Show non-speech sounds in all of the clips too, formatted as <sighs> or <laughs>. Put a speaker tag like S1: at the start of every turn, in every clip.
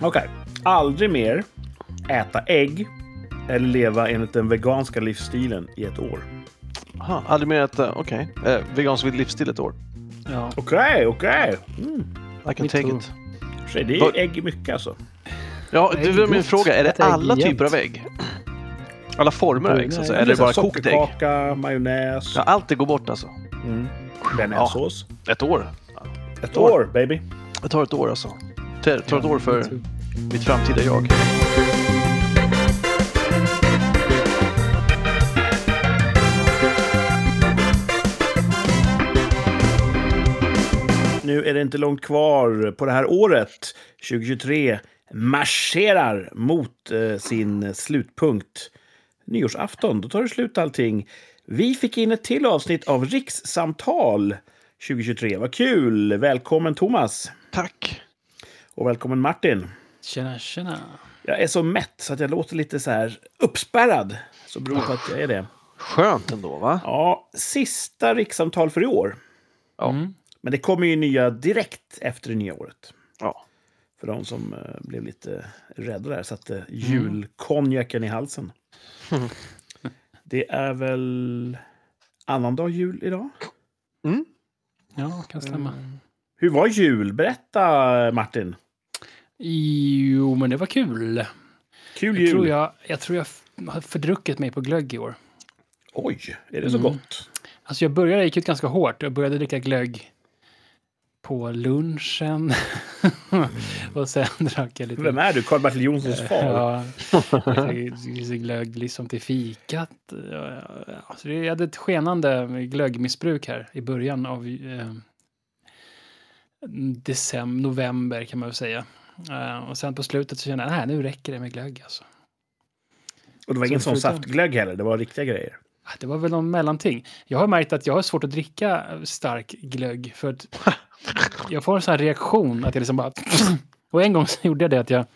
S1: Okej. Aldrig mer äta ägg eller leva enligt den veganska livsstilen i ett år.
S2: Aha, aldrig mer äta, okej. Eh, vegansk vid livsstil ett år.
S3: Ja.
S1: Okej, okej.
S2: I can take
S3: Me too.
S1: I
S2: it.
S1: och för sig, Det
S2: Vad-
S1: är ägg mycket alltså.
S2: Ja,
S3: Ägg
S2: det var min
S3: gott.
S2: fråga. Är det
S3: Äta ägg
S2: alla
S3: jämt.
S2: typer av ägg? Alla former av
S3: Oj,
S2: ägg, så att
S3: nej.
S2: säga. Eller är det bara kokt ägg?
S1: Sockerkaka, majonnäs,
S2: Ja, allt det går bort alltså.
S1: mm. bearnaisesås.
S2: Ett år.
S1: Ett år, baby.
S2: Jag tar ett år alltså. Det tar ett år för
S3: too.
S2: mitt framtida jag.
S1: Nu är det inte långt kvar på det här året. 2023 marscherar mot eh, sin slutpunkt. Nyårsafton, då tar det slut allting. Vi fick in ett till avsnitt av Rikssamtal 2023. Vad kul! Välkommen Thomas
S2: Tack.
S1: och välkommen Martin.
S3: Tjena, tjena.
S1: Jag är så mätt så att jag låter lite så här uppspärrad. Så beror på att jag är det.
S2: Skönt ändå, va?
S1: Ja, sista rikssamtal för i år.
S2: Ja.
S3: Mm.
S1: Men det kommer ju nya direkt efter det nya året.
S2: Ja.
S1: För de som eh, blev lite rädda där, satte
S3: Mm.
S1: julkonjaken i
S3: <laughs>
S1: halsen. Det är väl annandag jul idag?
S3: Ja, kan stämma.
S1: Hur var jul? Berätta, Martin.
S3: Jo, men det var kul.
S1: Kul
S3: Jag tror
S1: jul.
S3: jag, jag tror jag f- har fördruckit mig på glögg i år.
S1: Oj, är det så
S3: Mm.
S1: gott?
S3: Alltså jag började, jag gick ut ganska hårt. Jag började dricka glögg på lunchen. <laughs> och sen drack jag lite...
S1: Vem är du? Karl-Bertil Jonssons far?
S3: Eh, Ja, jag drack glögg liksom till fikat. Ja, ja, ja. Så det, jag hade ett skenande glöggmissbruk här i början av eh, december, november kan man väl säga. Eh, och sen på slutet så kände jag, nej nu räcker det med glögg alltså.
S1: Och det var ingen
S3: som
S1: sån
S3: förutom-
S1: saftglögg heller, det var riktiga grejer.
S3: Ah, Det var väl någon mellanting. Jag har märkt att jag har svårt att dricka stark glögg
S2: <laughs>
S3: för att jag får en sån här reaktion att jag liksom bara... Och en gång så <laughs> gjorde jag det att jag...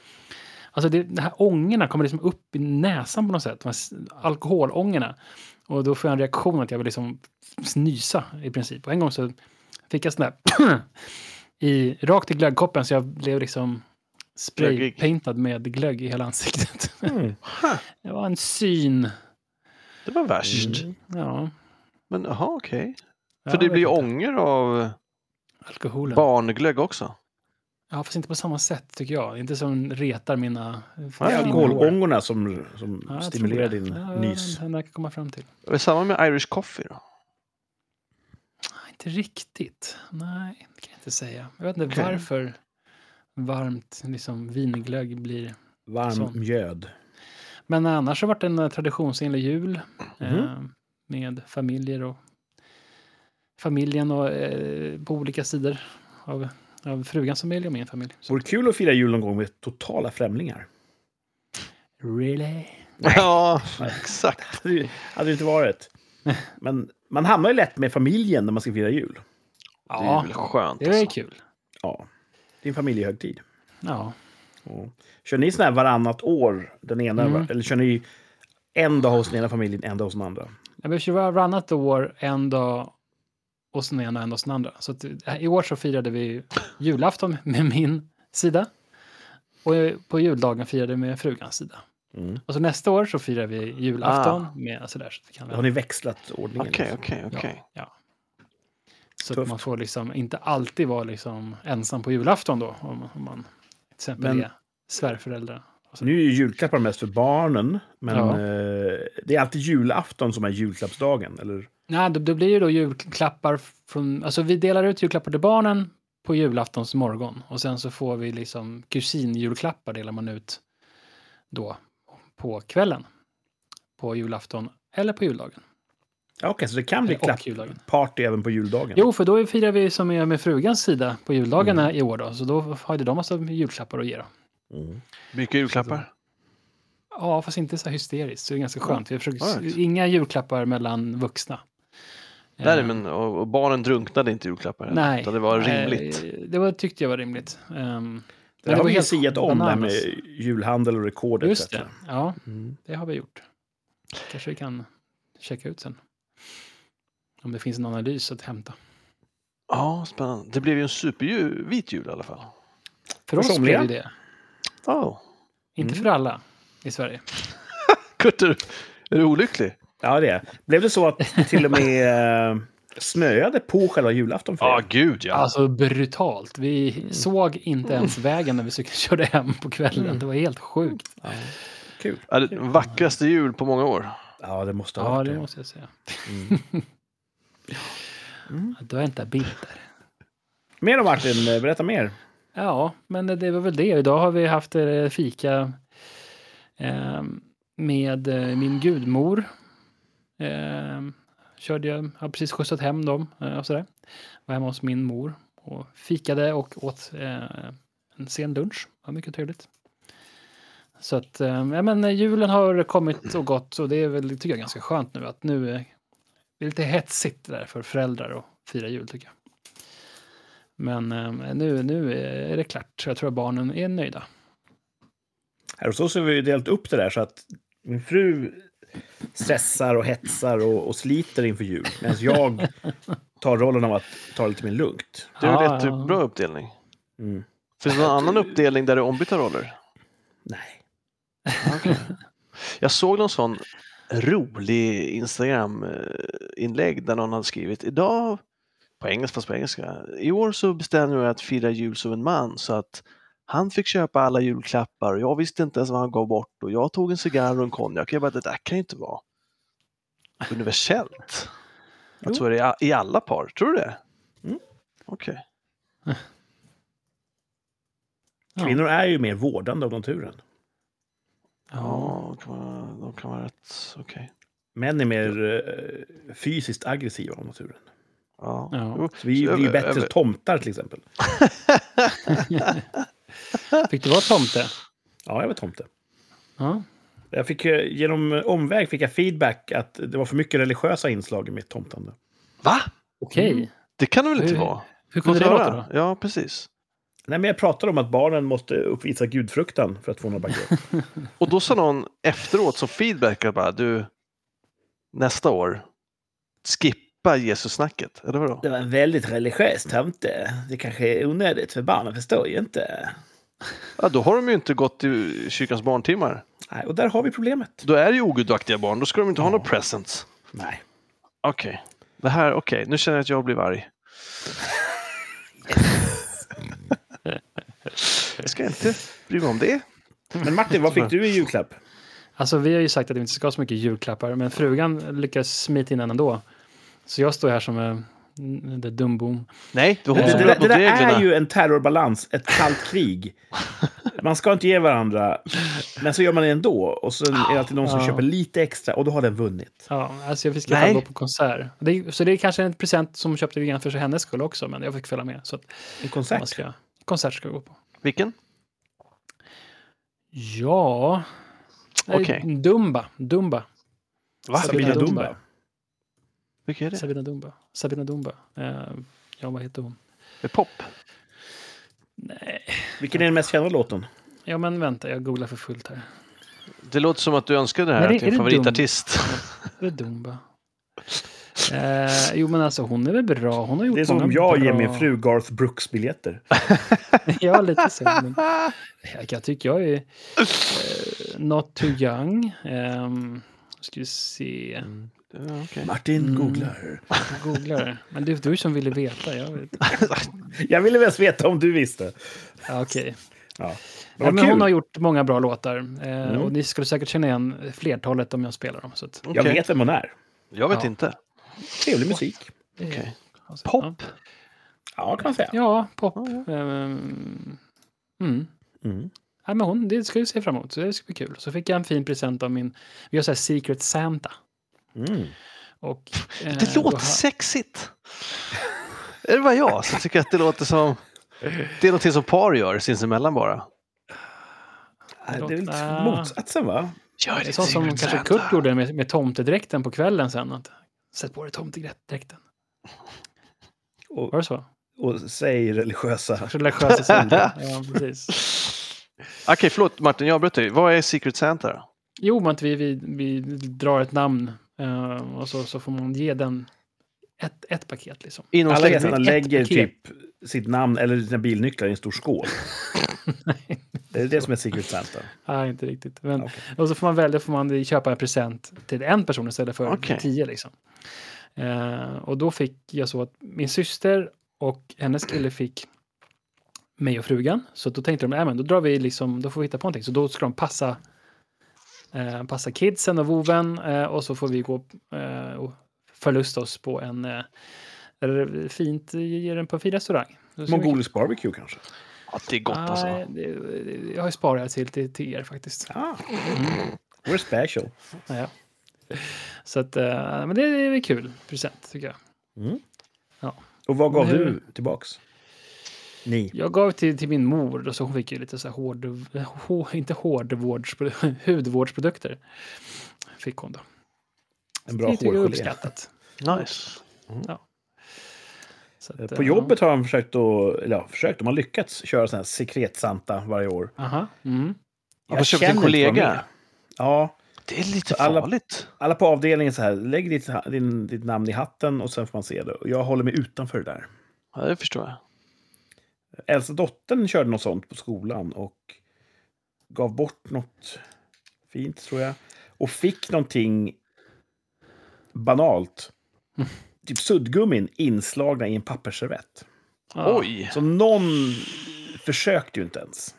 S3: Alltså det, de här ångorna kommer liksom upp i näsan på något sätt. De här s- alkoholångorna. Och då får jag en reaktion att jag vill liksom snysa i princip. Och en gång så fick jag sån där... <clears throat> I, rakt i glöggkoppen så jag blev liksom
S2: Glöggig.
S3: spraypaintad med glögg i hela ansiktet. <laughs>
S1: Mm.
S3: Det var en syn.
S2: Det var värst.
S3: Ja.
S2: Men jaha, okej.
S3: Mm. Ja,
S2: För det
S3: jag
S2: blir ju
S3: vet inte.
S2: ånger av
S3: Alkoholen.
S2: barnglögg också.
S3: Ja, fast inte på samma sätt tycker jag. Inte som retar mina...
S1: Det är alkoholångorna som, som
S3: Ja, jag tror
S1: stimulerar
S3: det.
S1: din
S3: ja,
S1: nys.
S3: Den där kan komma fram till.
S2: Är det samma med Irish coffee då?
S3: Nej, inte riktigt. Nej, det kan jag inte säga. Jag vet inte
S2: Okej.
S3: varför varmt liksom, vinglögg blir...
S1: Varm
S3: Sånt.
S1: mjöd.
S3: Men annars har det varit en eh, traditionsenlig jul eh,
S1: Mhm.
S3: med familjer och familjen och eh, på olika sidor av, av frugans familj och min familj. Så,
S1: Vore kul att fira jul någon gång med totala främlingar.
S3: really?
S2: Ja, <laughs> exakt.
S1: Hade ju- hade det inte varit. Men man hamnar ju lätt med familjen när man ska fira jul.
S2: Det är
S3: Ja,
S2: väl skönt
S3: det är
S2: alltså.
S3: kul.
S1: Ja, det är en familjehögtid.
S3: Ja.
S1: Ja. Kör ni sån här varannat år? Den ena,
S3: Mm.
S1: var- Eller kör ni en dag hos den ena familjen, en dag hos den andra?
S3: Jag behöver köra varannat år, en dag och sen ena och en dag och sen andra. Så att, eh, i år så firade vi julafton med min sida. Och eh, på juldagen firade vi med frugans sida.
S1: Mm.
S3: Och så nästa år så firar vi julafton
S1: Ah.
S3: med sådär. Så, att vi kan,
S1: Har ni växlat ordningen?
S2: Okej,
S1: liksom?
S2: okej, okej.
S3: så att
S1: tufft.
S3: man får liksom inte alltid vara liksom ensam på julafton då. Om, om man till exempel
S1: Men-
S3: är svärföräldrar. Och så.
S1: Nu är ju julklappar mest för barnen, men
S3: Ja.
S1: eh, det är alltid julafton som är julklappsdagen, eller?
S3: Nej, det, det blir ju då julklappar från... Alltså vi delar ut julklappar till barnen på julaftons morgon. Och sen så får vi liksom kusinjulklappar delar man ut då på kvällen. På julafton eller på juldagen.
S1: Ja, Okej, så det kan bli
S3: Eller och
S1: klappparty
S3: juldagen.
S1: även på juldagen?
S3: Jo, för då firar vi som är med frugans sida på juldagarna i år då. Så då har ju de massa julklappar att ge då.
S1: Mm.
S2: Mycket julklappar.
S3: Ja, fast inte så här hysteriskt. Så det är ganska skönt. Vi försöker,
S2: alright.
S3: Inga julklappar mellan vuxna.
S2: Nej,
S3: Eh,
S2: men och, och barnen drunknade inte i julklappar. heller,
S3: Nej.
S2: Utan det var rimligt.
S3: Eh, Det var, tyckte jag var rimligt. Ehm, men
S1: Det har
S3: var
S1: vi ju
S3: helt
S1: siat om, det här med
S3: bananas.
S1: julhandel och rekord etc.
S3: Just det. Ja,
S1: Mm.
S3: det har vi gjort. Kanske vi kan checka ut sen. Om det finns en analys att hämta.
S2: Ja, spännande. Det blev ju en supervit jul i alla fall.
S3: För oss
S1: somliga.
S3: blev det det.
S2: Oh.
S3: Inte för alla i Sverige.
S2: Kurt, <laughs> är du, är du olycklig?
S1: Ja, det är Blev det så att till och med eh, snöade på själva julafton för
S2: Ja,
S1: er?
S2: ah, gud ja.
S3: Alltså brutalt. Vi såg inte ens vägen när vi <laughs> cykelkörde hem på kvällen. Det var helt sjukt.
S1: Kul.
S2: Ja, det vackraste jul på många år.
S1: Ja, det måste ha
S3: Ja,
S1: varit
S3: det
S1: det.
S3: måste jag säga. <laughs> Ja, Du är inte bitter.
S1: Mer om Martin, eh, berätta mer.
S3: Ja, men det var väl det. Idag har vi haft eh, fika eh, med eh, min gudmor. Eh, körde jag, har precis skjutsat hem dem eh, och sådär. Var hemma hos min mor och fikade och åt eh, en sen lunch. Det var mycket trevligt. Så att, eh, ja men eh, julen har kommit och gått och det är väl, tycker jag, ganska skönt nu att nu eh, det är lite hetsigt där för föräldrar att fira jul tycker jag. Men eh, nu, nu är det klart. Jag tror att barnen är nöjda.
S1: Här hos oss har vi ju delat upp det där så att min fru stressar och hetsar och, och sliter inför jul. Medan jag tar rollen av att ta det lite mer lugnt.
S2: Det är
S3: Ja,
S2: en
S3: ja.
S2: rätt bra uppdelning.
S1: Mm.
S2: Finns det någon annan uppdelning där det är ombytta roller?
S1: Nej.
S2: Jag såg någon sån rolig Instagram-inlägg där någon hade skrivit idag, på engelska fast på engelska, i år så bestämde jag mig att fira jul som en man så att han fick köpa alla julklappar och jag visste inte ens vad han gav bort och jag tog en cigarr och en konjak. Jag bara, det där kan ju inte vara universellt.
S1: Jo.
S2: Att så är det i a- i alla par, tror du det?
S1: Mm.
S2: Okej.
S3: Ja.
S1: Kvinnor är ju mer vårdande av naturen.
S3: Ja.
S2: Ja, de kan vara- de kan vara rätt... Okej.
S1: Män är mer eh, fysiskt aggressiva av naturen.
S2: Ja.
S3: Ja.
S2: Jo,
S1: Så vi
S2: så
S1: blir ju
S2: över-
S1: bättre
S2: över-
S1: tomtar till exempel.
S3: Fick du vara tomte?
S1: Ja, jag var tomte.
S3: Ja.
S1: Jag fick, eh, genom eh, omväg fick jag feedback att det var för mycket religiösa inslag i mitt tomtande.
S2: Va?
S3: Okej.
S2: Det kan det väl inte
S3: Hur-
S2: Mm. vara?
S3: Hur kunde det
S2: Förklara.
S3: låta då?
S2: Ja, precis.
S1: Nej, men jag pratade om att barnen måste uppvisa gudfruktan för att få några baguette.
S2: Och då sa någon efteråt som feedback att bara du, nästa år, skippa Jesus-snacket. Eller vadå?
S1: <laughs> Det var en väldigt religiös tomte. Det kanske är onödigt för barnen förstår ju inte.
S2: Ja, då har de ju inte gått i kyrkans barntimmar.
S1: Nej, och där har vi problemet.
S2: Då är det ju ogudaktiga barn, då ska de inte ha
S1: Ja.
S2: några presents.
S1: Nej.
S2: Okej, det här, okej, nu känner jag att jag blir arg. jag ska inte bry mig om det.
S1: Men Martin, vad fick du i julklapp?
S3: Alltså vi har ju sagt att vi inte ska ha så mycket julklappar, men frugan lyckas smita in en ändå. Så jag står här som eh, n- det dumbom.
S2: Nej, du
S1: Det,
S2: håller
S1: det,
S2: inte
S1: det,
S2: upp
S1: det
S2: mot
S1: där är
S2: reglerna.
S1: ju en terrorbalans, ett kallt krig. Man ska inte ge varandra, men så gör man det ändå. Och sen är det alltid någon som
S3: Ja.
S1: köper lite extra och då har den vunnit.
S3: Ja, alltså jag fick i alla
S2: Nej.
S3: fall gå på konsert. Det, är- så det är kanske en present som hon köpte lite grann för hennes skull också, men jag fick följa med. Så att
S1: En
S3: man
S1: konsert.
S3: ska, konsert ska jag gå på.
S2: Vilken?
S3: Ja... Nej,
S2: Okej.
S3: Dumba. Dumba.
S2: Va?
S1: Sabina
S3: Dumba.
S1: Dumba.
S2: Vilken är det?
S3: Sabina Dumba. Sabina Dumba. Eh, ja, vad heter hon?
S2: Är pop?
S1: Vilken är den mest kända låten?
S3: Ja, men vänta, jag googlar för fullt
S1: <laughs>
S3: här.
S2: Det låter som att du önskade det här
S3: Nej, det-
S2: till din
S3: är det dum?
S2: favoritartist.
S3: Är det Dumba? Eh, jo, men alltså hon är väl bra. Hon har gjort
S1: Det är som
S3: många
S1: jag
S3: bra...
S1: ger min fru Garth Brooks-biljetter.
S3: <laughs> ja, lite så.
S1: <laughs>
S3: Men jag, jag tycker jag är eh, not too young. Um, ska vi se.
S2: Ja, okej.
S1: Martin
S3: Mm.
S1: googlar.
S3: Jag googlar. Men det är du som ville veta. Jag vet.
S1: Jag ville väl veta om du visste.
S3: Ja, okej.
S1: Ja. Men
S3: Nej,
S1: vad
S3: men
S1: kul.
S3: hon har gjort många bra låtar. Eh,
S1: Mm.
S3: Och ni skulle säkert känna igen flertalet om jag spelar dem. Så att,
S1: Jag
S2: Okej.
S1: vet vem hon är.
S2: Jag vet
S3: Ja.
S2: inte.
S1: Trevlig musik.
S3: det är-
S2: Okej.
S3: alltså, ja.
S2: Pop?
S1: Ja, kan man säga.
S3: Ja, pop.
S2: Ja, ja.
S3: Ehm, mm.
S1: Mm.
S3: Nej, men hon, det ska vi se fram emot, så det ska bli kul. Så fick jag en fin present av min, vi har så här Secret Santa.
S1: Mm.
S3: Och, eh,
S2: Det
S3: då
S2: låter sexigt. <laughs> Är det bara jag som tycker att det låter som... Det är någonting som par gör sinsemellan bara.
S1: Nej, Det är väl
S3: Låta-
S1: motsatsen, va?
S2: Gör
S3: Det är sånt som kanske Kurt gjorde med, med tomtedräkten på kvällen sen. Att, Sätt på dig tomtedräkten.
S1: Och,
S3: Var det så?
S1: och säg religiösa.
S3: Kanske religiösa
S2: <laughs>
S3: Santa. Ja, precis.
S2: Okej, förlåt Martin, jag avbröt dig. Vad är Secret Santa? då?
S3: Jo, men att vi, vi, vi drar ett namn eh, och så, så får man ge den ett, ett paket liksom.
S2: Inom
S1: Alla
S2: släkten?
S1: gästerna lägger
S3: paket. <laughs>
S1: typ sitt namn eller sina bilnycklar i en stor skål. Det är det som är Secret Santa.
S3: Nej, inte riktigt. Men,
S1: Okej.
S3: Och så får man välja, får man köpa en present till en person istället för
S2: Okej.
S3: tio. Liksom. Eh, och då fick jag så att min syster och hennes kille fick mig och frugan. Så då tänkte de, "Nej, men då drar vi liksom, då får vi hitta på någonting. Så då ska de passa, eh, passa kidsen och voven eh, och så får vi gå eh, och förlusta oss på en eh, r- fint, ger en på en fin restaurang. Så ser vi-
S1: Mongolisk barbecue kanske?
S2: Ja, det är gott alltså.
S3: Nej, det- Jag har ju sparat till, till, till er faktiskt.
S1: Ah.
S3: Mm.
S1: We're special.
S3: Ja. Så att, eh, men det är väl kul present tycker jag.
S1: Och vad gav
S3: Men hur-
S1: du tillbaks? Ni.
S3: Jag gav till, till min mor, då, så hon fick ju lite så här hård, hå, inte hårdvårds, <laughs> hudvårdsprodukter. Fick hon då.
S1: En bra
S3: det tycker jag är
S1: hårgelé.
S3: uppskattat.
S2: Nice.
S3: Så
S1: Eh,
S3: att,
S1: På
S3: eh,
S1: jobbet har de försökt att, eller ja, försökt, de har lyckats köra sån här sekret Santa varje år.
S3: Ja. Aha, mm.
S2: Jag har köpt
S1: känner
S2: en
S1: inte vad de
S2: kollega.
S1: är. Ja,
S2: Det är lite
S1: alla-
S2: farligt.
S1: alla på avdelningen så här, lägg ditt, ha- din, ditt namn i hatten och sen får man se det. Och Jag håller mig utanför det där.
S2: Ja, det förstår jag.
S1: Äldsta dottern körde något sånt på skolan och gav bort något fint, tror jag. Och fick någonting banalt. Typ suddgummin inslagna i en pappersservett.
S3: Ja.
S2: Oj!
S1: Så någon försökte ju inte ens.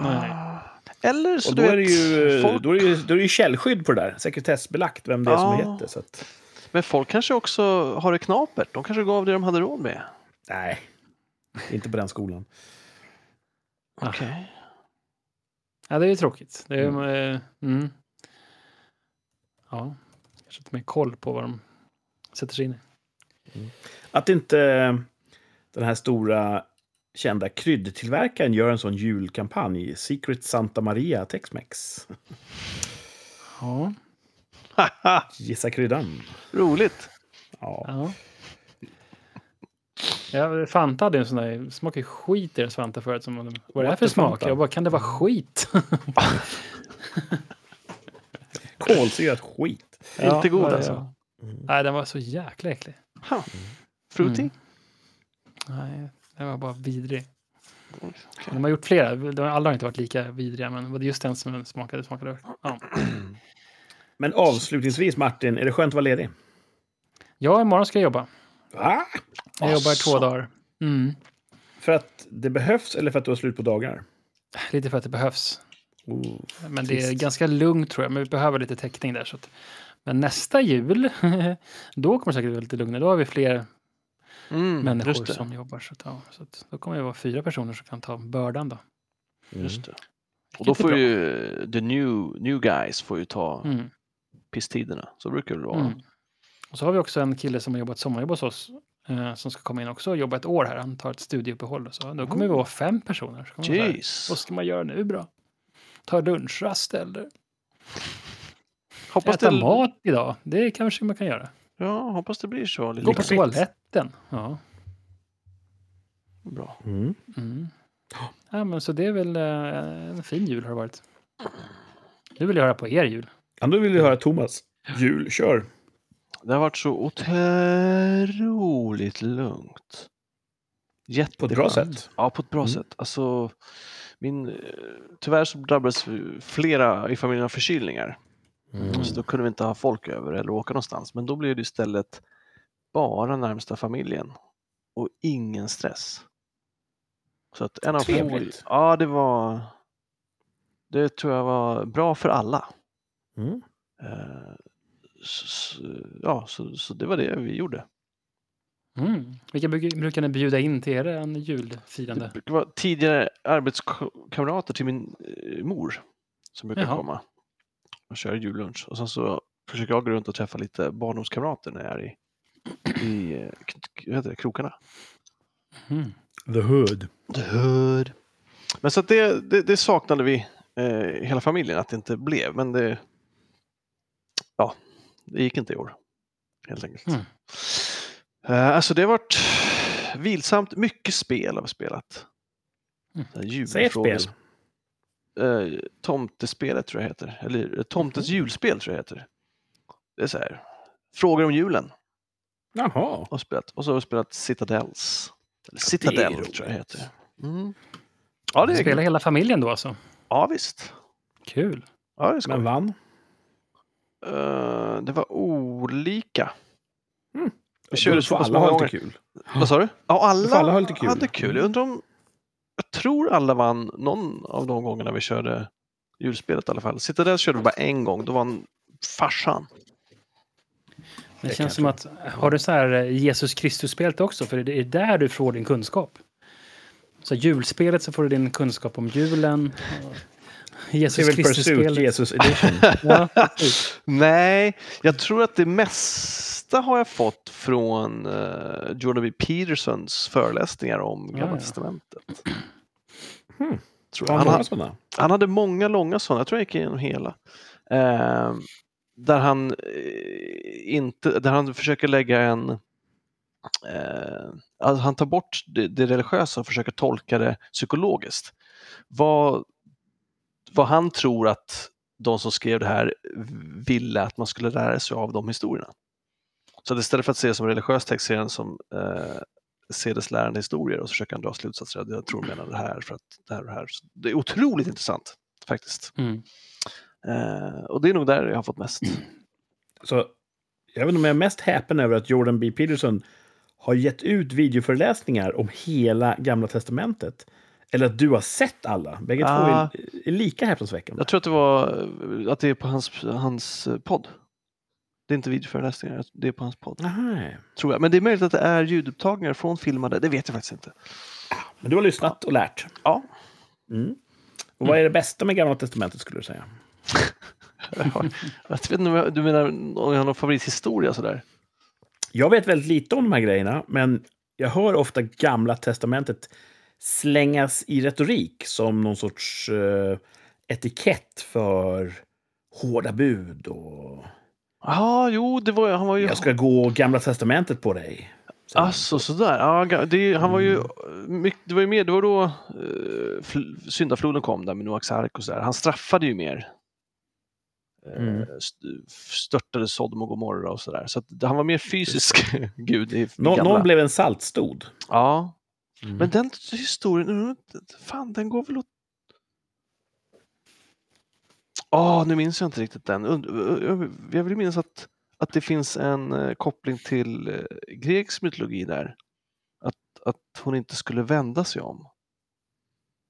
S3: nej.
S2: Ah. Eller så
S1: Och
S2: du
S1: då är, det
S2: vet,
S1: ju, eh,
S2: folk,
S1: då, är det ju, då är det ju källskydd på det där. Sekretessbelagt vem det är som
S2: Ja.
S1: är jätte. Så att,
S2: men folk kanske också har det knapert. De kanske gav det de hade råd med.
S1: nej, inte på den skolan.
S3: Ah.
S2: Okej.
S3: Ja, det är ju tråkigt. Det är, ju, eh, mm. Ja, kanske inte mer koll på vad de sätter sig in i.
S1: Att inte eh, den här stora kända kryddtillverkaren gör en sån julkampanj. Secret Santa Maria Tex-Mex.
S3: Ja,
S2: Haha,
S1: Gissa kryddan.
S2: Roligt.
S1: Ja.
S3: Ja. Ja, Fanta hade en sån där, det smakade skit i deras Fanta förut. Som, vad är det här
S1: What
S3: för
S1: the
S3: smak?
S1: Fanta?
S3: Jag bara, kan det vara
S2: Mm. <laughs>
S3: skit?
S1: Kolsyrat skit.
S2: Inte god
S3: vad-
S2: alltså.
S3: Mm. Nej, den var så jäkla äcklig.
S2: Ha. Fruity?
S3: Mm. Nej, den var bara vidrig.
S2: Oj,
S3: De har gjort flera, de har- alla har inte varit lika vidriga, men det var just den som den smakade, smakade. Ja.
S1: Men avslutningsvis, Martin, är det skönt att vara ledig?
S3: ja, imorgon ska jag jobba.
S1: Va?
S3: Jag jobbar i två
S2: Asså.
S3: dagar. Mm.
S1: För att det behövs eller för att du har slut på dagar?
S3: Lite för att det behövs.
S1: Oh.
S3: Men det är
S1: Trist.
S3: ganska lugnt tror jag, men vi behöver lite täckning där. Så att... Men nästa jul, <laughs> då kommer det säkert vara lite lugnare. Då har vi fler
S2: Mm,
S3: människor
S2: just det.
S3: som jobbar. Så, att, ja, så att, då kommer det vara fyra personer som kan ta bördan då.
S1: Mm.
S2: Just det. Och då
S3: Vilket är
S2: får
S3: bra.
S2: ju eh, the new, new guys får ju ta
S3: Mm.
S2: pisstiderna. Så brukar det vara.
S3: Mm. Och så har vi också en kille som har jobbat sommarjobb hos oss eh, som ska komma in också och jobba ett år här. Han tar ett studieuppehåll. Och så. Då kommer vi vara fem personer. Så kommer vi vara så här,
S2: Mm. Jeez.
S3: Vad ska man göra nu bra? Ta lunchrast eller
S2: Hoppas
S3: äta
S2: det,
S3: mat idag? Det kanske man kan göra.
S2: ja, hoppas det blir så. Lite
S3: Gå på
S1: Lyxigt.
S3: toaletten. Ja.
S2: bra.
S1: Mm.
S3: Mm. Ja, men så det är väl eh, en fin jul har det varit. Nu vill jag höra på er jul.
S1: Ja, då vill vi höra Thomas. Jul, kör.
S2: Det har varit så otroligt lugnt.
S1: På ett bra
S2: Jätteskönt.
S1: sätt.
S2: Ja, på ett bra
S1: Mm.
S2: sätt. Alltså, min, eh, tyvärr så drabbades flera i familjen av förkylningar.
S1: Mm.
S2: Så då kunde vi inte ha folk över eller åka någonstans. Men då blev det istället bara närmsta familjen och ingen stress. Så att en av
S1: Trevligt.
S2: Ja, det var... Det tror jag var bra för alla.
S1: Mm.
S2: Eh, Så, så, ja, så, så det var det vi gjorde.
S3: Mm. Vilka bruk- brukar ni bjuda in till er en
S2: Det
S3: julfirande?
S2: brukar vara tidigare arbetskamrater till min eh, mor som brukar
S3: Jaha.
S2: komma och köra jullunch. Och sen så försöker jag gå runt och träffa lite barndomskamrater när jag är i, i eh, k- k- vad heter det, krokarna.
S3: Mm.
S1: The Hood.
S2: Död. Men så att det, det, det saknade vi, eh, hela familjen, att det inte blev. Men det, ja, det gick inte i år, helt enkelt.
S3: Mm.
S2: Eh, alltså det har varit vilsamt. Mycket spel har vi spelat.
S3: Mm.
S2: Så här
S1: Säg ett
S2: julfrågor-
S1: spel.
S2: eh, Tomtespelet tror jag heter. Eller eh, Tomtens
S1: Mm.
S2: julspel tror jag heter. Det är så här. Frågor om julen
S1: Jaha.
S2: har vi spelat. Och så har vi spelat Citadels.
S1: det
S2: Eller
S1: är
S2: Citadel tror jag
S1: roligt.
S2: heter. Mm. Ja, det är
S3: Spelar hela familjen då alltså?
S2: Ja, visst.
S3: Kul.
S2: Ja, det, ska.
S1: Men vann.
S2: Eh, det var olika.
S1: Mm.
S2: Vi körde så
S1: så
S2: pass
S1: alla
S2: många
S1: har lite
S2: gånger.
S1: kul.
S2: Vad sa du? Ja, alla,
S1: får alla ha lite kul.
S2: hade kul. Jag undrar om... Jag tror alla vann någon av de gångerna vi körde julspelet i alla fall. Citadel körde vi bara en gång. Då vann farsan.
S3: Det,
S1: Det
S3: känns som att, har du så här eh, Jesus Kristus-spelet också? För det är där du får din kunskap. Så julspelet så får du din kunskap om julen. och Jesus
S1: Civil Pursuit,
S3: Kristus-spelet.
S1: Jesus
S2: <laughs>
S1: Edition.
S3: Ja, precis.
S2: Nej, jag tror att det mesta har jag fått från uh, Jordan B. Petersons föreläsningar om Gamla
S3: Ah, ja.
S2: Testamentet.
S1: Hmm.
S2: Tror
S1: Har han
S2: jag. Han, ha-
S1: några sådana?
S2: han hade många långa sådana, jag tror jag gick igenom hela. Eh, där, han, eh, inte, där han försöker lägga en... Eh, alltså han tar bort det, det religiösa och försöker tolka det psykologiskt. Vad, vad han tror att de som skrev det här ville att man skulle lära sig av de historierna. Så att istället för att se det som religiös text ser han som eh, sedeslärande historier och så försöker han dra slutsatser. att Jag tror de menar det här för att det här och det här. Så det är otroligt intressant faktiskt.
S3: Mm.
S2: Eh, och det är nog där jag har fått mest.
S1: Så, jag vet inte om jag är mest häpen över att Jordan B. Peterson har gett ut videoföreläsningar om hela Gamla Testamentet. Eller att du har sett alla. Bägge
S2: Ah.
S1: två är, är lika häpnadsväckande.
S2: Jag tror att det var eh, att det är på hans, hans eh, podd. Det är inte videoföreläsningar, det är på hans podd.
S1: Nej.
S2: Tror jag. Men det är möjligt att det är ljudupptagningar från filmade, det vet jag faktiskt inte. <laughs>
S1: Men du har lyssnat och lärt.
S2: Ja,
S1: Mm. Och vad är det bästa med Gamla Testamentet skulle du säga?
S2: jag har- jag vet inte om jag, du menar om jag har någon favorithistoria sådär?
S1: Jag vet väldigt lite om de här grejerna, men jag hör ofta Gamla Testamentet slängas i retorik som någon sorts eh, etikett för hårda bud och
S2: Ja, jo, det var, ju- han var ju...
S1: jag ska gå Gamla Testamentet på dig. Så,
S2: Alltså sådär. Ja, ga- det, är- han var ju,
S1: Mm.
S2: mycket- det var ju mer, det var då eh, fl- syndafloden kom där med Noaks ark och sådär. Han straffade ju mer. Eh,
S1: Mm.
S2: st- Störtade Sodom och Gomorra och sådär. Så att, han var mer fysisk <laughs> gud. I
S1: Nå-
S2: gamla-
S1: någon blev en saltstod.
S2: Ja,
S1: Mm.
S2: men den historien, undrar om inte- fan den går väl åt... Ja, Ah, nu minns jag inte riktigt den. Und- jag- Jag vill minnas att, att det finns en eh, koppling till eh, grekisk mytologi där. Att, att hon inte skulle vända sig om.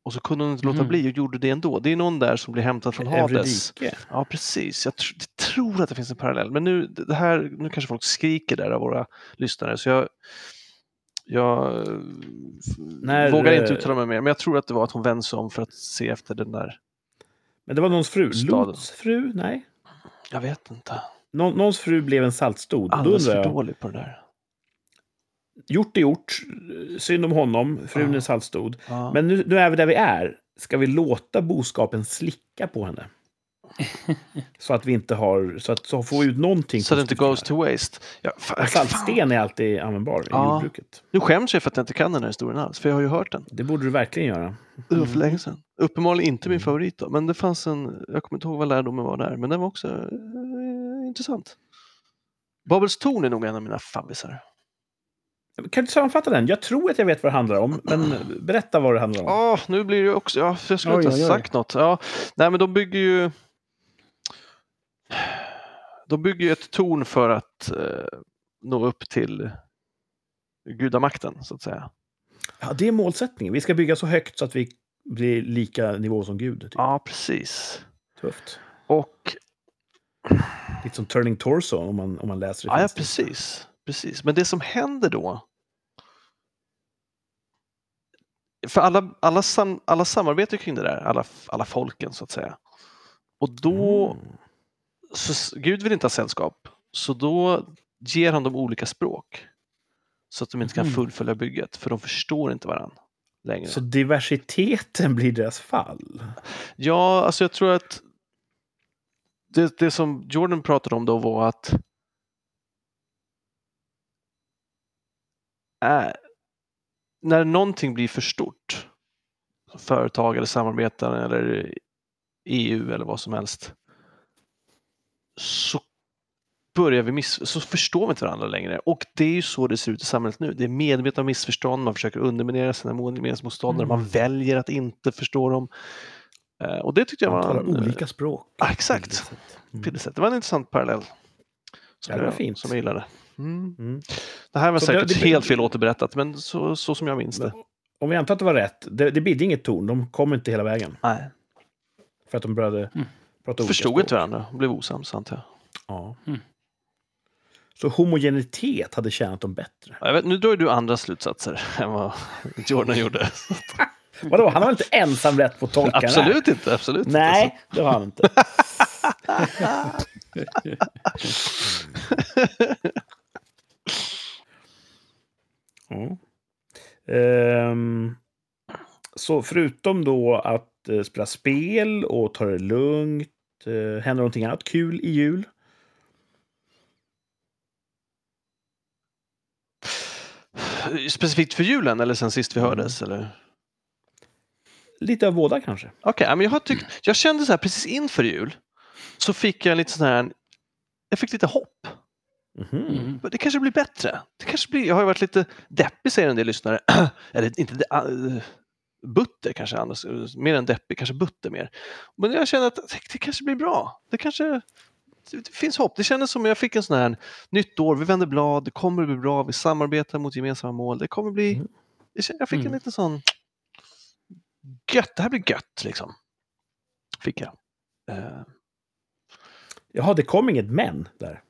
S2: Och så kunde hon inte låta
S3: Mhm.
S2: bli och gjorde det ändå. Det är någon där som blir hämtad från Hades.
S1: Eurydike.
S2: Ja, precis. Jag, tr- jag tror att det finns en parallell. Men nu, det här, nu kanske folk skriker där av våra lyssnare, så jag, jag eh,
S1: När,
S2: vågar inte
S1: eh,
S2: uttala mig mer. Men jag tror att det var att hon vände sig om för att se efter den där.
S1: Men det var någons fru.
S2: Staden.
S1: Lots fru? Nej.
S2: Jag vet inte.
S1: Nå- någons fru blev en saltstod. Då
S2: Alldeles
S1: undrar
S2: för
S1: jag,
S2: dålig på det där.
S1: gjort är gjort. Synd om honom. Frun
S2: Ja.
S1: är saltstod.
S2: Ja.
S1: Men nu, nu är vi där vi är. Ska vi låta boskapen slicka på
S2: <laughs>
S1: henne? så att vi inte har... Så att så får vi ut någonting.
S2: så det inte
S1: positivt
S2: goes to waste. Ja,
S1: där.
S2: fan,
S1: En Saltsten är alltid användbar i
S2: Ja.
S1: jordbruket.
S2: Nu skäms jag för att jag inte kan den här historien alls, för jag har ju hört den.
S1: Det borde du verkligen göra.
S2: Det var
S3: Mm.
S2: för länge sedan. Uppenbarligen inte min favorit då, men det fanns en, jag kommer inte ihåg vad lärdomen var där, men den var också eh, intressant. Babels torn är nog en av mina favvisar.
S1: Kan du sammanfatta den? Jag tror att jag vet vad det handlar om, men berätta vad det handlar om.
S2: Ja, nu blir det också, ja, för jag skulle
S3: Oj,
S2: inte
S3: oj,
S2: ha
S3: oj.
S2: sagt något. Ja, nej, men de bygger ju de bygger ju ett torn för att eh, nå upp till gudamakten, så att säga.
S1: Ja, det är målsättningen. Vi ska bygga så högt så att vi blir lika nivå som Gud. Typ.
S2: Ja, precis.
S1: Tufft.
S2: Och
S1: Lite som Turning Torso om man, om man läser det.
S2: Ja, ja
S1: finstilta.
S2: precis, precis. Men det som händer då... För alla, alla, sam, alla samarbetar kring det där, alla, alla folken så att säga. Och då,
S1: Mm.
S2: så, s- Gud vill inte ha sällskap, så då ger han dem olika språk. Så att de inte kan
S3: Mhm.
S2: fullfölja bygget, för de förstår inte varandra längre.
S1: Mm. Så diversiteten blir deras fall.
S2: Ja, alltså jag tror att det, det som Jordan pratade om då var att äh, när någonting blir för stort, företag eller samarbeten eller EU eller vad som helst, så börjar vi miss- så förstår vi inte varandra längre. Och det är ju så det ser ut i samhället nu. Det är medvetna missförstånd, man försöker underminera sina meningsmotståndare,
S3: Mm.
S2: man väljer att inte förstå dem. Eh, Och det tyckte jag
S1: Man
S2: var...
S1: talar
S2: en, eh,
S1: olika språk.
S2: ja, exakt.
S1: Mm.
S2: Pillesätt. Det var en intressant parallell. Som,
S1: Ja, det var
S2: jag,
S1: fint.
S2: som jag gillade. Mm.
S1: Mm.
S2: Det här var
S1: Så
S2: säkert
S1: det- det-
S2: helt fel återberättat, men så, så som jag minns det.
S1: Om vi antar att det var rätt, det, det bidde inget torn. De kom inte hela vägen.
S2: Nej.
S1: För att de började
S3: Mm.
S1: prata olika
S2: Förstod
S1: språk.
S2: inte varandra och blev osams, antar jag.
S1: Ja.
S3: Mm.
S1: Så homogenitet hade tjänat dem bättre.
S2: jag vet, nu drar ju du andra slutsatser <laughs> än vad Jordan gjorde.
S1: Vadå, han har inte ensam rätt på
S2: <laughs>
S1: att tolka det här?
S2: absolut inte, absolut inte.
S1: Nej, det har han
S2: <laughs>
S1: inte.
S2: Mm.
S1: Ja. Ehm, så förutom då att eh, spela spel och ta det lugnt, eh, händer någonting annat kul i jul?
S2: Så. Specifikt för julen eller sen sist vi hördes? Eller?
S1: Lite av båda kanske.
S2: Okej, men jag, har tyckt, jag kände så här precis inför jul så fick jag lite sån här, jag fick lite hopp.
S1: Mhm.
S3: Mm.
S2: Men Det kanske blir bättre. Det kanske blir, jag har ju varit lite deppig säger en del lyssnare. <clears throat> Eller inte de, äh, butter kanske annars, mer än deppig, kanske butter mer. Men jag känner att det kanske blir bra. Det kanske det finns hopp. Det kändes som jag fick en sån här nytt år, vi vänder blad, det kommer att bli bra, vi samarbetar mot gemensamma mål. Det kommer bli...
S1: Mm.
S2: det kän- Jag fick en
S3: Mm.
S2: liten sån... Gött, det här blir gött liksom. Fick jag. Eh,
S1: Jaha, det kom inget men där.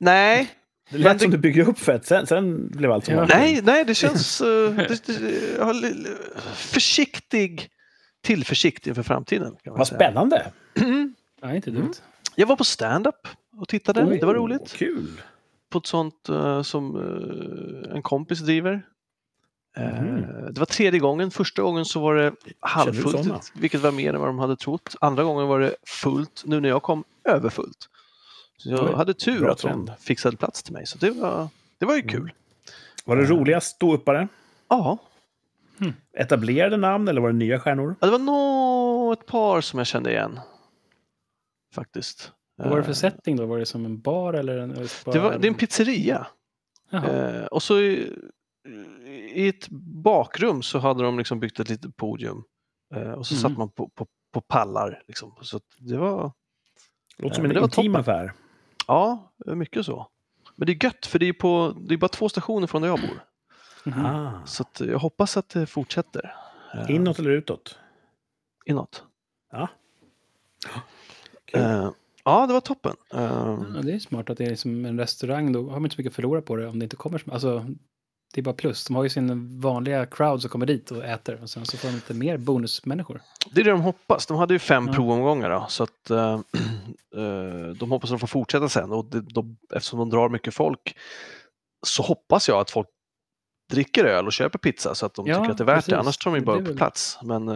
S2: nej,
S1: Det
S2: Men
S1: lät
S2: det-
S1: som du bygger upp för att sen, sen blev allt som
S3: Ja.
S1: vanligt.
S2: Nej,
S1: <laughs>
S2: nej, det känns... eh, det, det, jag har li- li- försiktig tillförsikt inför framtiden. Kan man
S1: Vad
S2: säga.
S1: spännande!
S3: Nej, inte dumt.
S2: Jag var på stand-up och tittade. det var roligt.
S1: Kul!
S2: På ett sånt eh, som eh, en kompis driver. Eh,
S1: Mhm.
S2: Det var tredje gången. Första gången så var det
S1: sådana?
S2: halvfullt, vilket var mer än vad de hade trott. Andra gången var det fullt. Nu när jag kom, överfullt. Så jag
S1: Oj,
S2: hade tur
S1: bra
S2: att de
S1: trend. Mm.
S2: fixade plats till mig, så det var, det var ju kul.
S1: Var det roligast ståuppare?
S2: Ja,
S1: Etablerade namn eller var det nya stjärnor?
S2: Ja, det var nog ett par som jag kände igen. Faktiskt.
S3: Vad var det för
S2: Eh,
S3: setting då? Var det som en bar eller en...
S2: Det, var, det är en pizzeria.
S3: Jaha.
S2: Eh, och så i, i ett bakrum så hade de liksom byggt ett litet podium. Eh, och så
S3: Mm.
S2: satt man på, på, på pallar. Liksom. Så att det var
S1: Låter
S2: Ja,
S1: som
S2: men
S1: en
S2: det var
S1: intim
S2: toppen.
S1: affär.
S2: ja, mycket så. Men det är gött för det är, på, det är bara två stationer från där jag bor.
S3: Mhm.
S2: Mm.
S1: Ah.
S2: Så att jag hoppas att det fortsätter. Eh,
S1: Inåt eller utåt?
S2: Inåt.
S1: Kul.
S2: Eh, ja, det var toppen. Eh,
S3: Ja, det är smart att det är som en restaurang. Då har man inte så mycket att förlora på det om det inte kommer. som- Alltså, det är bara plus. De har ju sin vanliga crowd som kommer dit och äter. Och sen så får de lite mer bonusmänniskor.
S2: Det är det de hoppas. De hade ju fem
S3: Ja.
S2: provomgångar då, så att eh, <clears throat> eh, de hoppas att de får fortsätta sen. Och det, de, eftersom de drar mycket folk så hoppas jag att folk dricker öl och köper pizza så att de
S3: Ja,
S2: tycker att det är värt det.
S3: precis.
S2: Annars tar de ju
S3: Det
S2: bara
S3: är
S2: upp
S3: väl-
S2: plats. Men eh,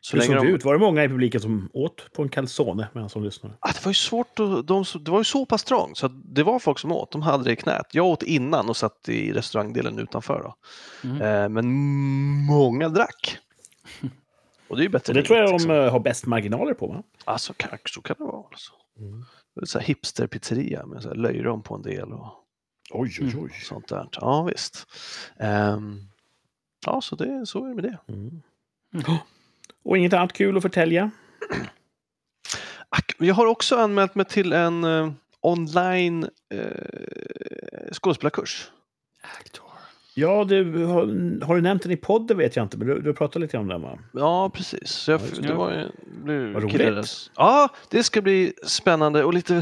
S2: så
S1: Hur
S2: länge
S1: såg
S2: de...
S1: det ut? Var det många i publiken som åt på en calzone medan de lyssnade?
S2: Ah, det var ju svårt att, de, som- Det var ju så pass trångt så att det var folk som åt. De hade det i knät. Jag åt innan och satt i restaurangdelen utanför. Då.
S3: Mm.
S2: Eh, men många
S3: <laughs>
S2: drack. Och det är ju bättre.
S1: Och det
S2: än
S1: tror
S2: inget,
S1: jag
S2: liksom.
S1: de eh, har bäst marginaler på, va?
S2: Alltså, kan, så kan det vara. Alltså.
S1: Mm.
S2: Det är Så här hipsterpizzeria med så här löjrom på en del och
S1: Oj, oj, oj.
S2: sånt där. Ja, visst. Ehm, ja, så, det, så är det med det.
S1: Mm.
S2: <gasps>
S3: Mm.
S1: Och inget annat kul att förtälja?
S2: Ack, Jag har också anmält mig till en eh, online eh, skådespelarkurs.
S3: Actor.
S1: Ja, du, har, har du nämnt den i podden vet jag inte, men du, du pratade lite om den, va?
S2: Ja, precis. Så jag,
S1: Ja, just
S2: det
S3: det.
S2: var, ju- blev
S1: Vad roligt.
S2: killades. Ja, det ska bli spännande och lite,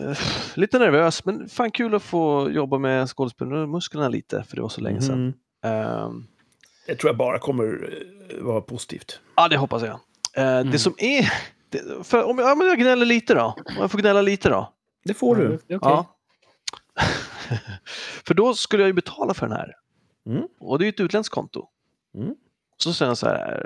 S2: eh, lite nervös. Men fan kul att få jobba med skådespelarmusklerna lite, för det var så länge sedan.
S1: Mm.
S2: Ehm,
S1: Det tror jag bara kommer eh, vara positivt.
S2: Ja, det hoppas jag. Eh, Det
S3: Mm.
S2: som är... Det, för om jag, ja, men jag gnäller lite då. Om jag får gnälla lite då.
S1: Det får
S3: Ja,
S1: du.
S3: det- det är okej.
S2: Ja. <laughs> för då skulle jag ju betala för den här.
S1: Mm.
S2: Och det är ju ett utländskt konto.
S1: Mm.
S2: Så säger han så här,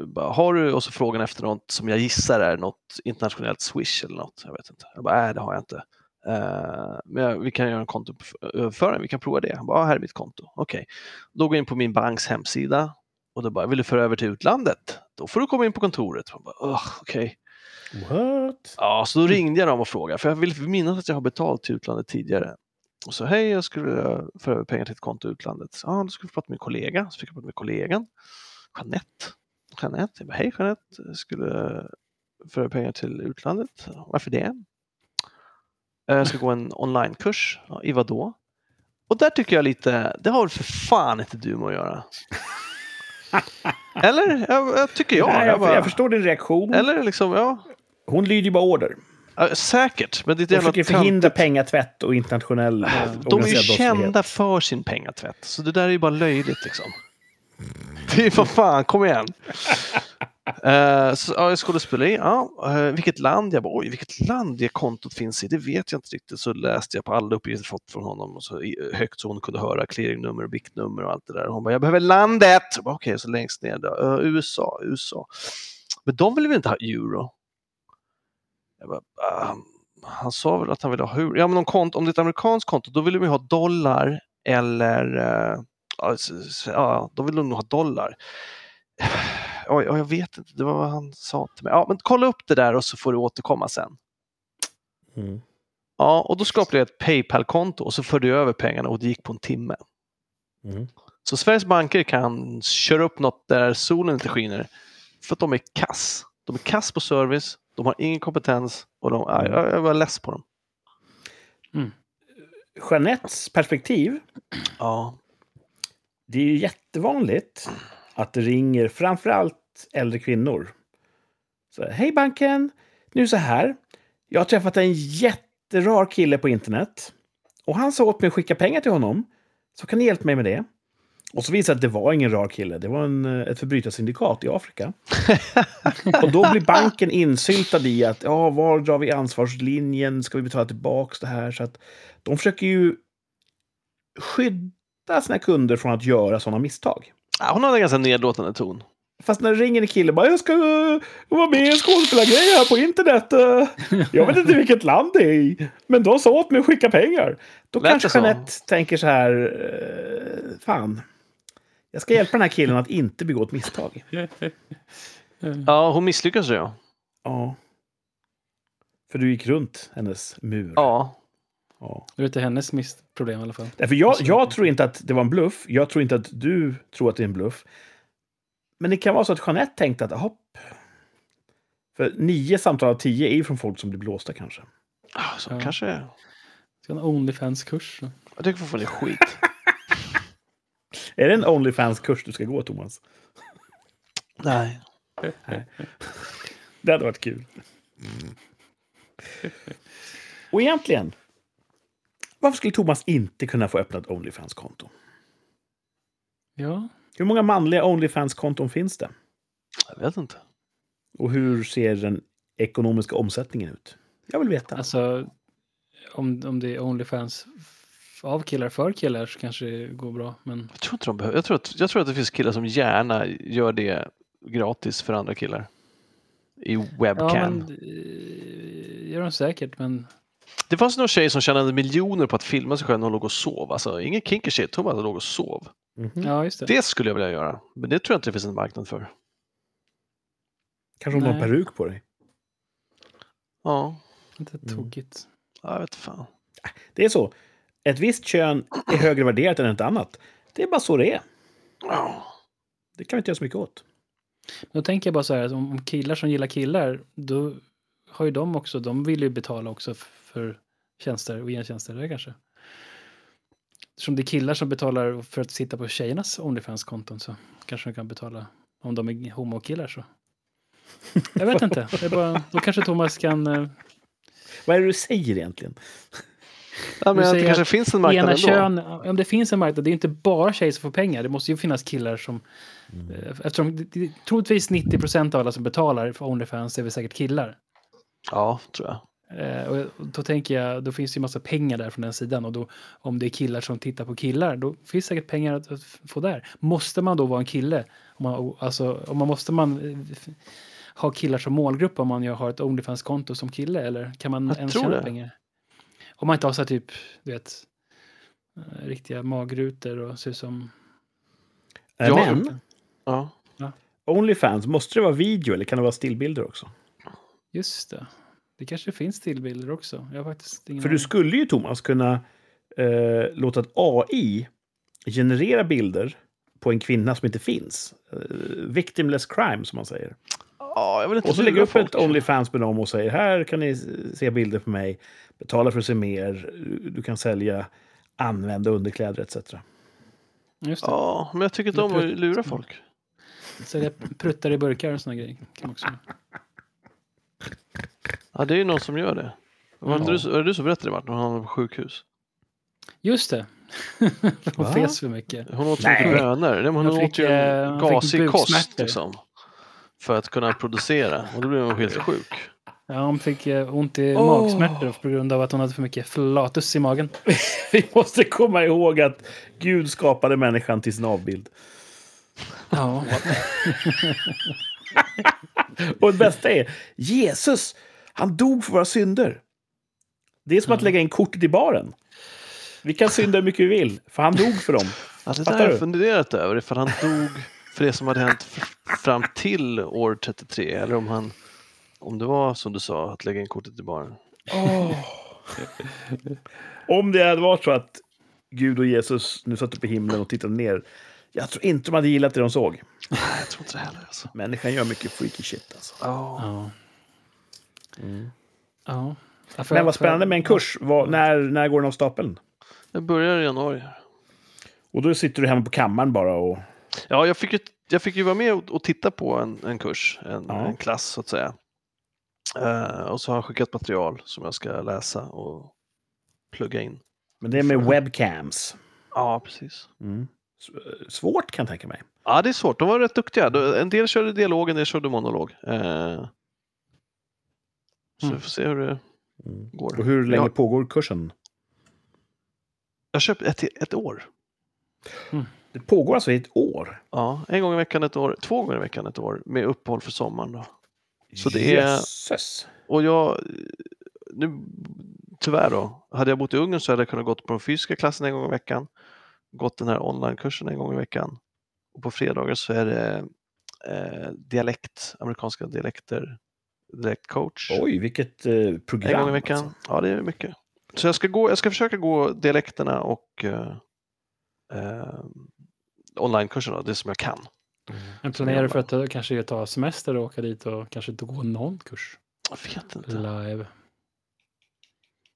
S2: eh, bara, har du, och så frågar han efter något som jag gissar är något internationellt swish eller något. Jag vet inte. Jag bara, nej det har jag inte. Eh, men jag, vi kan göra en kontoöverföring, vi kan prova det. Han bara, ja, här är mitt konto. Okej. Då går jag in på min banks hemsida och då bara, vill du föra över till utlandet? Då får du komma in på kontoret. Man bara, "Ugh, okej.
S1: What?
S2: Ja, så då ringde jag dem och frågade, för jag vill minnas att jag har betalt till utlandet tidigare. Och så, hej, jag skulle vilja föra över pengar till ett konto i utlandet. Ja, då skulle jag prata med min kollega. Så fick jag prata med kollegan, Jeanette. Jeanette. Jag bara, Hej Jeanette, skulle eh, föra pengar till utlandet. Varför det? Eh, Jag ska gå en onlinekurs. Ja, I vad då? Och där tycker jag lite, det har väl för fan inte du med
S1: <laughs>
S2: att göra. Eller? Jag, jag tycker jag.
S1: Nej,
S2: jag,
S1: jag,
S2: bara,
S1: jag förstår din reaktion.
S2: Eller liksom, ja.
S1: Hon lyder ju bara order.
S2: Ja, Säkert, men det är ett
S1: De
S2: jävla
S1: försöker förhindra
S2: töntigt.
S1: pengatvätt och internationell eh,
S2: De är ju
S1: organiserad brottslighet.
S2: kända för sin pengatvätt, så det där är ju bara löjligt liksom. Det är ju för fan,
S1: <laughs>
S2: kom igen! Eh, så, ja, jag skådespeleri, ja. eh, vilket land? Jag bara, oj, vilket land det kontot finns i, det vet jag inte riktigt. Så läste jag på alla uppgifter fått från honom, och så, i- högt så hon kunde höra clearingnummer och viktnummer och allt det där. Hon bara, jag behöver landet! Jag bara, Okej, så längst ner då, eh, USA, USA. Men de vill väl inte ha euro? Jag bara, ah, han sa väl att han ville ha hur? Ja, men om, kont- om det är ett amerikanskt konto, då vill de ju ha dollar eller... eh, ja, s- s- ja, då vill de nog ha dollar. <sighs> Ja, ja, jag vet inte, det var vad han sa till mig. Ja, men kolla upp det där och så får du återkomma sen.
S1: Mm.
S2: Ja, och då skapade jag ett Paypal-konto och så förde jag över pengarna och det gick på en timme.
S1: Mm.
S2: Så Sveriges banker kan köra upp något där solen inte skiner för att de är kass. De är kass på service, de har ingen kompetens och de, ja, jag, jag var less på dem.
S1: Jeanettes perspektiv,
S2: Ja,
S1: det är ju jättevanligt att det ringer framförallt äldre kvinnor. Så, Hej banken! Nu så här. Jag har träffat en jätterar kille på internet. Och han sa åt mig att skicka pengar till honom. Så kan ni hjälpa mig med det? Och så visade det sig att det var ingen rar kille. Det var en, eh, ett förbrytarsyndikat i Afrika. och då blir banken insyltad i att ja, var drar vi ansvarslinjen? Ska vi betala tillbaka det här? Så att de försöker ju skydda sina kunder från att göra sådana misstag.
S2: Ja, hon hade en ganska nedlåtande ton.
S1: Fast när det ringer en kille bara “Jag ska eh, vara med i en skådespelargrej här på internet. eh. Jag vet inte vilket land det är i, men de sa åt mig att skicka pengar.” Då
S2: Lät det
S1: kanske
S2: så?
S1: Jeanette tänker så här eh, “Fan, jag ska hjälpa den här killen att inte begå ett misstag.”
S2: Ja, hon misslyckades ju.
S1: Ja. För du gick runt hennes mur.
S2: Ja.
S1: Ja.
S3: Det är inte hennes miss- problem i alla fall.
S1: Därför jag, jag tror inte att det var en bluff. Jag tror inte att du tror att det är en bluff. Men det kan vara så att Jeanette tänkte att hopp. För nio samtal av tio är ju från folk som blir blåsta kanske.
S2: Ah, Så
S3: Ja.
S2: kanske är.
S3: Ska ha en Onlyfans-kurs.
S2: Jag tycker fortfarande det är skit.
S1: Är det en Onlyfans-kurs du ska gå, Thomas?
S2: Nej.
S1: Det hade varit kul.
S3: Mm.
S1: Och egentligen, varför skulle Thomas inte kunna få öppna ett Onlyfans-konto?
S3: Ja.
S1: Hur många manliga Onlyfans-konton finns det?
S2: Jag vet inte.
S1: Och hur ser den ekonomiska omsättningen ut? Jag vill veta.
S3: Alltså, om, om det är Onlyfans f- av killar för killar så kanske det går bra. Men
S2: Jag tror, inte de behöver. Jag, tror att, jag tror att det finns killar som gärna gör det gratis för andra killar. I webcam.
S3: ja, men eh, gör de säkert. Men
S2: Det fanns någon tjej som tjänade miljoner på att filma sig själv när hon låg och sov. Alltså ingen kinky shit, hon bara låg och sov.
S1: Mhm.
S3: ja, just det.
S2: Det skulle jag vilja göra. Men det tror jag inte det finns en marknad för.
S1: Kanske om du har en
S3: Nej.
S1: peruk på dig.
S2: Ja,
S3: Inte
S2: Mm.
S3: tokigt.
S2: Ja, jag vet fan.
S1: Det är så. Ett visst kön är högre värderat än ett annat. Det är bara så det är.
S2: Ja.
S1: Det kan vi inte göra så mycket åt.
S3: Då tänker jag bara så här, att om, om killar som gillar killar, då har ju de också, de vill ju betala också f- för tjänster och gentjänster där kanske. Som det är killar som betalar för att sitta på tjejernas Onlyfans-konton så kanske de kan betala om de är homokillar så. Jag vet inte, det är bara, då kanske Thomas kan eh,
S1: Vad är det du säger egentligen?
S2: Ja, men att det
S3: säger
S2: kanske
S3: att
S2: finns en marknad
S3: ena
S2: ändå.
S3: kön, om det finns en marknad, det är ju inte bara tjejer som får pengar, det måste ju finnas killar som, eh, eftersom det- det- troligtvis 90 av alla som betalar för Onlyfans är väl säkert killar.
S2: Ja, tror jag.
S3: Eh, och då tänker jag, då finns det ju massa pengar där från den sidan och då om det är killar som tittar på killar, då finns det säkert pengar att, att få där. Måste man då vara en kille? Om man, alltså, om man måste man eh, f- ha killar som målgrupp om man ju har ett Onlyfans-konto som kille eller kan man
S2: Jag
S3: ens
S2: tror
S3: tjäna
S2: det.
S3: pengar? Om man inte har så här typ, du vet, eh, riktiga magrutor och ser ut som...
S1: Äh,
S2: Ja.
S1: Men
S2: Ja.
S1: Onlyfans, måste det vara video eller kan det vara stillbilder också?
S3: Just det. Det kanske finns tillbilder också. Jag har faktiskt ingen
S1: För du
S3: aning.
S1: skulle ju, Thomas, kunna eh, låta ett AI generera bilder på en kvinna som inte finns. Eh, victimless crime, som man säger.
S2: Ja, jag vill inte
S1: Och så lägger
S2: lura
S1: du upp ett
S2: folk.
S1: Onlyfans med dem och säger här kan ni se bilder på mig, betala för att se mer, du kan sälja, använda underkläder etc.
S3: Just det.
S2: Ja, men jag tycker inte om att lura folk.
S3: Så det pruttar i burkar och såna grejer. Kan man också.
S2: Ja, det är ju någon som gör det. Var,
S1: Ja.
S2: det, du, som- var det du som berättade Martin om honom på sjukhus?
S3: Just det. <laughs>
S1: Va?
S3: Hon fes för mycket.
S2: Hon åt så
S1: Nej.
S2: mycket bönor. Nej, men Hon
S3: Jag fick,
S2: åt ju
S3: eh,
S2: en
S3: jag fick
S2: gasig kost
S3: buksmärtor.
S2: liksom. För att kunna producera. Och då blev hon helt sjuk.
S3: Ja, hon fick eh, ont i
S1: Åh.
S3: magsmärtor på grund av att hon hade för mycket flatus
S1: <laughs>
S3: i magen.
S1: Vi måste komma ihåg att Gud skapade människan till sin avbild.
S3: Ja,
S1: Och det bästa är, Jesus, han dog för våra synder. Det är som att lägga in kortet i baren. Vi kan synda hur mycket vi vill, för han dog för dem.
S2: Alltså, det där
S1: Fattar
S2: har jag
S1: du?
S2: funderat över. Ifall han dog för det som hade hänt f- fram till år 33. Eller om han... Om det var som du sa, att lägga in kortet i baren.
S1: Om det hade varit så att Gud och Jesus nu satt uppe i himlen och tittade ner. Jag tror inte de hade gillat det de såg.
S2: Nej, jag tror inte det heller alltså.
S1: Människan gör mycket freaky shit alltså.
S2: Ja.
S3: Ja. ja. Ja, får
S1: Men vad
S3: jag- får jag-
S1: spännande med en kurs. Vad- när, när går den av stapeln?
S2: Jag börjar i januari.
S1: Och då sitter du hemma på kammaren bara och...
S2: Ja, jag fick ju, jag fick ju vara med och, och titta på en, en kurs, en,
S1: Ja.
S2: en klass så att säga. Eh, och så har han skickat material som jag ska läsa och plugga in.
S1: Men det är med webcams.
S2: Ja, precis.
S1: Mm. S- Svårt kan jag tänka mig.
S2: Ja, det är svårt. De var rätt duktiga. De- En del körde dialog, en del körde monolog. Eh, så vi
S3: Mm.
S2: får se hur det
S1: Mm.
S2: går.
S1: Och hur länge
S2: Jag,
S1: pågår kursen?
S2: jag köpte ett, ett år.
S1: Det pågår alltså i ett år.
S2: Ja, en gång i veckan ett år. Två gånger i veckan ett år med uppehåll för sommaren. Då. Så det är-
S1: Jösses!
S2: Och jag, nu, tyvärr då, hade jag bott i Ungern så hade jag kunnat gått på den fysiska klassen en gång i veckan, gått den här onlinekursen en gång i veckan. Och på fredagar så är det eh, dialekt, amerikanska dialekter, dialektcoach.
S1: Oj, vilket eh, program!
S2: en gång i veckan.
S1: alltså.
S2: Ja, det är mycket. Så jag ska, gå, jag ska försöka gå dialekterna och eh, eh, onlinekurserna, det som jag kan.
S3: Men planerar du för att eh, kanske ta semester och åka dit och kanske inte gå någon kurs
S2: Jag vet inte.
S3: live?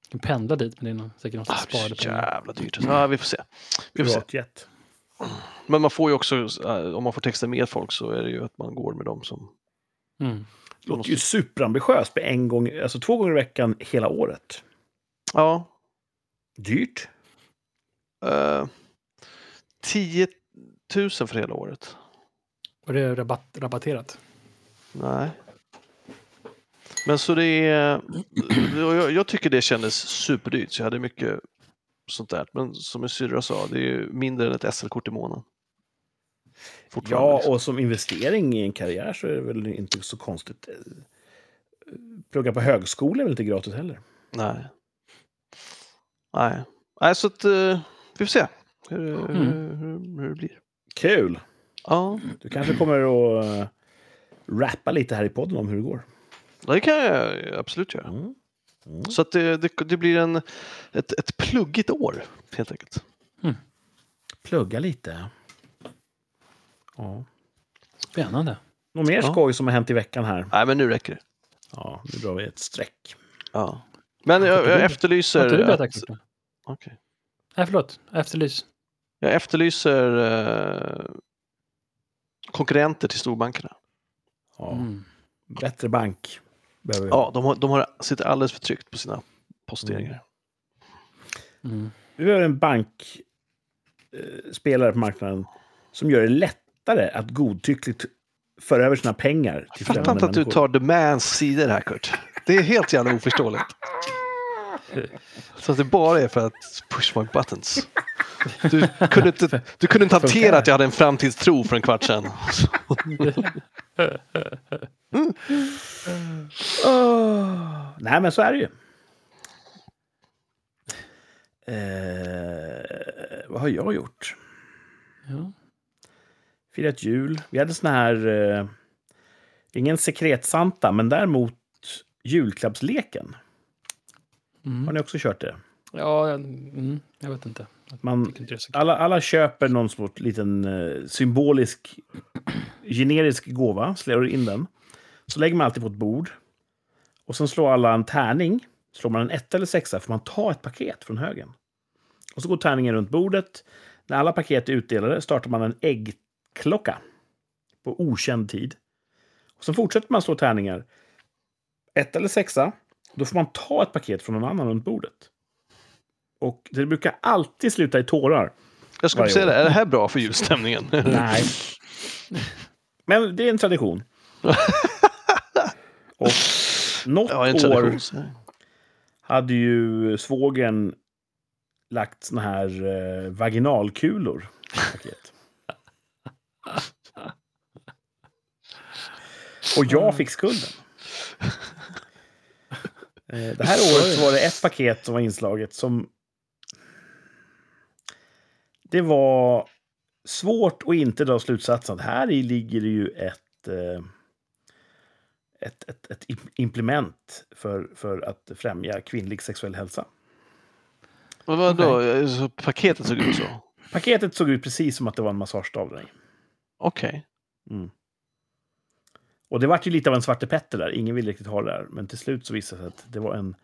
S3: Du kan pendla dit, men det är nog- säkert något
S2: Ah,
S3: att
S2: det är
S3: spara
S2: så jävla dyrt. Ja, vi får se. Vi får se.
S1: Privatjet.
S2: Men man får ju också, eh, om man får texta med folk så är det ju att man går med dem som...
S3: Mm.
S1: Det låter ju superambitiöst med en gång, alltså två gånger i veckan hela året.
S2: Ja.
S1: Dyrt.
S2: Eh, 10 000 för hela året.
S3: Och det är rabatt, rabatterat.
S2: Nej. Men så det är... och Jag, jag tycker det kändes superdyrt, så jag hade mycket sånt där. Men som min syrra sa, det är ju mindre än ett SL-kort i månaden. Fortfarande.
S1: Ja,
S2: liksom.
S1: och som investering i en karriär så är det väl inte så konstigt. Eh, Plugga på högskola är väl inte gratis heller?
S2: Nej. Nej. Nej, så att... eh, vi får se hur, det-
S3: Mm.
S2: hur, hur det blir.
S1: Kul!
S2: Ja,
S1: Du kanske kommer att eh, rappa lite här i podden om hur det går.
S2: det kan jag absolut göra.
S1: Mm.
S2: Så att det, det, det blir en, ett, ett pluggigt år helt enkelt.
S1: Plugga lite. Ja.
S3: Spännande.
S1: Något mer
S2: Ja.
S1: skoj som har hänt i veckan här?
S2: Nej, men nu räcker det.
S1: Ja, nu drar vi ett streck.
S2: Ja. Men jag, jag
S3: Har inte du
S2: efterlyser...
S3: börjat
S2: Att,
S3: aktivt?
S2: Okej.
S3: Nej, förlåt. Efterlys.
S2: jag efterlyser eh, konkurrenter till storbankerna.
S1: Ja.
S3: Mm.
S1: Bättre bank behöver vi.
S2: Ja, de, har, de har, sitter alldeles för tryggt på sina posteringar.
S3: Mm.
S1: Vi behöver en bankspelare på marknaden som gör det lättare att godtyckligt föra över sina pengar till
S2: Jag fattar inte att du tar the mans sidor här, Kurt. Det är helt jävla oförståeligt. Så att det bara är för att push my buttons. Du kunde inte, du kunde inte hantera att jag hade en framtidstro för en kvart sedan.
S1: Nej, men så är det ju. Eh, vad har jag gjort?
S3: Ja.
S1: Firat jul. Vi hade sån här... Eh, ingen sekretsanta, men däremot julklappsleken.
S3: Mm.
S1: Har ni också kört det?
S3: Ja, jag- mm, jag vet inte. Jag
S1: Man-
S3: tycker inte det är så kul.
S1: Alla, alla köper någon sorts liten eh, symbolisk, generisk gåva, slår in den. Så lägger man alltid på ett bord. Och sen slår alla en tärning. Slår man en etta eller sexa får man ta ett paket från högen. Och så går tärningen runt bordet. När alla paket är utdelade startar man en äggklocka på okänd tid. Och sen fortsätter man slå tärningar. Etta eller sexa. Då får man ta ett paket från någon annan runt bordet. Och det brukar alltid sluta i tårar.
S2: Jag skulle
S1: Varje
S2: säga
S1: år.
S2: det, är det här bra för julstämningen?
S1: Nej. Men det är en
S2: <laughs>
S1: tradition. Och något
S2: ja, en
S1: år
S2: tradition. så här.
S1: hade ju svågen lagt såna här eh, <laughs> vaginalkulor. i paket. Och jag fick skulden. Eh, Det här året <laughs> så var det ett paket som var inslaget som... Det var svårt att inte dra slutsatsen att här i ligger det ju ett, eh, ett, ett, ett im- implement för, för att främja kvinnlig sexuell hälsa.
S2: Men vadå, så paketet såg ut så?
S1: Paketet såg ut precis som att det var en massagestav.
S2: Okej.
S1: Och det vart ju lite av en Svarte Petter där. Ingen ville riktigt ha det där. Men till slut så visade det sig att det var en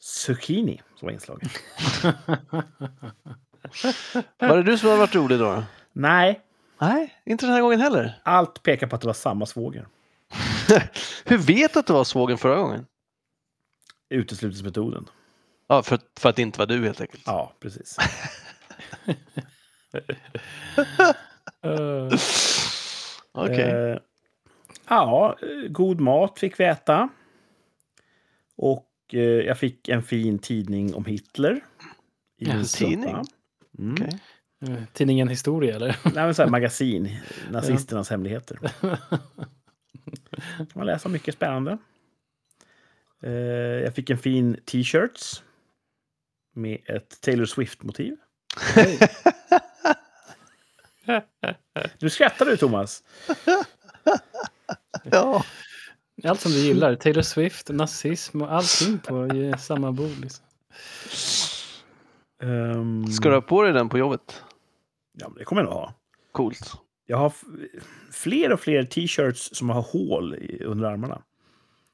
S1: zucchini som var
S2: <laughs>
S1: inslagen.
S2: Var det du som har varit rolig då?
S1: Nej,
S2: Nej, inte den här gången heller. <laughs>
S1: allt pekar på att det var samma svåger.
S2: Hur vet du att det var svågen förra gången?
S1: Uteslutningsmetoden.
S2: Ja, för, för att det inte var du helt enkelt.
S1: Ja, precis. Ah.
S3: Eh,
S2: <laughs> Okej.
S1: Eh, ja, eh, god mat fick vi äta. Och eh, jag fick en fin tidning om Hitler. I
S3: Ja,
S1: min
S2: en
S1: strumpa.
S2: tidning?
S1: Mm.
S2: Okej.
S3: eh, tidningen Historia, eller? <laughs>
S1: Nej, men så
S2: <laughs>
S1: här, magasin, nazisternas hemligheter. kan man läsa mycket spännande. Eh, jag fick en fin t-shirts med ett Taylor Swift-motiv. <laughs> Du skrattar du, Thomas.
S2: Ja.
S3: Allt som du gillar. Taylor Swift, nazism och allting på i samma bord. Liksom.
S1: Ehm,
S2: Ska du ha på dig den på jobbet?
S1: Ja, men det kommer jag nog ha.
S2: Coolt.
S1: Jag har f- fler och fler t-shirts som har hål i- under armarna.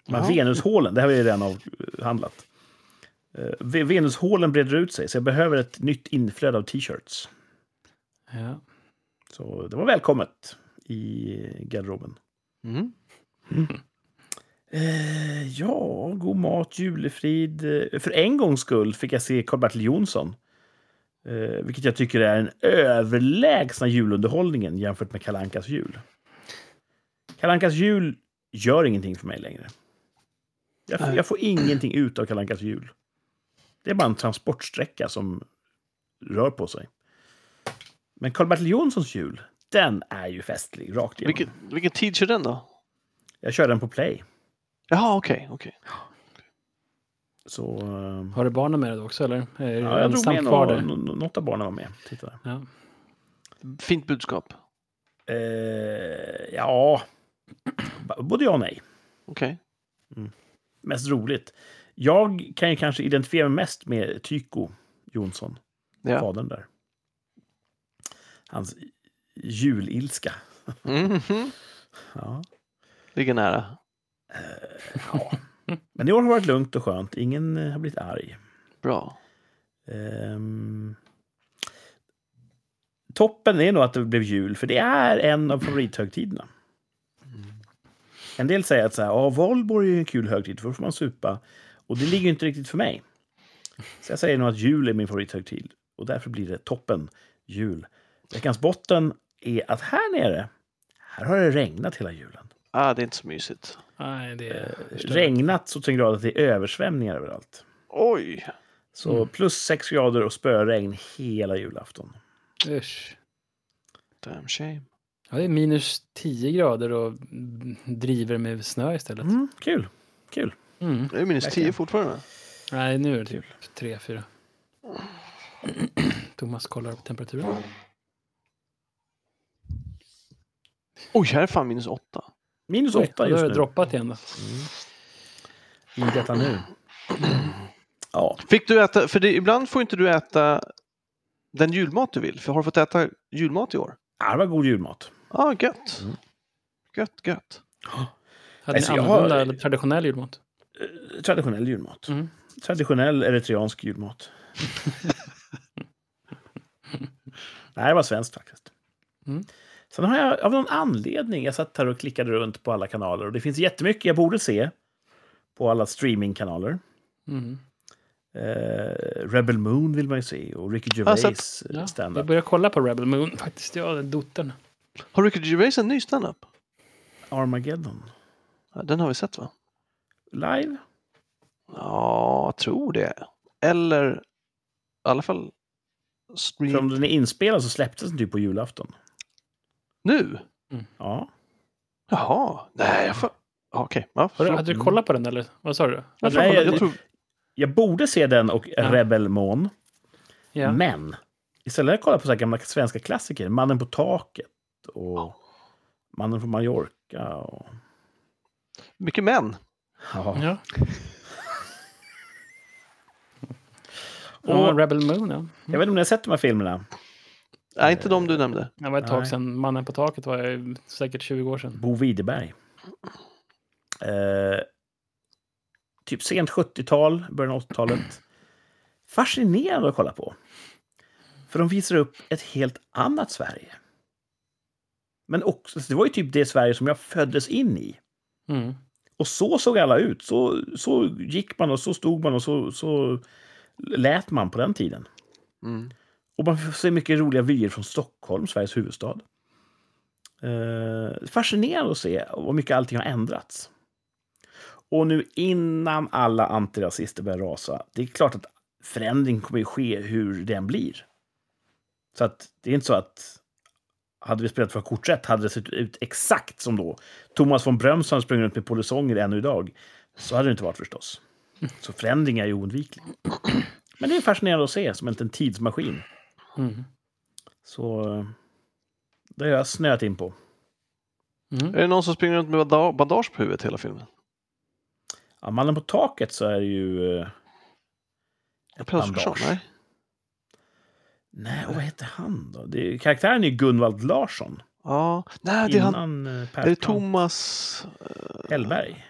S1: De här
S2: Ja.
S1: Venushålen, det här har vi redan avhandlat. Eh, Ve- Venushålen breder ut sig, så jag behöver ett nytt inflöde av t-shirts.
S3: Ja.
S1: Så det var välkommet i garderoben.
S2: Mm.
S1: Eh, ja, god mat, julefrid. Eh, För en gångs skull fick jag se Karl-Bertil Jonsson. Eh, vilket jag tycker är den överlägsna julunderhållningen jämfört med Kalankas jul. Kalankas jul gör ingenting för mig längre. Jag, f-
S2: Nej.
S1: jag får ingenting ut av Kalankas jul. Det är bara en transportsträcka som rör på sig. Men Karl-Bertil Jonssons jul, den är ju festlig rakt igenom.
S2: Vilken, vilken tid kör den då?
S1: Jag kör den på play.
S2: Jaha, okej. okej.
S1: Så... eh,
S3: Har du barnen med dig då också, eller? Är
S1: Ja,
S3: ja,
S1: jag drog
S3: ensam
S1: med
S3: kvar
S1: några,
S3: där?
S1: nå- något av barnen var med. Tittade.
S3: Ja.
S2: Fint budskap.
S1: Eh, ja, <clears throat> B- både ja och nej.
S2: Okej.
S1: Mest roligt. Jag kan ju kanske identifiera mig mest med Tyko Jonsson,
S2: Ja.
S1: fadern där. Hans julilska.
S2: Mhm.
S1: Ja.
S2: Ligger nära.
S1: Ja. Men i år har det varit lugnt och skönt. Ingen eh, har blivit arg.
S2: Bra.
S1: Ehm, toppen är nog att det blev jul, för det är en av favorithögtiderna. En del säger att så här, "Ja, valborg är ju en kul högtid, för då får man supa. Och det ligger ju inte riktigt för mig. Så jag säger nog att jul är min favorithögtid. Och därför blir det toppen jul. Veckans botten är att här nere, här har det regnat hela julen.
S2: Ah, det är inte så mysigt.
S3: Nej, det
S1: Eh,
S3: är... förstår jag.
S1: Regnat så till en grad att det är översvämningar överallt.
S2: Oj!
S1: Så
S3: Mm.
S1: plus sex grader och spöregn hela julafton.
S3: Usch.
S2: Damn shame.
S3: Ja, det är minus 10 grader och driver med snö istället.
S1: Mm, kul. kul.
S3: Mm.
S2: Det är minus
S1: Verkligen.
S2: 10 fortfarande.
S3: Nej, nu är det typ 3-4. <clears throat> Thomas kollar på temperaturen.
S2: Oj, här är fan minus 8.
S1: Minus
S3: Oj,
S1: åtta
S3: då har
S1: just
S3: det
S1: nu.
S3: droppat igen då.
S1: I detta nu. Ja.
S2: Fick du äta, för det, ibland får inte du äta den julmat du vill, för har du fått äta julmat i år?
S1: Ja, Det var god julmat.
S2: Ja, ah, gött.
S1: Mm.
S2: Gött, gött.
S3: Hade ni
S1: Alltså, jag
S3: annorlunda
S1: har-
S3: eller traditionell julmat?
S1: Eh, Traditionell julmat.
S3: Mm.
S1: Traditionell eritreansk
S3: <laughs>
S1: julmat. Nej, det var svenskt faktiskt.
S3: Mm.
S1: Sen har jag av någon anledning, jag satt här och klickade runt på alla kanaler och det finns jättemycket jag borde se på alla streamingkanaler.
S3: Mm.
S1: Eh, Rebel Moon vill man ju se och Ricky
S2: har
S1: Gervais
S2: sett-
S1: eh,
S3: Ja, jag
S1: stand-up.
S3: börjar kolla på Rebel Moon <laughs> faktiskt. Ja, den dottern.
S2: Har Ricky Gervais en ny standup?
S1: Armageddon.
S2: Ja, den har vi sett va?
S1: Live?
S2: Ja, jag tror det. Eller i alla fall stream
S1: För om den är inspelad så släpptes den typ på julafton.
S2: nu.
S1: Ja.
S2: Jaha, nej, jag får... Ja, Okej, ja,
S3: Har du,
S2: förlåt.
S3: hade du
S1: Mm.
S3: kollat på den eller? Vad sa du?
S2: jag,
S1: Nej,
S2: tror, jag,
S1: jag-
S2: tror...
S1: Jag borde se den och
S3: Ja.
S1: Rebel Moon.
S3: Ja.
S1: Men istället har jag kollat på så här gamla svenska klassiker. Mannen på taket och Mannen från Mallorca. Och,
S2: Mycket män.
S1: ja.
S3: Ja.
S1: Och-
S3: Och Rebel Moon, ja.
S1: Jag vet inte om ni har sett de här filmerna.
S2: Nej, inte de du nämnde.
S3: Det var ett
S1: Nej.
S3: tag sedan. Mannen på taket var ju säkert 20 år sedan.
S1: Bo Widerberg. Eh, typ sent 70-tal, början av 80-talet. Fascinerande att kolla på. För de visar upp ett helt annat Sverige. Men också, det var ju typ det Sverige som jag föddes in i.
S3: Mm.
S1: Och så såg alla ut. Så, så gick man och så stod man och så, så lät man på den tiden.
S2: Mm.
S1: Och man får se mycket roliga vyer från Stockholm, Sveriges huvudstad. Eh, fascinerande att se hur mycket allting har ändrats. Och nu innan alla antirasister börjar rasa, det är klart att förändring kommer ju ske hur den blir. Så att det är inte så att hade vi spelat för korträtt hade det sett ut exakt som då. Thomas von Brömsson sprang runt med polisonger ännu idag. Så hade det inte varit förstås. Så förändring är ju oundviklig. Men det är fascinerande att se, som en liten tidsmaskin.
S3: Mm.
S1: Så eh, det har jag snöat in på.
S3: Mm.
S2: Är det någon som springer runt med bada- bandage på huvudet hela filmen?
S1: Ja, mannen på taket så är det ju... eh,
S2: Ett bandage?
S1: bandage.
S2: Nej.
S1: Nej, och vad heter han då? Det är, karaktären är ju Gunvald Larsson.
S2: Ja, nej, det är han.
S1: Innan eh,
S2: Är det
S1: Per Tom...
S2: Thomas...
S1: Hellberg,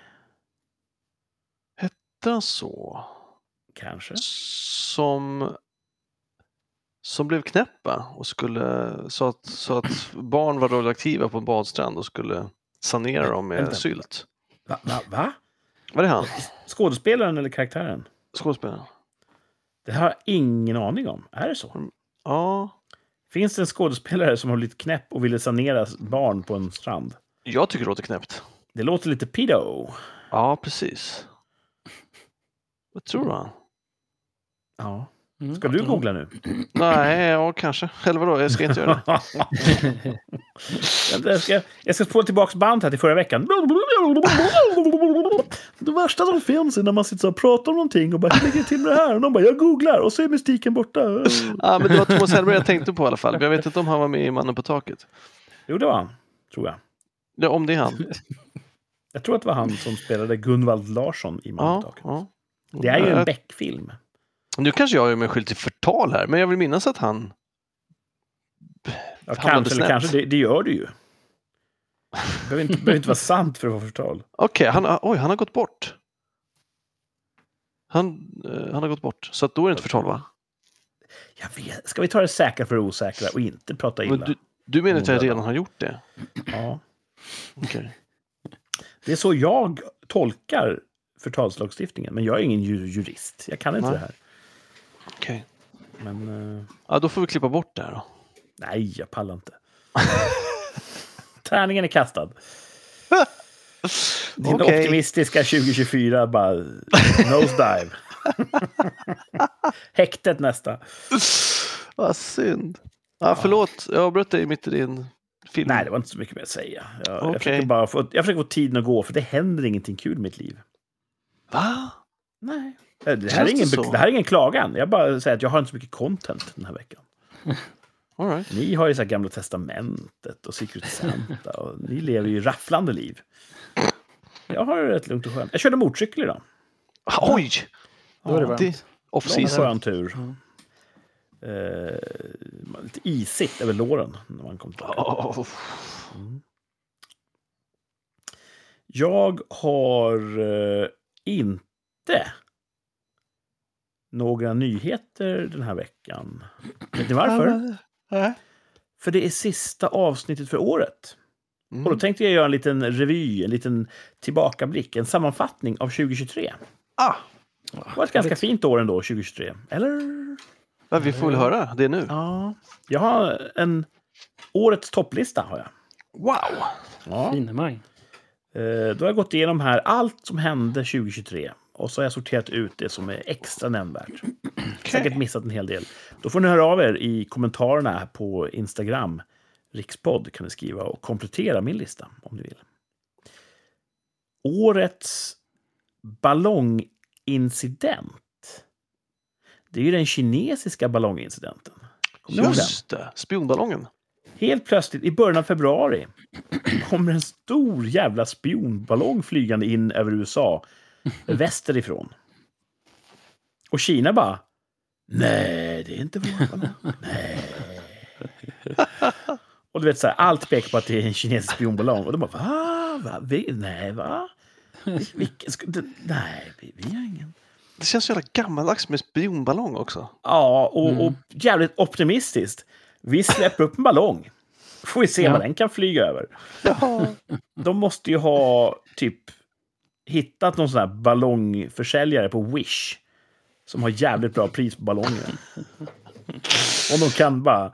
S2: Hette han så?
S1: kanske.
S2: Som... Som blev knäppa och skulle... Så att, så att barn var radioaktiva på en badstrand och skulle sanera dem
S1: Vänta.
S2: med sylt.
S1: Va? va, va?
S2: Var det han?
S1: Skådespelaren eller karaktären?
S2: Skådespelaren?
S1: Det har jag ingen aning om. Är det så?
S2: Ja.
S1: Finns det en skådespelare som har blivit knäpp och ville sanera barn på en strand?
S2: Jag tycker det låter knäppt.
S1: Det låter lite pedo.
S2: Ja, precis. Vad tror du han?
S1: Ja.
S3: Mm.
S1: Ska du
S3: <laughs>
S1: googla nu?
S2: Nej, ja kanske. Eller vadå, jag ska inte göra
S1: <laughs>
S2: det.
S1: Jag ska, jag ska spåla tillbaka band här till förra veckan. Det värsta som finns är när man sitter så och pratar om någonting och bara hur ligger det till med det här? Och någon bara jag googlar och så är mystiken borta.
S2: Ja, men det var Thomas Hellberg jag tänkte på i alla fall. Jag vet inte om han var med i Mannen på taket.
S1: Jo, det var han, tror jag.
S2: Ja, om det
S1: <laughs>
S2: är han.
S1: Jag tror att det var han som spelade Gunvald Larsson i Mannen på
S2: Ja,
S1: taket.
S2: ja.
S1: Det är ju en
S2: Ja,
S1: Beck-film.
S2: Nu kanske jag gör mig skyldig till förtal här, men jag vill minnas att han...
S1: Ja,
S2: Hamnade
S1: kanske, eller
S2: snett.
S1: kanske. Det, det gör du ju. Det behöver inte, behöver inte vara sant för att vara förtal.
S2: Okej, han, har- oj, han har gått bort. Han, eh, han har gått bort, så att då är det inte förtal va?
S1: Jag vet, ska vi ta det säkra för det osäkra och inte prata
S2: Men
S1: illa?
S2: du, du menar att jag redan har gjort det?
S1: Ja.
S2: Okej.
S1: Det är så jag tolkar förtalslagstiftningen. Men jag är ingen ju- jurist. Jag kan inte
S2: Nej.
S1: det här.
S2: Okej.
S1: Men eh,
S2: Ja, då får vi klippa bort det här då.
S1: nej, jag pallar inte. <laughs> Tärningen är kastad. Din
S2: Okej.
S1: optimistiska 2024 bara nosedive. <laughs> Häktet nästa.
S2: Vad synd. Ja, förlåt, jag avbröt dig mitt i din film.
S1: Nej, det var inte så mycket mer att säga. Jag, jag,
S2: Okej.
S1: försöker bara få, jag försöker få tiden att gå, för det händer ingenting kul i mitt liv.
S2: Va?
S1: Nej. Det här, är
S2: Känns
S1: ingen,
S2: det
S1: be-
S2: så?
S1: det här är ingen klagan. Jag bara säger att jag har inte så mycket content den här veckan.
S2: All right.
S1: Ni har ju så här Gamla Testamentet och Secret Santa. Och ni lever ju rafflande liv. Jag har det rätt lugnt och skönt. Jag körde motorcykel idag.
S2: Oj!
S3: Då är det
S2: Ja,
S3: varmt.
S2: det, Off
S1: Lång
S2: season.
S1: skön tur. Eh, lite isigt över låren när man kom tillbaka. Mm.
S2: Oh,
S1: Jag har eh, inte några nyheter den här veckan. Vet ni varför?
S2: Nej.
S1: För det är sista avsnittet för året.
S2: Mm.
S1: Och då tänkte jag göra en liten revy, en liten tillbakablick, en sammanfattning av 2023.
S2: Ah,
S1: Det var ett ganska fint år ändå, 2023. Eller?
S2: ja, vi får väl höra det nu.
S1: Ja. Jag har en... Årets topplista har jag.
S2: Wow!
S1: Ja.
S3: Finemang.
S1: Eh, Då har jag gått igenom här allt som hände 2023. Och så har jag sorterat ut det som är extra nämnvärt. Säkert missat en hel del. Då får ni höra av er i kommentarerna här på Instagram. Rikspodd kan ni skriva och komplettera min lista om ni vill. Årets ballongincident. Det är ju den kinesiska ballongincidenten. Kommer ni ihåg den?
S2: Just det, spionballongen.
S1: Helt plötsligt, i början av februari, kommer en stor jävla spionballong flygande in över USA västerifrån. Och Kina bara... Nej, det är inte vår ballong. Nej. Och du vet, så här, allt pekar på att det är en kinesisk spionballong. Och de bara... Va? va? Vi, nej, va? Vi- Vilken, sku- det- nej, vi, vi har ingen.
S2: Det känns så jävla gammaldags med spionballong också.
S1: Ja, och,
S3: Mm.
S1: och jävligt optimistiskt. Vi släpper upp en ballong. Får vi se
S3: Ja.
S1: vad den kan flyga över.
S2: Ja.
S1: De måste ju ha typ hittat någon sån här ballongförsäljare på Wish som har jävligt bra pris på ballonger. Om de kan bara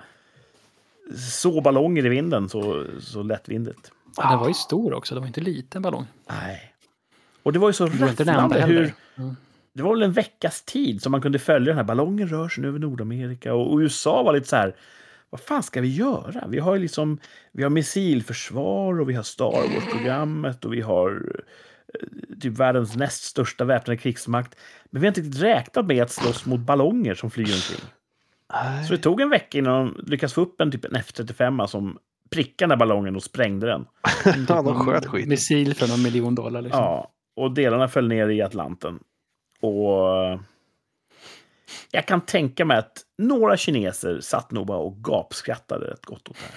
S1: så ballonger i vinden så, så lättvindigt.
S3: Den var ju stor också, det var inte en liten ballong.
S1: Nej. Och det var ju så
S3: Det var inte den enda
S1: rafflande hur... <laughs>
S3: heller. Mm.
S1: Det var väl en veckas tid som man kunde följa den här ballongen rör sig nu över Nordamerika. Och, och USA var lite så här, vad fan ska vi göra? Vi har ju liksom, vi har missilförsvar och vi har Star Wars-programmet och vi har eh, typ världens näst största väpnade krigsmakt. Men vi har inte riktigt räknat med att slåss mot ballonger som flyger omkring. Så det
S2: Nej.
S1: tog en vecka innan de lyckades få upp en, typ en F-35 som prickade den här ballongen och sprängde den.
S2: Ja, de sköt skit.
S3: Missil för någon miljon dollar. Liksom.
S1: Ja, och delarna föll ner i Atlanten. Och jag kan tänka mig att några kineser satt nog bara och gapskrattade rätt gott åt det här.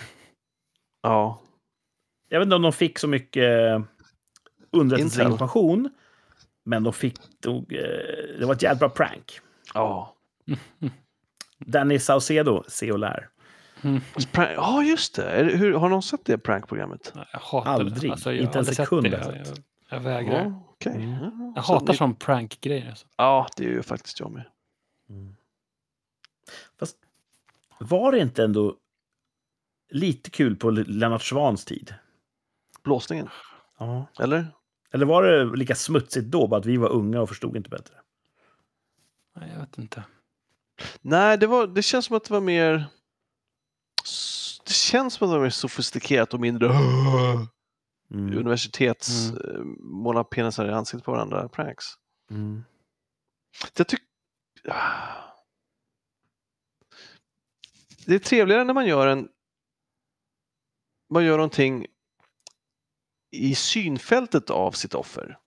S2: Ja.
S1: Jag vet inte om de fick så mycket eh, underrättelseinformation. Men de fick nog... eh, Det var ett jävla prank.
S2: Ja,
S1: Danny Saucedo, se och lär.
S2: Prank- ja just det. Är det. Hur, har någon sett det prankprogrammet?
S3: Jag hatar
S1: Aldrig.
S3: det. Alltså, jag har
S1: Inte en
S3: aldrig sett
S1: sekund alltså. har
S3: det.
S1: jag
S3: Jag,
S1: sett.
S3: jag, jag vägrar.
S2: Ja, okej. Ja,
S3: Jag
S2: så
S3: hatar
S2: ni-
S3: sån prank-grejer. Alltså.
S2: Ja, det är ju faktiskt jag med.
S1: Var det inte ändå lite kul på Lennart Swans tid?
S2: Blåsningen,
S1: Ja.
S2: eller?
S1: Eller var det lika smutsigt då, bara att vi var unga och förstod inte bättre?
S3: Nej, jag vet inte.
S2: Nej, det, var, det känns som att det var mer... s- Det känns som att det var mer sofistikerat och mindre
S1: Mm.
S2: universitets...
S3: Mm.
S2: eh, Måla penisar i ansiktet på varandra pranks.
S1: Mm.
S2: Jag tycker... Det är trevligare när man gör en... Man gör någonting i synfältet av sitt offer.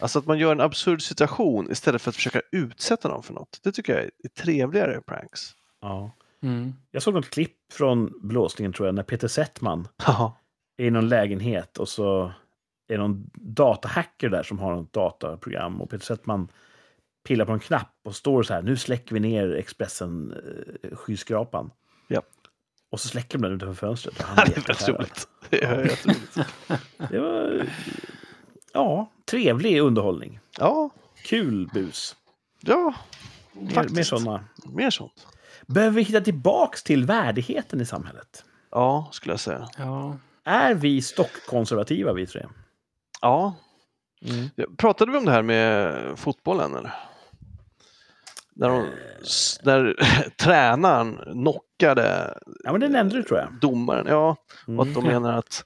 S2: Alltså att man gör en absurd situation istället för att försöka utsätta någon för något. Det tycker jag är trevligare pranks.
S1: Ja.
S3: Mm.
S1: Jag såg något klipp från blåsningen, tror jag, när Peter Settman
S2: Ja,
S1: är i någon lägenhet och så är någon datahacker där som har något dataprogram och Peter Settman pillar på en knapp och står så här, nu släcker vi ner Expressen eh, skyskrapan.
S2: Ja.
S1: Och så släcker de den utanför
S2: <laughs>
S1: fönstret. Och han
S2: det är
S1: vet att
S2: väldigt
S1: här-
S2: roligt. Det är väldigt roligt.
S1: Det var, ja, trevlig underhållning.
S2: Ja,
S1: Kul bus.
S2: ja.
S1: Mer, mer
S2: Faktiskt.
S1: sådana.
S2: Mer sånt.
S1: Behöver vi hitta tillbaks till värdigheten i samhället?
S2: Ja, skulle jag säga.
S3: Ja.
S1: Är vi stockkonservativa, vi tre?
S2: Ja,
S1: Mm.
S2: Ja, Pratade vi om det här med fotbollen eller? När, de, s-
S1: Eh.
S2: när <laughs> tränaren knockade
S1: Ja, men det nämnde du, tror jag.
S2: domaren. Ja, och att
S1: Mm.
S2: de menar att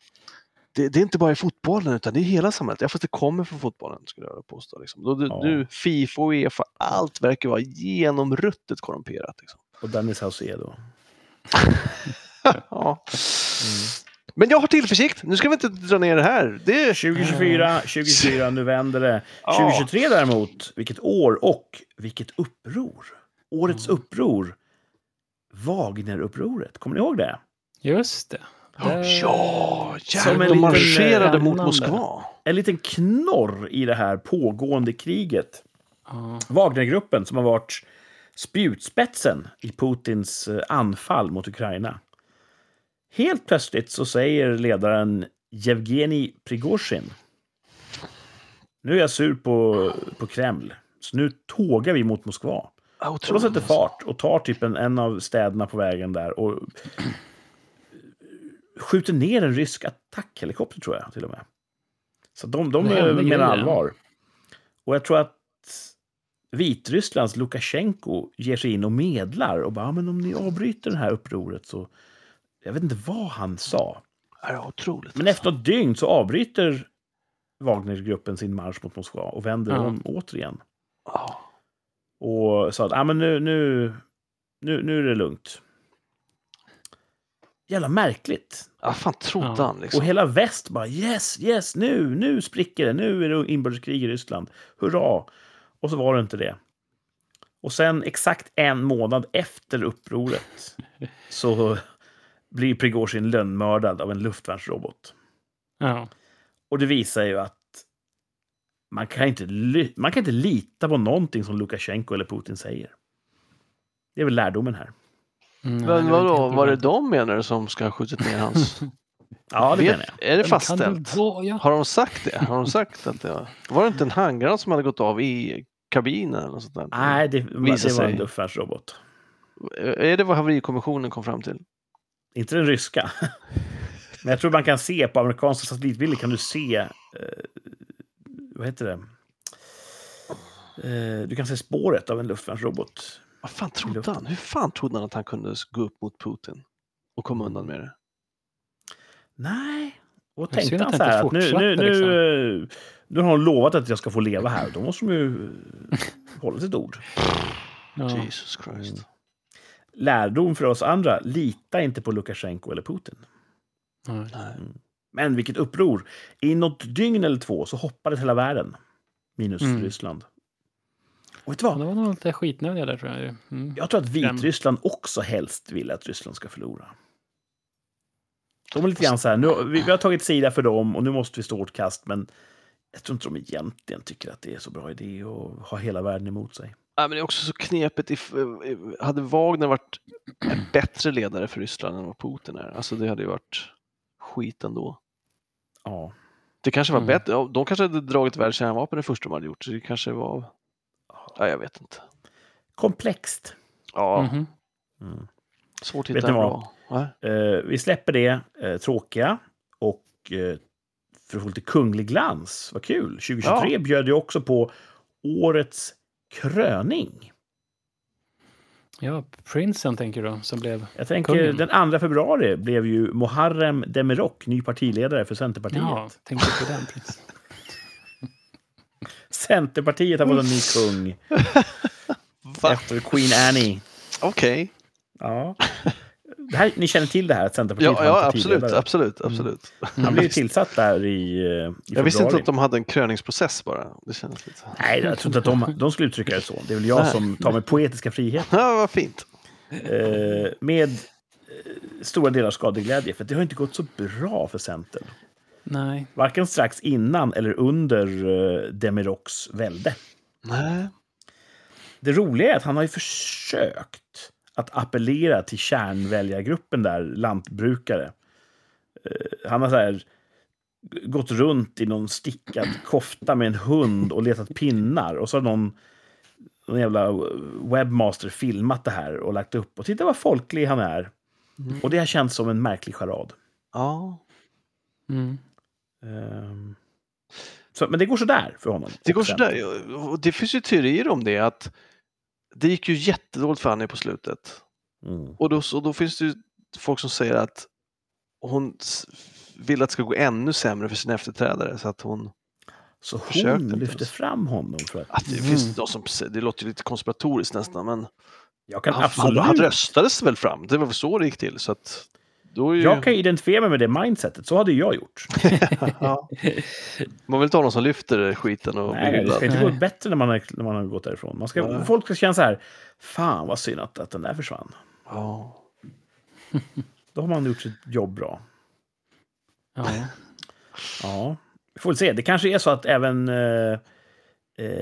S2: det, det är inte bara i fotbollen utan det är hela samhället. Ja, fast det kommer från fotbollen skulle jag vilja påstå. Liksom. Då,
S1: Ja.
S2: ja. Nu Fifa och Uefa, allt verkar vara genomruttet korrumperat. Liksom.
S1: Och Danny Saucedo.
S2: Ja. Men jag har tillförsikt. Nu ska vi inte dra ner det här. Det,
S1: 2024, 2024, nu vänder det.
S2: Ja.
S1: 2023 däremot, vilket år och vilket uppror. Årets uppror, Wagnerupproret. Kommer ni ihåg det?
S3: Just det. Det-
S2: Ja,
S1: Som en
S2: jävlar. De
S1: liten,
S2: marscherade
S3: eh,
S2: mot
S3: spännande.
S2: Moskva.
S1: En liten knorr i det här pågående kriget.
S3: Ja.
S1: Wagnergruppen som har varit spjutspetsen i Putins eh, anfall mot Ukraina. Helt plötsligt så säger ledaren Yevgenij Prigozjin. Nu är jag sur på, på Kreml, så nu tågar vi mot Moskva.
S2: Ja,
S1: Och de
S2: otroligt.
S1: sätter fart och tar typ en, en av städerna på vägen där och skjuter ner en rysk attackhelikopter, tror jag till och med. Så de, de
S3: Det hände
S1: är- menar
S3: grejer.
S1: allvar. Och jag tror att Vitrysslands Lukasjenko ger sig in och medlar och bara, "Ja, men om ni avbryter det här upproret så... Jag vet inte vad han sa.
S2: Ja, otroligt.
S1: Men efter ett dygn så avbryter Wagnergruppen sin marsch mot Moskva och vänder
S3: Ja.
S1: om återigen
S2: Ja.
S1: och sa att ah, men nu, nu, nu, nu är det lugnt. Jävla märkligt.
S2: Ja, fan trodde
S3: Ja.
S2: han
S1: Och
S2: liksom.
S1: hela väst bara yes, yes, nu, nu spricker det, nu är det inbördeskrig i Ryssland, hurra! Och så var det inte det. Och sen exakt en månad efter upproret så blir Prigozjin lönnmördad av en luftvärnsrobot.
S3: Ja. Mm,
S1: Och det visar ju att man kan inte, ly- man kan inte lita på någonting som Lukasjenko eller Putin säger. Det är väl lärdomen här.
S3: Mm, nej,
S2: Men
S3: det var inte
S2: vadå,
S3: helt
S2: var det
S3: bra.
S2: de menar du som ska ha skjutit ner hans?
S1: Ja, det menar
S2: Vet,
S1: jag.
S2: är det
S3: Men kan
S2: fastställt?
S3: vara- ja.
S2: Har de sagt det? Har de sagt att det var... Var det inte en handgranat som hade gått av i kabinen eller något sånt där?
S1: Nej, det,
S2: Visar
S1: det var
S2: sig.
S1: en luftvärnsrobot.
S2: Är det vad haverikommissionen kom fram till?
S1: Inte den ryska. <laughs> Men jag tror man kan se på amerikanska satellitbilder kan du se... Eh, vad heter det? Eh, du kan se spåret av en luftvärnsrobot.
S2: Vad fan trodde
S1: luften.
S2: han? Hur fan trodde han att han kunde gå upp mot Putin och komma undan med det?
S1: Nej. Och
S3: Men
S1: tänkte
S3: synd
S1: han
S3: att
S1: så
S3: det
S1: här
S3: inte liksom.
S1: att nu, nu,
S3: fortsatte,
S1: nu, eh, nu har hon lovat att jag ska få leva här. Då måste de ju
S3: <laughs>
S1: eh, hålla sitt ord.
S3: Ja.
S2: Jesus Christ.
S1: Lärdom för oss andra. Lita inte på Lukasjenko eller Putin. Mm.
S3: Nej.
S2: Nej.
S1: Men vilket uppror! I något dygn eller två så hoppades hela världen. Minus
S3: Mm.
S1: Ryssland. Och vet du
S3: Ja,
S1: vad?
S3: det var nog lite skitnödiga där tror jag. ju. Mm.
S1: Jag tror att Vitryssland också helst vill att Ryssland ska förlora. De är lite grann så här, nu, vi, vi har tagit sida för dem och nu måste vi stå vårt kast, men jag tror inte de egentligen tycker att det är så bra idé att ha hela världen emot sig.
S2: Nej, men det är också så knepigt. If, eh, hade Wagner varit en bättre ledare för Ryssland än vad Putin är? Alltså det hade ju varit skit ändå.
S1: Ja.
S2: Det kanske var
S3: Mm.
S2: bättre. ja, De kanske hade dragit iväg kärnvapen det första de hade gjort. Så det kanske var... Ja, jag vet inte.
S1: Komplext.
S2: Ja,
S3: Mhm.
S1: Mm.
S2: svårt att
S1: Vet
S2: hitta
S1: ni
S2: en
S1: vad?
S2: bra. Nej.
S1: Eh, vi släpper det eh, tråkiga och eh, för att få lite kunglig glans, vad kul! 2023
S2: Ja.
S1: bjöd ju också på årets kröning.
S3: Ja, prinsen tänker du då, som blev...
S1: Jag tänker,
S3: Kungen.
S1: den 2 februari blev ju Muharrem Demirok ny partiledare för Centerpartiet.
S3: Ja, tänkte på den
S2: <laughs>
S3: prinsen.
S1: Centerpartiet har fått en ny
S2: <laughs>
S1: kung efter Queen Annie.
S2: Okej.
S1: Ja. Det här, ni känner till det här, att Centerpartiet
S2: Ja,
S1: har en
S2: ja absolut,
S1: partiledare?
S2: absolut, absolut.
S1: Mm. Han blev ju tillsatt där i, eh, i februari.
S2: Jag visste inte att de hade en kröningsprocess bara. Det kändes lite...
S1: Nej, jag tror inte att de, de skulle uttrycka det så. Det är väl jag
S2: Nej.
S1: som tar mig poetiska frihet.
S2: Ja, vad fint.
S1: eh, med eh, stora delar skadeglädje. För det har inte gått så bra för Centern.
S3: Nej.
S1: Varken strax innan eller under eh, Demiroks välde.
S2: Nej.
S1: Det roliga är att han har ju försökt att appellera till kärnväljargruppen där, lantbrukare. Eh, han har så här g- gått runt i någon stickad kofta med en hund och letat pinnar. Och så har någon, någon jävla webbmaster filmat det här och lagt upp. Och titta vad folklig han är.
S2: Mm.
S1: Och det har känts som en märklig charad.
S2: Ja.
S3: Mm.
S1: Ehm, Så, men det går sådär för honom.
S2: Det
S1: och
S2: går
S1: sen-
S2: sådär. Och det finns ju teorier om det att det gick ju jättedåligt för henne på slutet.
S1: Mm.
S2: Och då, och då finns det ju folk som säger att hon s- vill att det ska gå ännu sämre för sin efterträdare. Så att hon...
S1: Så hon
S2: Försökte inte
S1: lyfter
S2: ens.
S1: fram honom. För att
S2: Att det,
S3: Mm.
S2: finns de som, säger- det låter ju lite konspiratoriskt nästan, men
S1: jag kan
S2: han,
S1: absolut...
S2: han, han röstades väl fram. Det var väl så det gick till. Så att Då är ju...
S1: Jag kan ju identifiera mig med det mindsetet. Så hade jag gjort.
S2: <laughs> Ja. Man vill inte ha någon som lyfter skiten och blir
S1: Nej, det
S2: hyllad.
S1: ska inte gå bättre när man, har, när man har gått därifrån. Man ska,
S2: Nej.
S1: folk ska känna så här. Fan vad synd att, att den där försvann.
S2: Ja.
S1: Då har man gjort sitt jobb bra.
S3: Ja.
S1: Ja, vi får väl se. Det kanske är så att även eh, eh,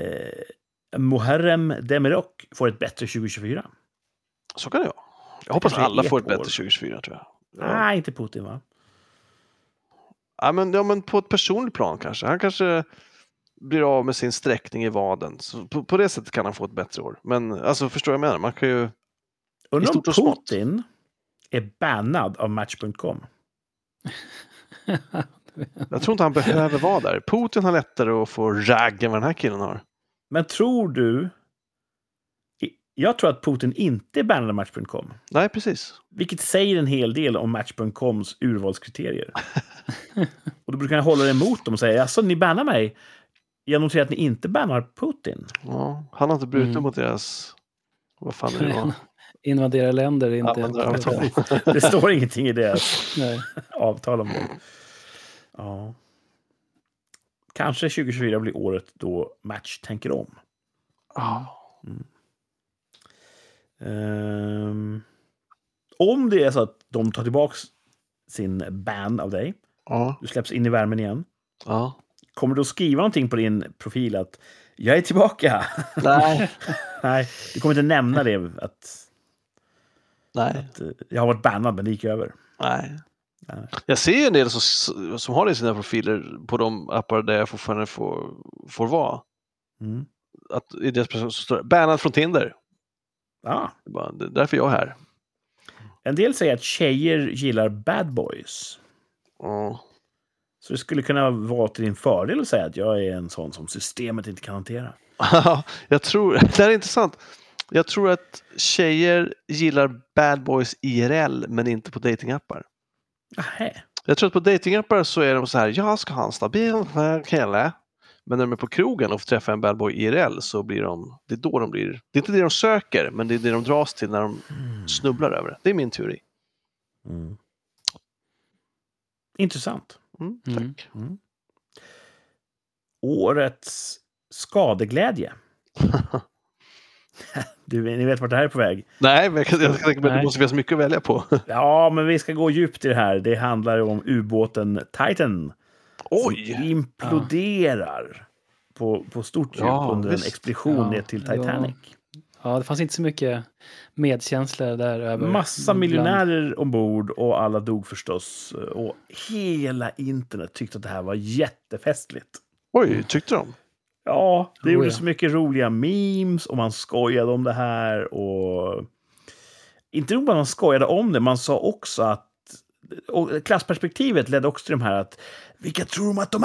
S1: Muharrem Demirok får ett bättre 2024.
S2: Så kan det vara. Jag hoppas att
S1: kanske
S2: alla
S1: är Ah.
S2: får ett
S1: ett
S2: bättre
S1: år.
S2: 2024 tror jag.
S1: Nej,
S2: Ja.
S1: inte Putin va?
S2: Ja, men, ja, men på ett personligt plan kanske. Han kanske blir av med sin sträckning i vaden. Så på, på det sättet kan han få ett bättre år. Men alltså, förstår jag vad jag menar? Man kan ju...
S1: Undrar om
S2: stort och smått.
S1: Putin är bannad av Match.com.
S2: Jag tror inte han behöver vara där. Putin har lättare att få ragg än vad den här killen har.
S1: Men tror du... i- Jag tror att Putin inte är bannad av Match.com.
S2: Nej, precis.
S1: Vilket säger en hel del om Match.coms urvalskriterier. <laughs> och då brukar jag hålla det emot dem och säga alltså ni bannar mig. Jag noterar att ni inte bannar Putin.
S2: Ja, han har inte brutit
S3: Mm.
S2: mot deras... Vad fan
S3: <laughs>
S2: är det var?
S3: Invadera länder är inte...
S2: Användaravtal.
S1: Det står ingenting i deras
S3: <laughs> Nej.
S1: avtal om det. Ja. Kanske 2024 blir året då Match tänker om.
S2: Ja.
S1: Ehm, om det är så att de tar tillbaka sin ban av dig,
S2: Ja.
S1: du släpps in i värmen igen,
S2: ja.
S1: kommer du att skriva någonting på din profil att jag är tillbaka?
S2: Nej.
S1: Nej, du kommer inte nämna det att,
S2: Nej.
S1: att eh, jag har varit bannad men det gick över.
S2: Nej.
S1: Nej.
S2: Jag ser ju en del som, som har det i sina profiler på de appar där jag fortfarande får, får vara.
S1: Mm.
S2: Att I deras person så står det bannad från Tinder.
S1: Ah,
S2: Det är bara, det är därför jag är här.
S1: en del säger att tjejer gillar bad boys.
S2: Ja. <laughs>
S1: Så det skulle kunna vara till din fördel att säga att jag är en sån som systemet inte kan hantera.
S2: jag tror, <laughs> det här är intressant. Jag tror att tjejer gillar bad boys IRL men inte på datingappar.
S1: Nähä.
S2: Jag tror att på datingappar så är de så här, jag ska ha en stabil kille. Men när de är på krogen och får träffa en bad boy IRL så blir de, det är då de blir, det är inte det de söker, men det är det de dras till när de snubblar över det. Det är min teori.
S1: Mm. Intressant.
S2: Mm, tack.
S3: Mm.
S1: Årets skadeglädje. <laughs> du, ni vet vart det här är på väg.
S2: Nej, men jag, kan- jag tänker mig att det
S3: Nej.
S2: måste finnas mycket att välja
S1: <laughs>
S2: på.
S1: Ja, men vi ska gå djupt i det här. Det handlar om ubåten Titan. Som
S2: Oj!
S1: imploderar på, på stort djup
S2: Ja,
S1: under
S2: visst.
S1: en explosion
S3: Ja,
S1: ner till
S3: ja.
S1: Titanic.
S3: Ja, det fanns inte så mycket medkänsla där över.
S1: Massa miljonärer ombord och alla dog förstås. Och hela internet tyckte att det här var jättefestligt.
S2: Oj, tyckte de?
S1: Ja, det
S3: Oh,
S1: gjorde
S3: ja.
S1: så mycket roliga memes och man skojade om det här. Och... Inte nog med att man skojade om det, man sa också att... Och klassperspektivet ledde också till de här att... Vilka tror de att de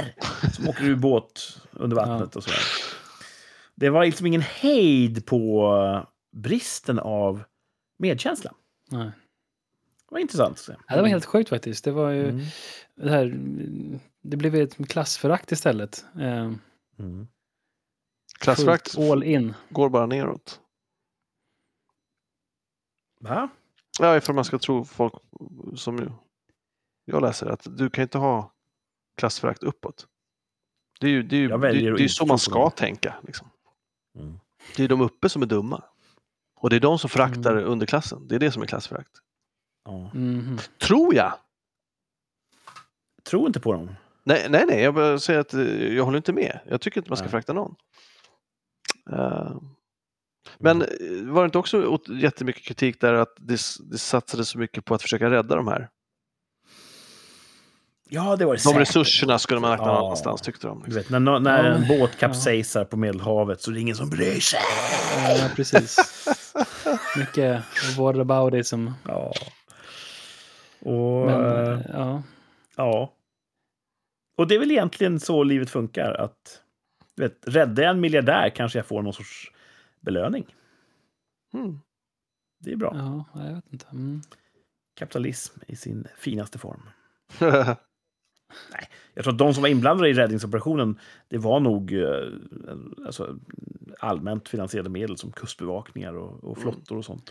S1: är? Som åker ur båt under vattnet och sådär. Det var liksom ingen hejd på bristen av medkänsla.
S3: Nej.
S1: Det var intressant. Att se.
S3: Ja, det var helt sjukt faktiskt. Det var ju
S1: Mm.
S3: det här. Det blev ett klassförakt istället. Eh,
S1: Mm.
S2: Klassförakt
S3: fullt All in.
S2: går bara neråt.
S1: Va?
S2: Ja, ifall man ska tro folk som ju- jag läser, att du kan inte ha klassförakt uppåt. Det är ju, det är ju, det,
S1: Jag
S2: är-
S1: väljer
S2: det
S1: att
S2: är ju
S1: inte
S2: så
S1: tro
S2: man
S1: på
S2: ska tänka. Liksom.
S1: Mm.
S2: Det är de uppe som är dumma. Och det är de som föraktar underklassen. Det är det som är klassförakt.
S1: Ja.
S3: Mhm.
S2: Tror jag!
S1: Tro inte på dem.
S2: Nej, nej, nej jag bara säger att eh, jag håller inte med. Jag tycker inte man ska
S1: Nej.
S2: förakta någon. Eh, Men eh, var det inte också åt- jättemycket kritik där att det, s- det satsades så mycket på att försöka rädda de här?
S1: Ja, det var det
S2: De
S1: säkert.
S2: resurserna skulle man lagt någon
S1: Ja.
S2: annanstans tyckte de.
S1: Du vet, när, nå- när
S3: Ja,
S1: en
S3: men-
S1: båt kapsejsar på Medelhavet så är det ingen som bryr sig.
S3: Ja,
S1: <laughs>
S3: precis. Mycket what about it som.
S1: Ja. Och,
S3: Men,
S1: eh,
S3: eh, ja.
S1: ja. och det är väl egentligen så livet funkar. Att, du vet, räddar jag en miljardär kanske jag får någon sorts belöning.
S2: Mm.
S1: Det är bra.
S3: ja, jag vet inte. Mm.
S2: Hmm.
S1: Kapitalism i sin finaste form. Jag tror att de som var inblandade i räddningsoperationen, det var nog eh, alltså, allmänt finansierade medel som kustbevakningar och,
S3: Mm.
S1: och flottor och sånt.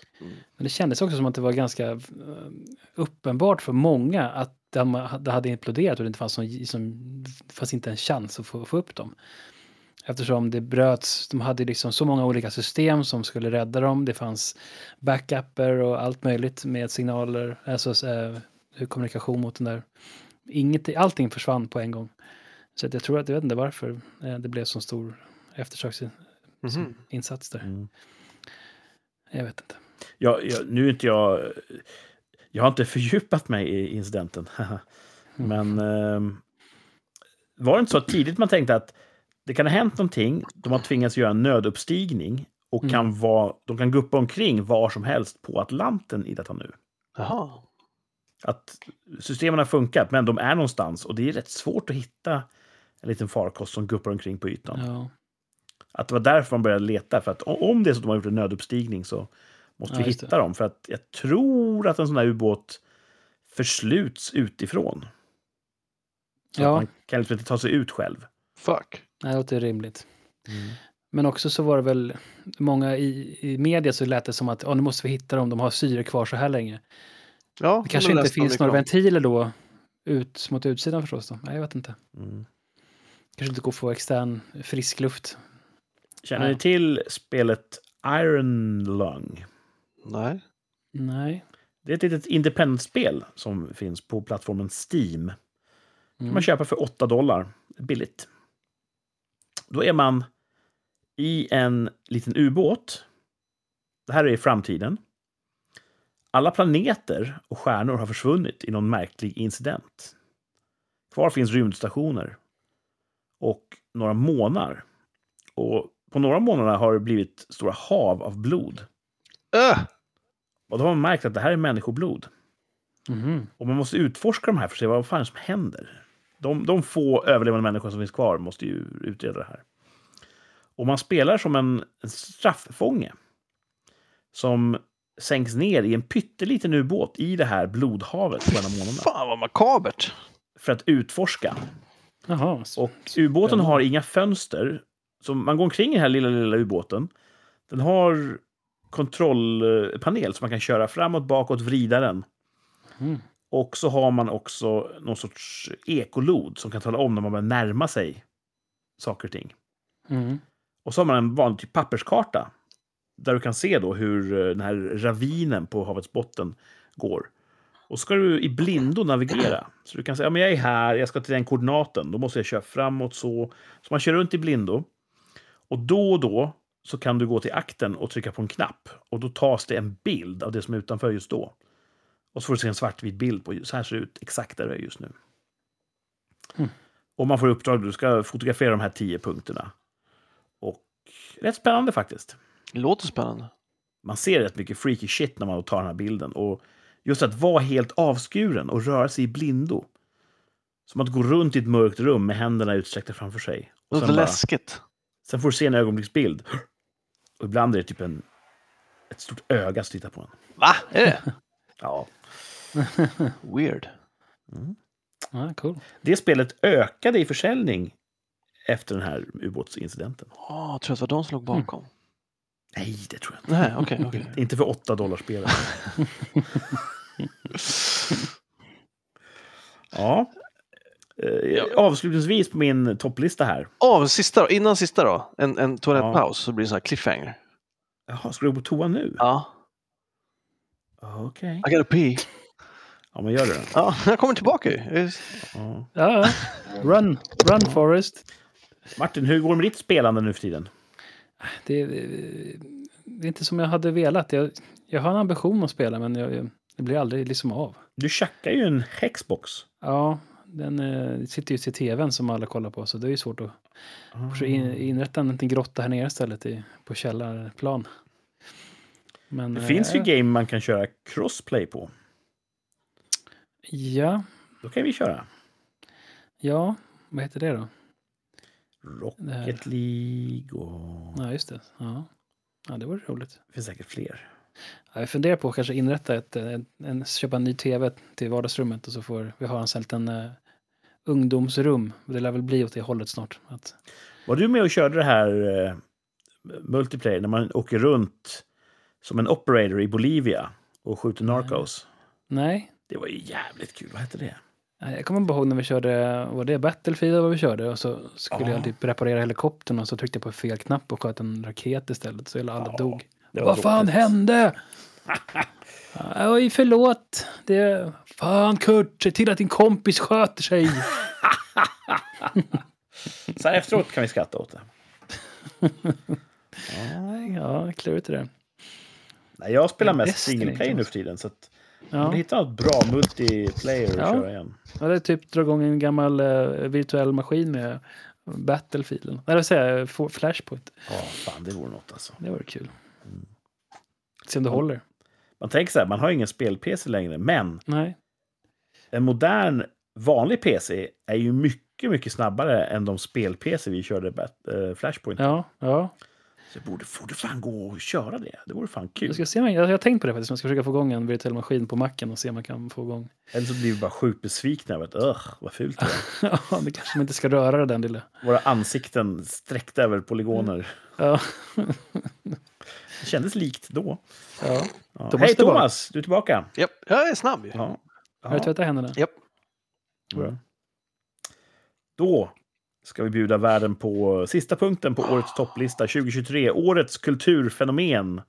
S3: Men det kändes också som att det var ganska eh, uppenbart för många att de ha- det hade imploderat och det inte fanns, någon, som, det fanns inte en chans att få, få upp dem. Eftersom det bröts, de hade liksom så många olika system som skulle rädda dem. Det fanns backuper och allt möjligt med signaler, alltså eh, kommunikation mot den där. Inget, allting försvann på en gång. Så att jag tror att, jag vet inte varför eh, det blev så stor eftersöksinsats
S2: Mhm.
S3: där.
S1: Mm.
S3: Jag vet inte.
S1: Jag, jag, nu är inte jag... Jag har inte fördjupat mig i incidenten. <laughs> Men ehm, var det inte så tidigt man tänkte att det kan ha hänt någonting, de har tvingats göra en nöduppstigning och
S3: Mm.
S1: kan vara, de kan guppa omkring var som helst på Atlanten i detta nu.
S2: <laughs> Jaha.
S1: Att systemen har funkat, men de är någonstans och det är rätt svårt att hitta en liten farkost som guppar omkring på ytan.
S3: Ja.
S1: Att det var därför man började leta. För att o- om det är så att de har gjort en nöduppstigning så måste
S3: Ja,
S1: vi
S3: just det.
S1: hitta dem. För att jag tror att en sån här ubåt försluts utifrån. Så
S3: Ja.
S1: att man kan liksom inte ta sig ut själv.
S2: Fuck.
S3: Nej, det låter rimligt. Mm. Men också så var det väl många i, i media så lät det som att "Ja, nu måste vi hitta dem, de har syre kvar så här länge.
S2: Ja,
S3: Det kanske
S2: men
S3: inte
S2: läste om
S3: finns
S2: det
S3: några
S2: kom.
S3: ventiler då ut mot utsidan förstås. Då. Nej, jag vet inte.
S1: Mm.
S3: Kanske inte går att få extern frisk luft.
S1: Känner
S3: Ja.
S1: ni till spelet Iron Lung?
S2: Nej.
S3: Nej.
S1: Det är ett litet independent-spel som finns på plattformen Steam.
S3: Mm.
S1: kan man köpa för 8 dollar. Billigt. Då är man i en liten ubåt. Det här är i framtiden. Alla planeter och stjärnor har försvunnit i någon märklig incident. Kvar finns rymdstationer och några månar. Och på några månader har det blivit stora hav av blod.
S2: Öh!
S1: Och då har man märkt att det här är människoblod.
S3: Mhm.
S1: Och man måste utforska de här för att se vad fan som händer. De, de få överlevande människor som finns kvar måste ju utreda det här. Och man spelar som en, en strafffånge. Som sänks ner i en pytteliten ubåt i det här blodhavet på en av månaderna.
S2: Fan vad makabert.
S1: För att utforska.
S3: Jaha. så-
S1: Och ubåten har inga fönster. Så man går omkring i den här lilla, lilla ubåten. Den har kontrollpanel som man kan köra framåt, bakåt, vrida den.
S3: Mm.
S1: Och så har man också någon sorts ekolod som kan tala om när man börjar närma sig saker och ting.
S3: Mm.
S1: Och så har man en vanlig typ papperskarta där du kan se då hur eh, den här ravinen på havets botten går. Och ska du i blindo navigera. Så du kan säga, ja, men jag är här, jag ska till den koordinaten, då måste jag köra framåt så. Så man kör runt i blindo. Och då och då så kan du gå till akten och trycka på en knapp. Och då tas det en bild av det som är utanför just då. Och så får du se en svartvit bild på, så här ser det ut exakt där du är just nu.
S3: Mm.
S1: Och man får i uppdrag, du ska fotografera de här tio punkterna. Och rätt spännande faktiskt.
S2: Det låter spännande.
S1: Man ser rätt mycket freaky shit när man tar den här bilden. Och just att vara helt avskuren och röra sig i blindo. Som att gå runt i ett mörkt rum med händerna utsträckta framför sig.
S2: Det
S1: Och
S2: låter
S1: sen, bara,
S2: läskigt.
S1: sen får du se en ögonblicksbild. Och ibland är det typ en, ett stort öga som tittar på en.
S2: Va? Är det?
S1: Ja.
S2: Weird.
S3: Ja, cool.
S1: Det spelet ökade i försäljning efter den här ubåtsincidenten.
S2: Åh, jag Ah, tror att det var de som låg
S3: Mm.
S2: bakom.
S1: Nej, det tror jag inte.
S2: Nej, okej.
S3: <laughs>
S2: okej.
S1: Inte för 8 dollar spelet. Ja. Eh, Avslutningsvis på min topplista här.
S2: Åh, men sista då. Innan sista då. En, en toalettpaus så blir det en sån här cliffhanger.
S1: Jaha, ska du gå på toa nu?
S2: Ja.
S1: Okej.
S2: I gotta pee.
S1: Ja, men gör det då.
S2: Ja, <laughs> jag kommer tillbaka ju. Jag är-
S1: Ja.
S3: Ja, ja. Run, run Forest.
S1: Martin, hur går det med ditt spelande nu för tiden?
S3: Det, det är inte som jag hade velat. Jag, jag har en ambition att spela men jag, jag, det blir aldrig liksom av.
S1: Du tjackar ju en Hexbox.
S3: Ja, den eh, sitter ju till tvn som alla kollar på, så det är ju svårt att så
S1: Ah.
S3: in, inrätta en liten grotta här nere istället i, på källarplan. Men,
S1: Det finns ju
S3: eh,
S1: game man kan köra crossplay på.
S3: Ja,
S1: Då kan vi köra.
S3: ja, vad heter det då? Där.
S1: Rocket League och...
S3: Ja, just det. Ja, ja det vore roligt.
S1: Det finns säkert fler.
S3: Ja, jag funderar på att kanske inrätta ett, eh, en, en, köpa en ny tv till vardagsrummet och så får vi ha en sån här liten eh, ungdomsrum. Det lär väl bli åt det hållet snart. Att,
S1: Var du med och körde det här eh, multiplayer när man åker runt som en operator i Bolivia och skjuter
S3: Mm.
S1: narcos?
S3: nej,
S1: Det var ju jävligt kul. Vad hette det?
S3: Nej, Jag kommer bara ihåg när vi körde, var det Battlefield vad vi körde? Och så skulle
S1: Ja.
S3: jag typ reparera helikoptern och så tryckte jag på fel knapp och sköt en raket istället så hela alla
S1: Ja,
S3: dog.
S1: det var
S3: Vad fan
S1: dåligt.
S3: hände? Ja, Oj, förlåt. Det... Fan Kurt, se till att din kompis sköter sig.
S1: Så här efteråt kan vi skratta åt det.
S3: Nej, ja, klurigt det där.
S1: Nej, jag spelar
S3: Men
S1: mest
S3: Destiny
S1: single play
S3: inte
S1: nu
S3: alls.
S1: för tiden. Så att om
S3: Ja.
S1: du hittar något bra multiplayer att
S3: Ja.
S1: köra igen.
S3: Jag hade typ dra igång en gammal eh, virtuell maskin med Battlefield. eller- Nej, det vill säga eh, Fo- Flashpoint.
S1: Ja, fan det vore något alltså.
S3: Det vore kul. Se om det håller.
S1: Man tänker så här, man har ju ingen spel-PC längre. Men
S3: Nej.
S1: en modern vanlig PC är ju mycket, mycket snabbare än de spel-PC vi körde Bat- eh, Flashpoint.
S3: Ja, ja.
S1: Så det borde, borde fan gå och köra det. Det vore fan kul.
S3: Jag, ska se, om jag, jag har tänkt på det faktiskt, man ska försöka få igång en virtuell maskin på macken och se om man kan få igång. <laughs>
S1: Eller så blir vi bara sjukt besvikna över att "Ugh, vad fult det var.
S3: ja, det kanske man inte ska röra den lilla.
S1: Våra ansikten sträckta över polygoner.
S3: Ja,
S1: Mm. Det kändes likt då.
S3: ja.
S1: Ja.
S3: Thomas
S1: Hej
S3: är tillbaka.
S1: Thomas, du är tillbaka.
S2: Japp, jag är snabb ju.
S1: Ja.
S3: Har du tvättat händerna?
S2: Japp.
S1: Bra. Då ska vi bjuda världen på sista punkten på årets topplista 2023. Årets kulturfenomen.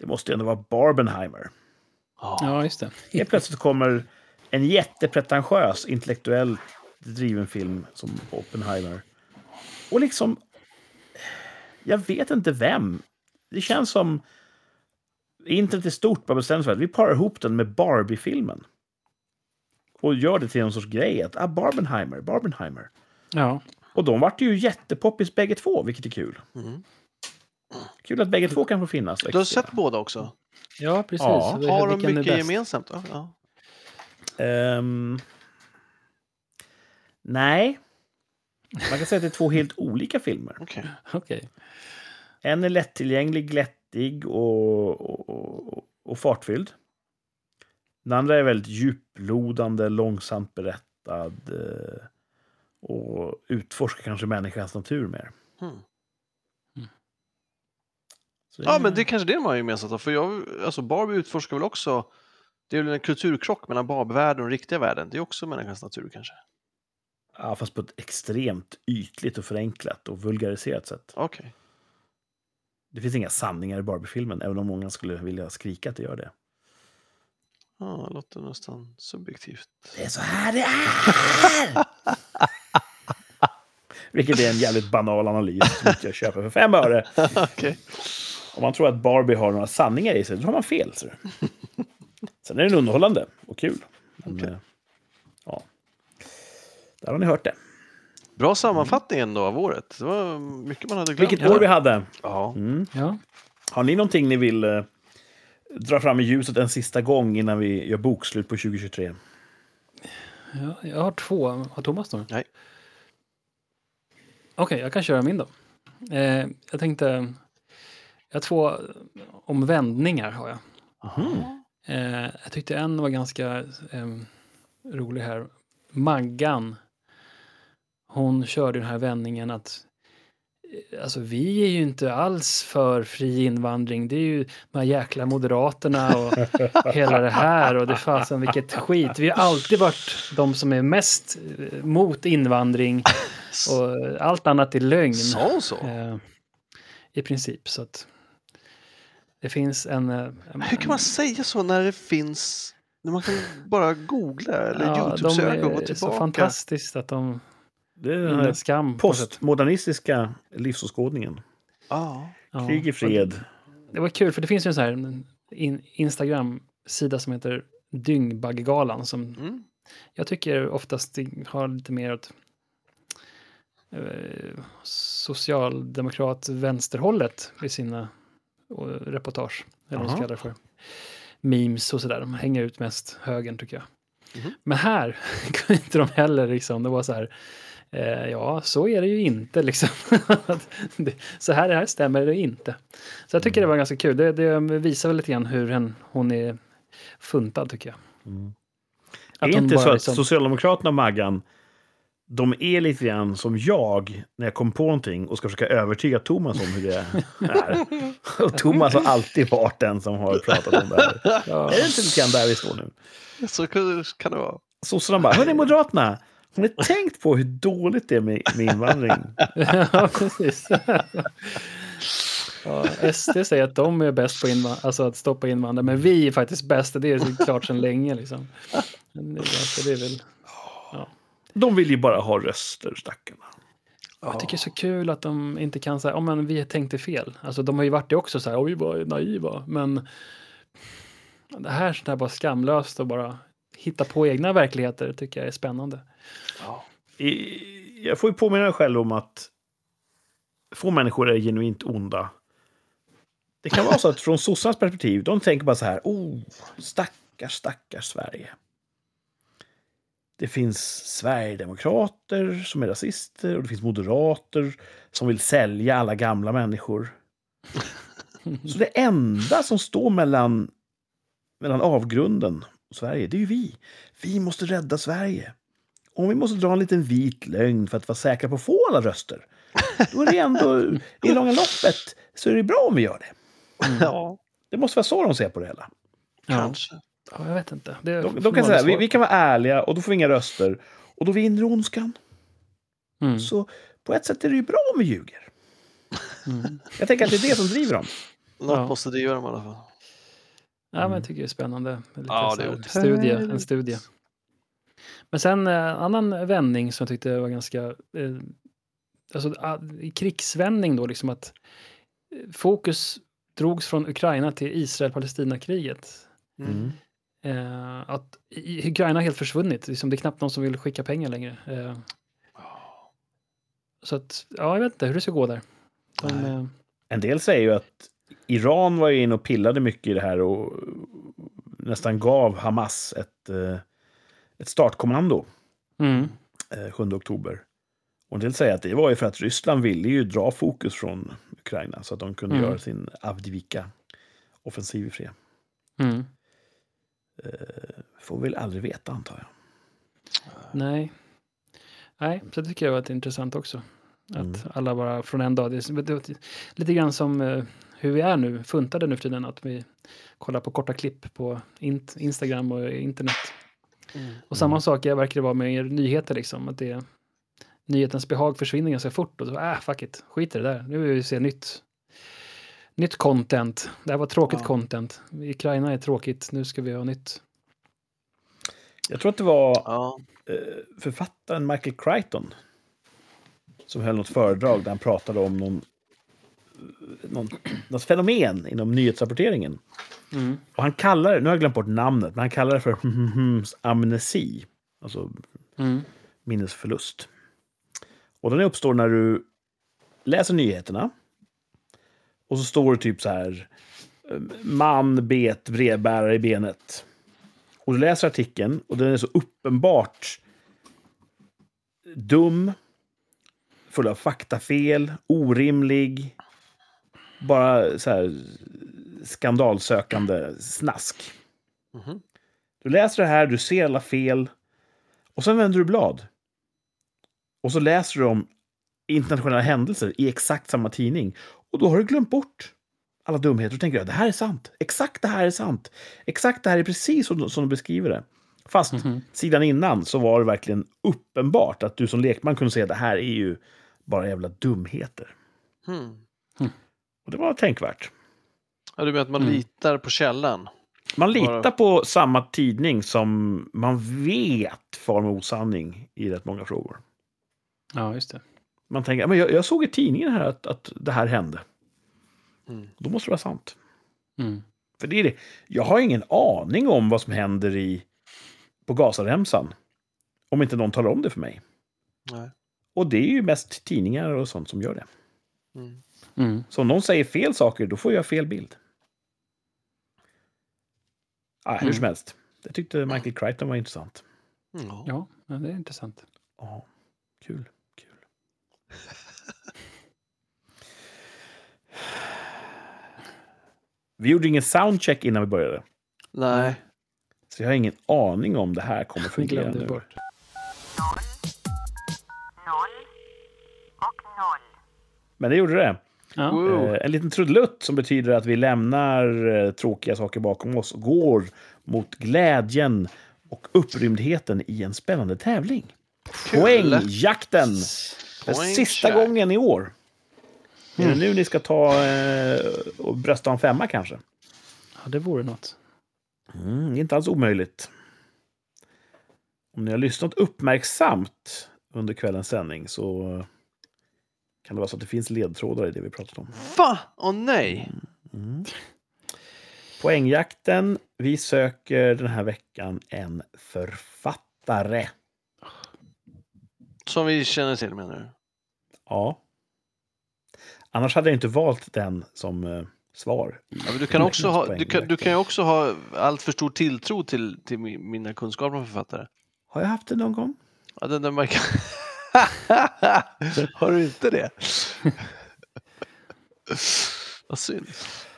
S1: Det måste ju ändå vara Barbenheimer.
S2: Ja.
S3: Ja, just det.
S1: Helt plötsligt kommer en jättepretentiös, intellektuellt driven film som Oppenheimer. Och liksom... Jag vet inte vem. Det känns som... Internet är stort, bara bestämmer sig för att vi parar ihop den med Barbie-filmen. Och gör det till någon sorts grej. Att, ah, Barbenheimer, Barbenheimer.
S3: Ja,
S1: Och de vart ju jättepoppis bägge två, vilket är kul.
S2: Mm.
S1: Kul att bägge två kan få finnas. och
S2: Du har
S1: existera.
S2: sett båda också?
S3: ja precis.
S1: Ja.
S3: Det-
S2: Har de
S3: vilken är
S2: mycket
S3: bäst?
S2: gemensamt? Ja, ja.
S1: Ehm, nej. Man kan säga att det är två helt olika filmer.
S2: Okej.
S3: Okej.
S1: En är lättillgänglig, glättig och, och, och, och fartfylld. Den andra är väldigt djuplodande, långsamt berättad eh, och utforskar kanske människans natur mer.
S2: Hmm.
S1: Så
S2: Ja, men det är kanske det de har gemensamt. då, För jag, alltså Barbie utforskar väl också, det är väl en kulturkrock mellan Barbie-världen och den riktiga världen. Det är också människans natur kanske.
S1: ja, fast på ett extremt ytligt och förenklat och vulgariserat sätt.
S2: Okej.
S1: Det finns inga sanningar i Barbie-filmen, även om många skulle vilja skrika att det gör det.
S2: Ja, det låter nästan subjektivt. <laughs>
S1: Det är så här det är! <laughs> Vilket är en jävligt banal analys som inte jag köper för fem öre.
S2: Okej.
S1: Om man tror att Barbie har några sanningar i sig, då har man fel. Så. Sen är den underhållande och kul. Men,
S2: Okej.
S1: eh, ja. Där har ni hört det.
S2: Bra sammanfattning ändå av året. Det var mycket man hade glömt.
S1: Mm. Vilket år vi hade.
S2: Ja.
S1: Mm.
S3: Ja.
S1: Har ni någonting ni vill eh, dra fram i ljuset en sista gång innan vi gör bokslut på 2023?
S3: ja, jag har två. Har Thomas några?
S2: Nej.
S3: Okej, jag kan köra min då. Eh, jag tänkte, jag har två om vändningar har jag.
S1: Mhm.
S3: Eh, jag tyckte en var ganska ehm, rolig här. Maggan, hon körde den här vändningen att eh, Alltså vi är ju inte alls för fri invandring. Det är ju de här jäkla moderaterna
S2: <laughs>
S3: och hela det här och det fasen vilket skit. Vi har alltid varit de som är mest eh,
S2: <laughs>
S3: mot invandring och eh, allt annat är lögn.
S2: Sa hon så?
S3: Eh, I princip så att det finns en... eh, en
S2: Hur kan man säga så när det finns... När man kan bara googla eller
S3: Ja,
S2: YouTube-söka och gå
S3: De är så
S2: tillbaka.
S3: fantastiskt att de
S1: Det är den
S3: är en
S1: här
S3: skam. på sätt.
S1: postmodernistiska livsåskådningen.
S2: Ja.
S3: Ja.
S1: Krig i fred.
S3: Det var kul, för det finns ju en sån här mm, in, Instagram-sida som heter Dyngbaggegalan som
S2: Mm.
S3: jag tycker oftast har lite mer åt eh, socialdemokrat vänsterhållet i sina eh, reportage. Eller vad man
S1: Aha.
S3: ska kalla det för. Memes och sådär. De hänger ut mest högern tycker jag.
S2: Mhm.
S3: Men här <laughs> kunde inte de heller liksom. Det var så här. Eh, ja, så är det ju inte liksom. <laughs> Att det, så här, det här stämmer det inte. Så jag tycker
S1: Mm.
S3: det var ganska kul. Det, det visar väl lite grann hur hen, hon är funtad tycker jag.
S1: Mm.
S3: Att
S1: är
S3: hon
S1: inte
S3: bara
S1: så att
S3: liksom-
S1: Socialdemokraterna och Maggan de är lite grann som jag när jag kommer på någonting och ska försöka övertyga Thomas om hur det
S3: <laughs>
S1: är. Och Thomas har alltid varit den som har pratat om det här.
S3: Ja.
S1: Är det inte lite grann där vi står nu?
S2: Så kan kan det vara.
S1: Sossarna bara, hörni Moderaterna, har ni tänkt på hur dåligt det är med, med invandring?
S3: <laughs> ja, precis. Ja, SD säger att de är bäst på inva- alltså att stoppa invandrare, men vi är faktiskt bäst. och Det är så klart sedan länge. Liksom. Men det är ganska- det är väl...
S1: De vill ju bara ha röster, stackarna.
S3: Jag tycker det är så kul att de inte kan säga, oh, men vi tänkte fel. Alltså de har ju varit det också, så här, oj vad naiva. Men det här sånt här bara skamlöst och bara hitta på egna verkligheter tycker jag är spännande.
S1: I- Jag får ju påminna mig själv om att få människor är genuint onda. Det kan vara så att från sossarnas perspektiv, de tänker bara så här, oh, stackars, stackars Sverige. Det finns sverigedemokrater som är rasister och det finns moderater som vill sälja alla gamla människor. Så det enda som står mellan, mellan avgrunden och Sverige, det är ju vi. Vi måste rädda Sverige. Om vi måste dra en liten vit lögn för att vara säkra på att få alla röster, då är det ändå, i långa loppet, så är det bra om vi gör det.
S2: Ja,
S1: Det måste vara så de ser på det hela.
S2: kanske.
S3: Ja, jag vet inte. Det
S1: De,
S3: är
S1: de kan
S3: förvånansvärt
S1: säga, vi,
S3: svårt.
S1: vi kan vara ärliga och då får vi inga röster. Och då vinner ondskan.
S3: Mm,
S1: Så på ett sätt är det ju bra om vi ljuger.
S3: mm.
S1: Jag tänker att det är det som driver dem.
S2: Något
S3: Ja.
S2: måste det göra i alla fall.
S3: Ja, men jag tycker det är spännande. med Lite
S2: Ja,
S3: så
S2: det är
S3: här
S2: otroligt.
S3: studie, en studie. Men sen eh, annan vändning som jag tyckte var ganska... Eh, alltså ah, krigsvändning då, liksom att eh, fokus drogs från Ukraina till Israel-Palestina-kriget.
S1: Mm.
S3: Eh, att i- i- Ukraina har helt försvunnit, liksom, det är knappt någon som vill skicka pengar längre. Eh, så att, ja, jag vet inte hur det ska gå där. De,
S2: Nej.
S3: eh,
S1: En del säger ju att Iran var ju inne och pillade mycket i det här och nästan gav Hamas ett, eh, ett startkommando.
S3: mm,
S1: eh, 7 oktober. Och en del säger att det var ju för att Ryssland ville ju dra fokus från Ukraina så att de kunde
S3: Mm.
S1: göra sin Avdivika-offensiv i fred. Eh,
S3: mm.
S1: Får vi väl aldrig veta, antar jag.
S3: Nej. Nej, så det tycker jag var ett intressant också. Att
S1: Mm.
S3: alla bara från en dag, det är, som- det är lite grann som eh, hur vi är nu, funtade nu för tiden, att vi kollar på korta klipp på int- Instagram och internet. Och samma sak jag verkar det vara med er nyheter, liksom, att det är, nyhetens behag försvinner ganska fort och så, äh, fuck it, skit i det där, nu vill vi se nytt. Nytt content. Det här var tråkigt
S2: Ja.
S3: content. Ukraina är tråkigt. Nu ska vi ha nytt.
S1: Jag tror att det var
S2: Ja.
S1: eh, författaren Michael Crichton som höll något föredrag där han pratade om någon, eh, någon, något fenomen inom nyhetsrapporteringen.
S3: Mm.
S1: Och han kallar det, nu har jag glömt bort namnet, men han kallar det för amnesi. Alltså
S3: Mm.
S1: minnesförlust. Och den uppstår när du läser nyheterna. Och så står det typ så här. eh, Man bet brevbärare i benet. Och du läser artikeln och den är så uppenbart dum, full av faktafel, orimlig, bara så här skandalsökande snask.
S2: Mhm.
S1: Du läser det här, du ser alla fel och sen vänder du blad. Och så läser du om internationella händelser i exakt samma tidning. Och då har du glömt bort alla dumheter och tänker att det här är sant. Exakt det här är sant. Exakt det här är precis som, som de beskriver det. Fast
S3: Mhm.
S1: sidan innan så var det verkligen uppenbart att du som lekman kunde säga att det här är ju bara jävla dumheter.
S2: Hmm.
S1: Och det var tänkvärt.
S2: Ja, du menar att man
S3: Mm.
S2: litar på källan?
S1: Man
S2: Bara-
S1: litar på samma tidning som man vet far med osanning i rätt många frågor.
S3: Ja, just det.
S1: Man tänker, men jag, jag såg i tidningen här att, att det här hände.
S2: Mm.
S1: Då måste det vara sant.
S3: Mm.
S1: För det är det. Jag har ingen aning om vad som händer i, på Gazaremsan. Om inte någon talar om det för mig.
S2: Nej.
S1: Och det är ju mest tidningar och sånt som gör det.
S2: Mm.
S3: Mm.
S1: Så om någon säger fel saker, då får jag fel bild. Ah, hur
S3: Mm.
S1: som helst. Det tyckte Michael Crichton var intressant.
S2: Ja.
S3: Ja, men det är intressant.
S1: Ja, kul. kul. Vi gjorde ingen soundcheck innan vi började.
S2: Nej.
S1: Så jag har ingen aning om det här kommer
S3: Vi
S1: fungera
S3: glömde
S1: nu.
S3: bort.
S1: Men det gjorde det.
S3: Ja.
S2: Wow.
S1: Eh, En liten trudelutt som betyder att vi lämnar eh, tråkiga saker bakom oss och går mot glädjen och upprymdheten i en spännande tävling.
S2: Kul.
S1: Poängjakten! För
S2: Poäng,
S1: sista
S2: ja.
S1: gången i år. Är det nu ni ska ta eh, och brösta en femma kanske?
S3: ja, det vore något.
S1: Mm, det är inte alls omöjligt. Om ni har lyssnat uppmärksamt under kvällens sändning så kan det vara så att det finns ledtrådar i det vi pratat om. Mm.
S2: Va? Åh nej!
S1: Poängjakten. Vi söker den här veckan en författare.
S2: Som vi känner till menar du?
S1: Ja. Annars hade jag inte valt den som eh, svar.
S2: Ja, men du, kan
S1: Nej,
S2: också ha,
S1: poäng
S2: du, kan,
S1: direkt.
S2: du kan ju också ha allt för stor tilltro till, till mi- mina kunskaper om författare.
S1: Har jag haft det någon gång?
S2: Ja, den där verkar... <laughs>
S1: <laughs>
S2: Har du inte det? Vad synd.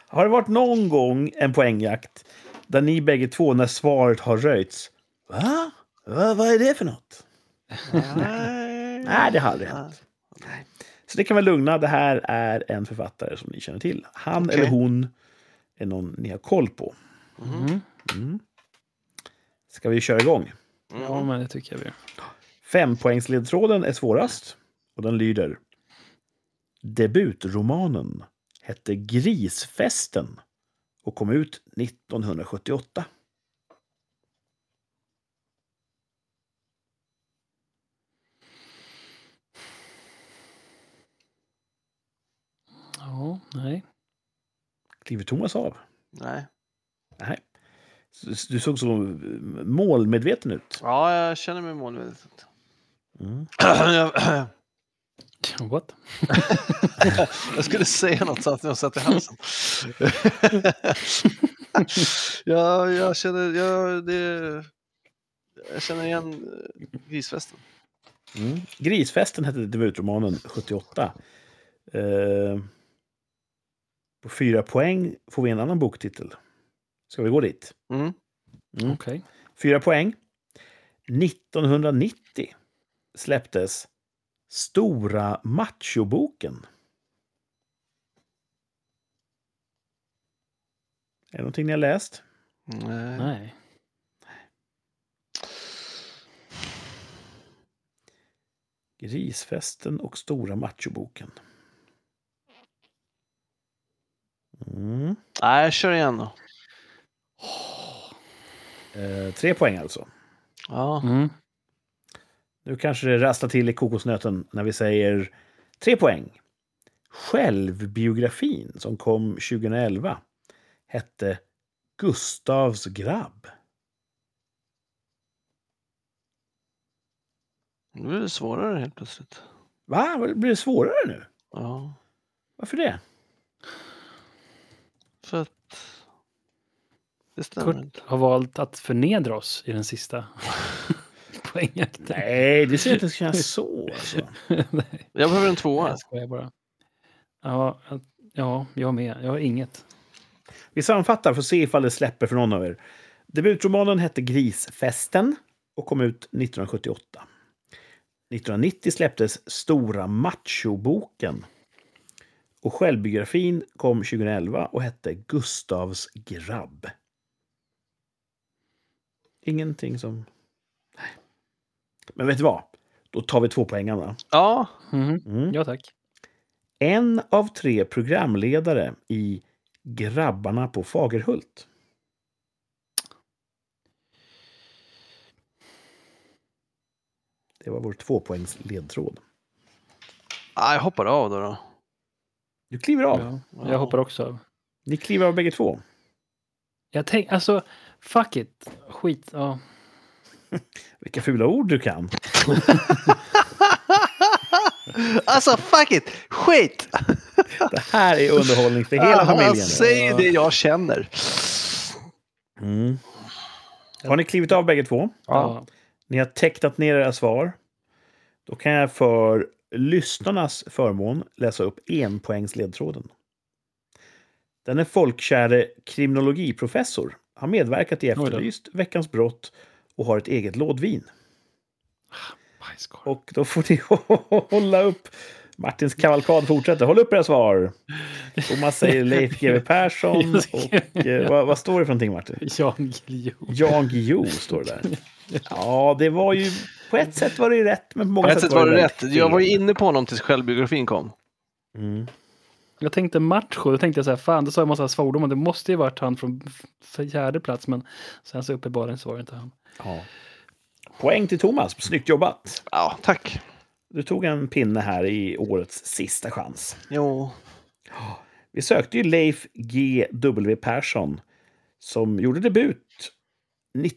S1: Har det varit någon gång en poängjakt där ni bägge två, när svaret har röjts... Va? Va vad är det för något?
S2: Nej.
S1: Nej, det har aldrig hänt. Så det kan vara lugna. Det här är en författare som ni känner till. Han
S2: Okej.
S1: eller hon är någon ni har koll på.
S3: Mm.
S1: Ska vi köra igång?
S3: Ja, men det tycker jag vi gör.
S1: Fempoängsledtråden är svårast och den lyder. Debutromanen hette Grisfesten och kom ut 1978.
S3: Ja, nej. <laughs>
S1: Kliver Thomas av?
S2: Nej.
S1: Nej. S- Du såg så eh, målmedveten ut.
S2: Ja, jag känner mig målmedveten. <clears throat>
S1: Mm.
S2: Jag-
S3: What?
S2: Jag skulle säga något samtidigt som jag satt i halsen. <laughs> ja, jag känner, ja, det, jag känner igen eh, grisfesten.
S1: Mm. Grisfesten hette debutromanen 78. Eh, på fyra poäng får vi en annan boktitel. Ska vi gå dit?
S2: Mm.
S1: Mm.
S3: Okej.
S1: Fyra poäng. 1990 släpptes Stora machoboken. Är det någonting ni har läst?
S2: Nej.
S3: Nej.
S1: Grisfesten och Stora machoboken. Mm.
S2: Nej, jag kör igen då.
S1: Eh, tre poäng alltså.
S2: Ja.
S3: Mm.
S1: Nu kanske det rasslar till i kokosnöten när vi säger tre poäng. Självbiografin som kom 2011 hette Gustavs grabb.
S2: Nu blir det svårare helt plötsligt.
S1: Va? Vad- Blir det svårare nu?
S2: Ja.
S1: Varför det?
S2: För att det stämmer inte.
S3: Kurt har valt att förnedra oss i den sista <laughs> poängjakten.
S1: Nej, det ser inte kännas så. Alltså.
S3: <laughs>
S2: Jag behöver en <laughs> tvåa.
S3: Jag skojar bara. Ja, jag- ja, jag med. Jag har inget.
S1: Vi sammanfattar för att se ifall det släpper för någon av er. Debutromanen hette Grisfesten och kom ut 1978. 1990 släpptes Stora machoboken. Och självbiografin kom 2011 och hette Gustavs grabb. Ingenting som... Nej. Men vet du vad? Då tar vi två poängarna.
S2: Ja.
S3: Mhm.
S1: Mm.
S3: Ja, tack.
S1: En av tre programledare i Grabbarna på Fagerhult. Det var vår tvåpoängs ledtråd.
S2: Ah, jag hoppar av då. då.
S1: Du kliver av.
S3: Ja,
S2: Ja.
S3: jag hoppar också av.
S1: Ni kliver av bägge två.
S3: Jag tänk, alltså, fuck it. Skit. Ja.
S1: Vilka fula ord du kan.
S2: alltså fuck it! Skit!
S1: Det här är underhållning för hela
S2: Han
S1: familjen.
S2: säger det jag känner.
S1: Mm. Har ni klivit av bägge två?
S3: Ja.
S1: Ni har tecknat ner era svar. Då kan jag för lyssnarnas förmån läsa upp enpoängsledtråden. Den är folkkäre kriminologiprofessor. Har medverkat i
S3: då.
S1: Efterlyst, Veckans brott och har ett eget lådvin.
S3: Bajskorv. <laughs>
S1: Och då får ni <laughs> hålla upp Martins kavalkad fortsätter. Håll upp era svar. Thomas säger Leif GW Persson.
S3: <laughs> Just
S1: Och, eh, vad, vad står det för någonting, Martin?
S3: Jan Guillou.
S1: Jan Guillou står det där. Ja, det var ju... På ett sätt var det ju rätt, men på många
S2: På ett sätt var det rätt.
S1: väldigt
S2: Jag var ju
S1: fel.
S2: inne på honom tills självbiografin kom.
S1: Mm.
S3: Jag tänkte matcho, då tänkte jag så här, fan, då sa jag en massa svordomar, det måste ju varit han från f- fjärde plats, men sen så uppenbarligen så var det inte han.
S1: Ja. Poäng till Thomas. Snyggt jobbat.
S2: Ja, tack.
S1: Du tog en pinne här i årets sista chans.
S2: Jo.
S1: Vi sökte ju Leif G.W. Persson som gjorde debut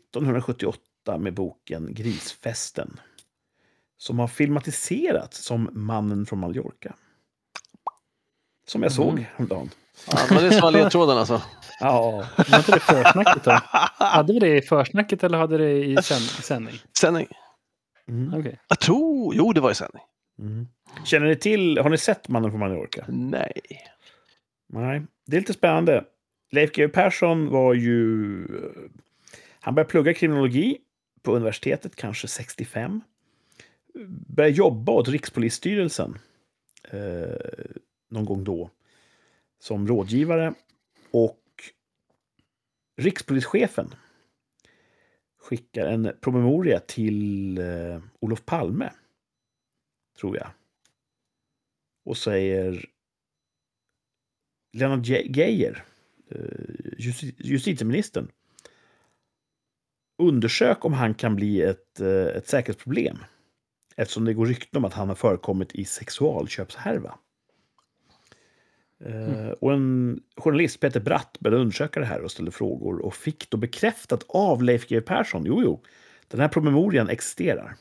S1: 1978 med boken Grisfesten som har filmatiserats som Mannen från Mallorca. Som
S2: Mm.
S1: jag såg häromdagen.
S2: Ja, men det är som <laughs> var ledtråden alltså. <laughs>
S1: Ja,
S3: Var inte det försnacket <laughs> då? Hade vi det i försnacket eller hade det i sänd- sändning?
S2: Sändning.
S1: mm.
S3: Okej.
S2: Jag tror... Jo, det var i sändning.
S1: Mm. Känner ni till, har ni sett Mannen från Mallorca?
S2: Nej.
S1: Nej, det är lite spännande. Leif GW Persson var ju... Han började plugga kriminologi på universitetet, kanske 65. Började jobba åt Rikspolisstyrelsen eh, någon gång då som rådgivare. Och rikspolischefen skickar en promemoria till eh, Olof Palme, tror jag. Och säger Lennart Ge- Geijer, eh, justi- justitieministern, undersök om han kan bli ett, eh, ett säkerhetsproblem eftersom det går rykten om att han har förekommit i sexualköpshärva. Eh,
S2: Mm.
S1: Och en journalist, Peter Bratt, började undersöka det här och ställde frågor och fick då bekräftat av Leif GW Persson, jo, jo, den här promemorian existerar.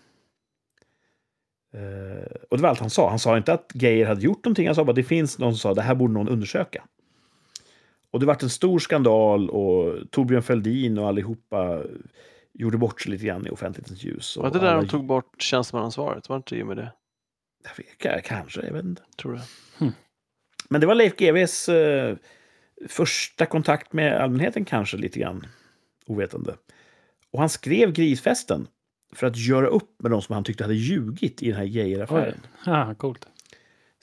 S1: Eh, och det var allt han sa. Han sa inte att Geijer hade gjort någonting. Han sa bara att det finns någon som sa det här borde någon undersöka. Och det vart en stor skandal och Torbjörn Fälldin och allihopa gjorde bort sig lite grann i offentlighetens ljus. Och
S2: Var det där
S1: alla-
S2: de tog bort tjänstemannaansvaret? Var det inte i och med det?
S1: Jag vet- k- Kanske, jag vet inte.
S2: Tror jag.
S1: Men det var Leif GWs eh, första kontakt med allmänheten kanske lite grann ovetande. Och han skrev Grisfesten för att göra upp med de som han tyckte hade ljugit i den här Geijer-affären.
S3: Ah, coolt.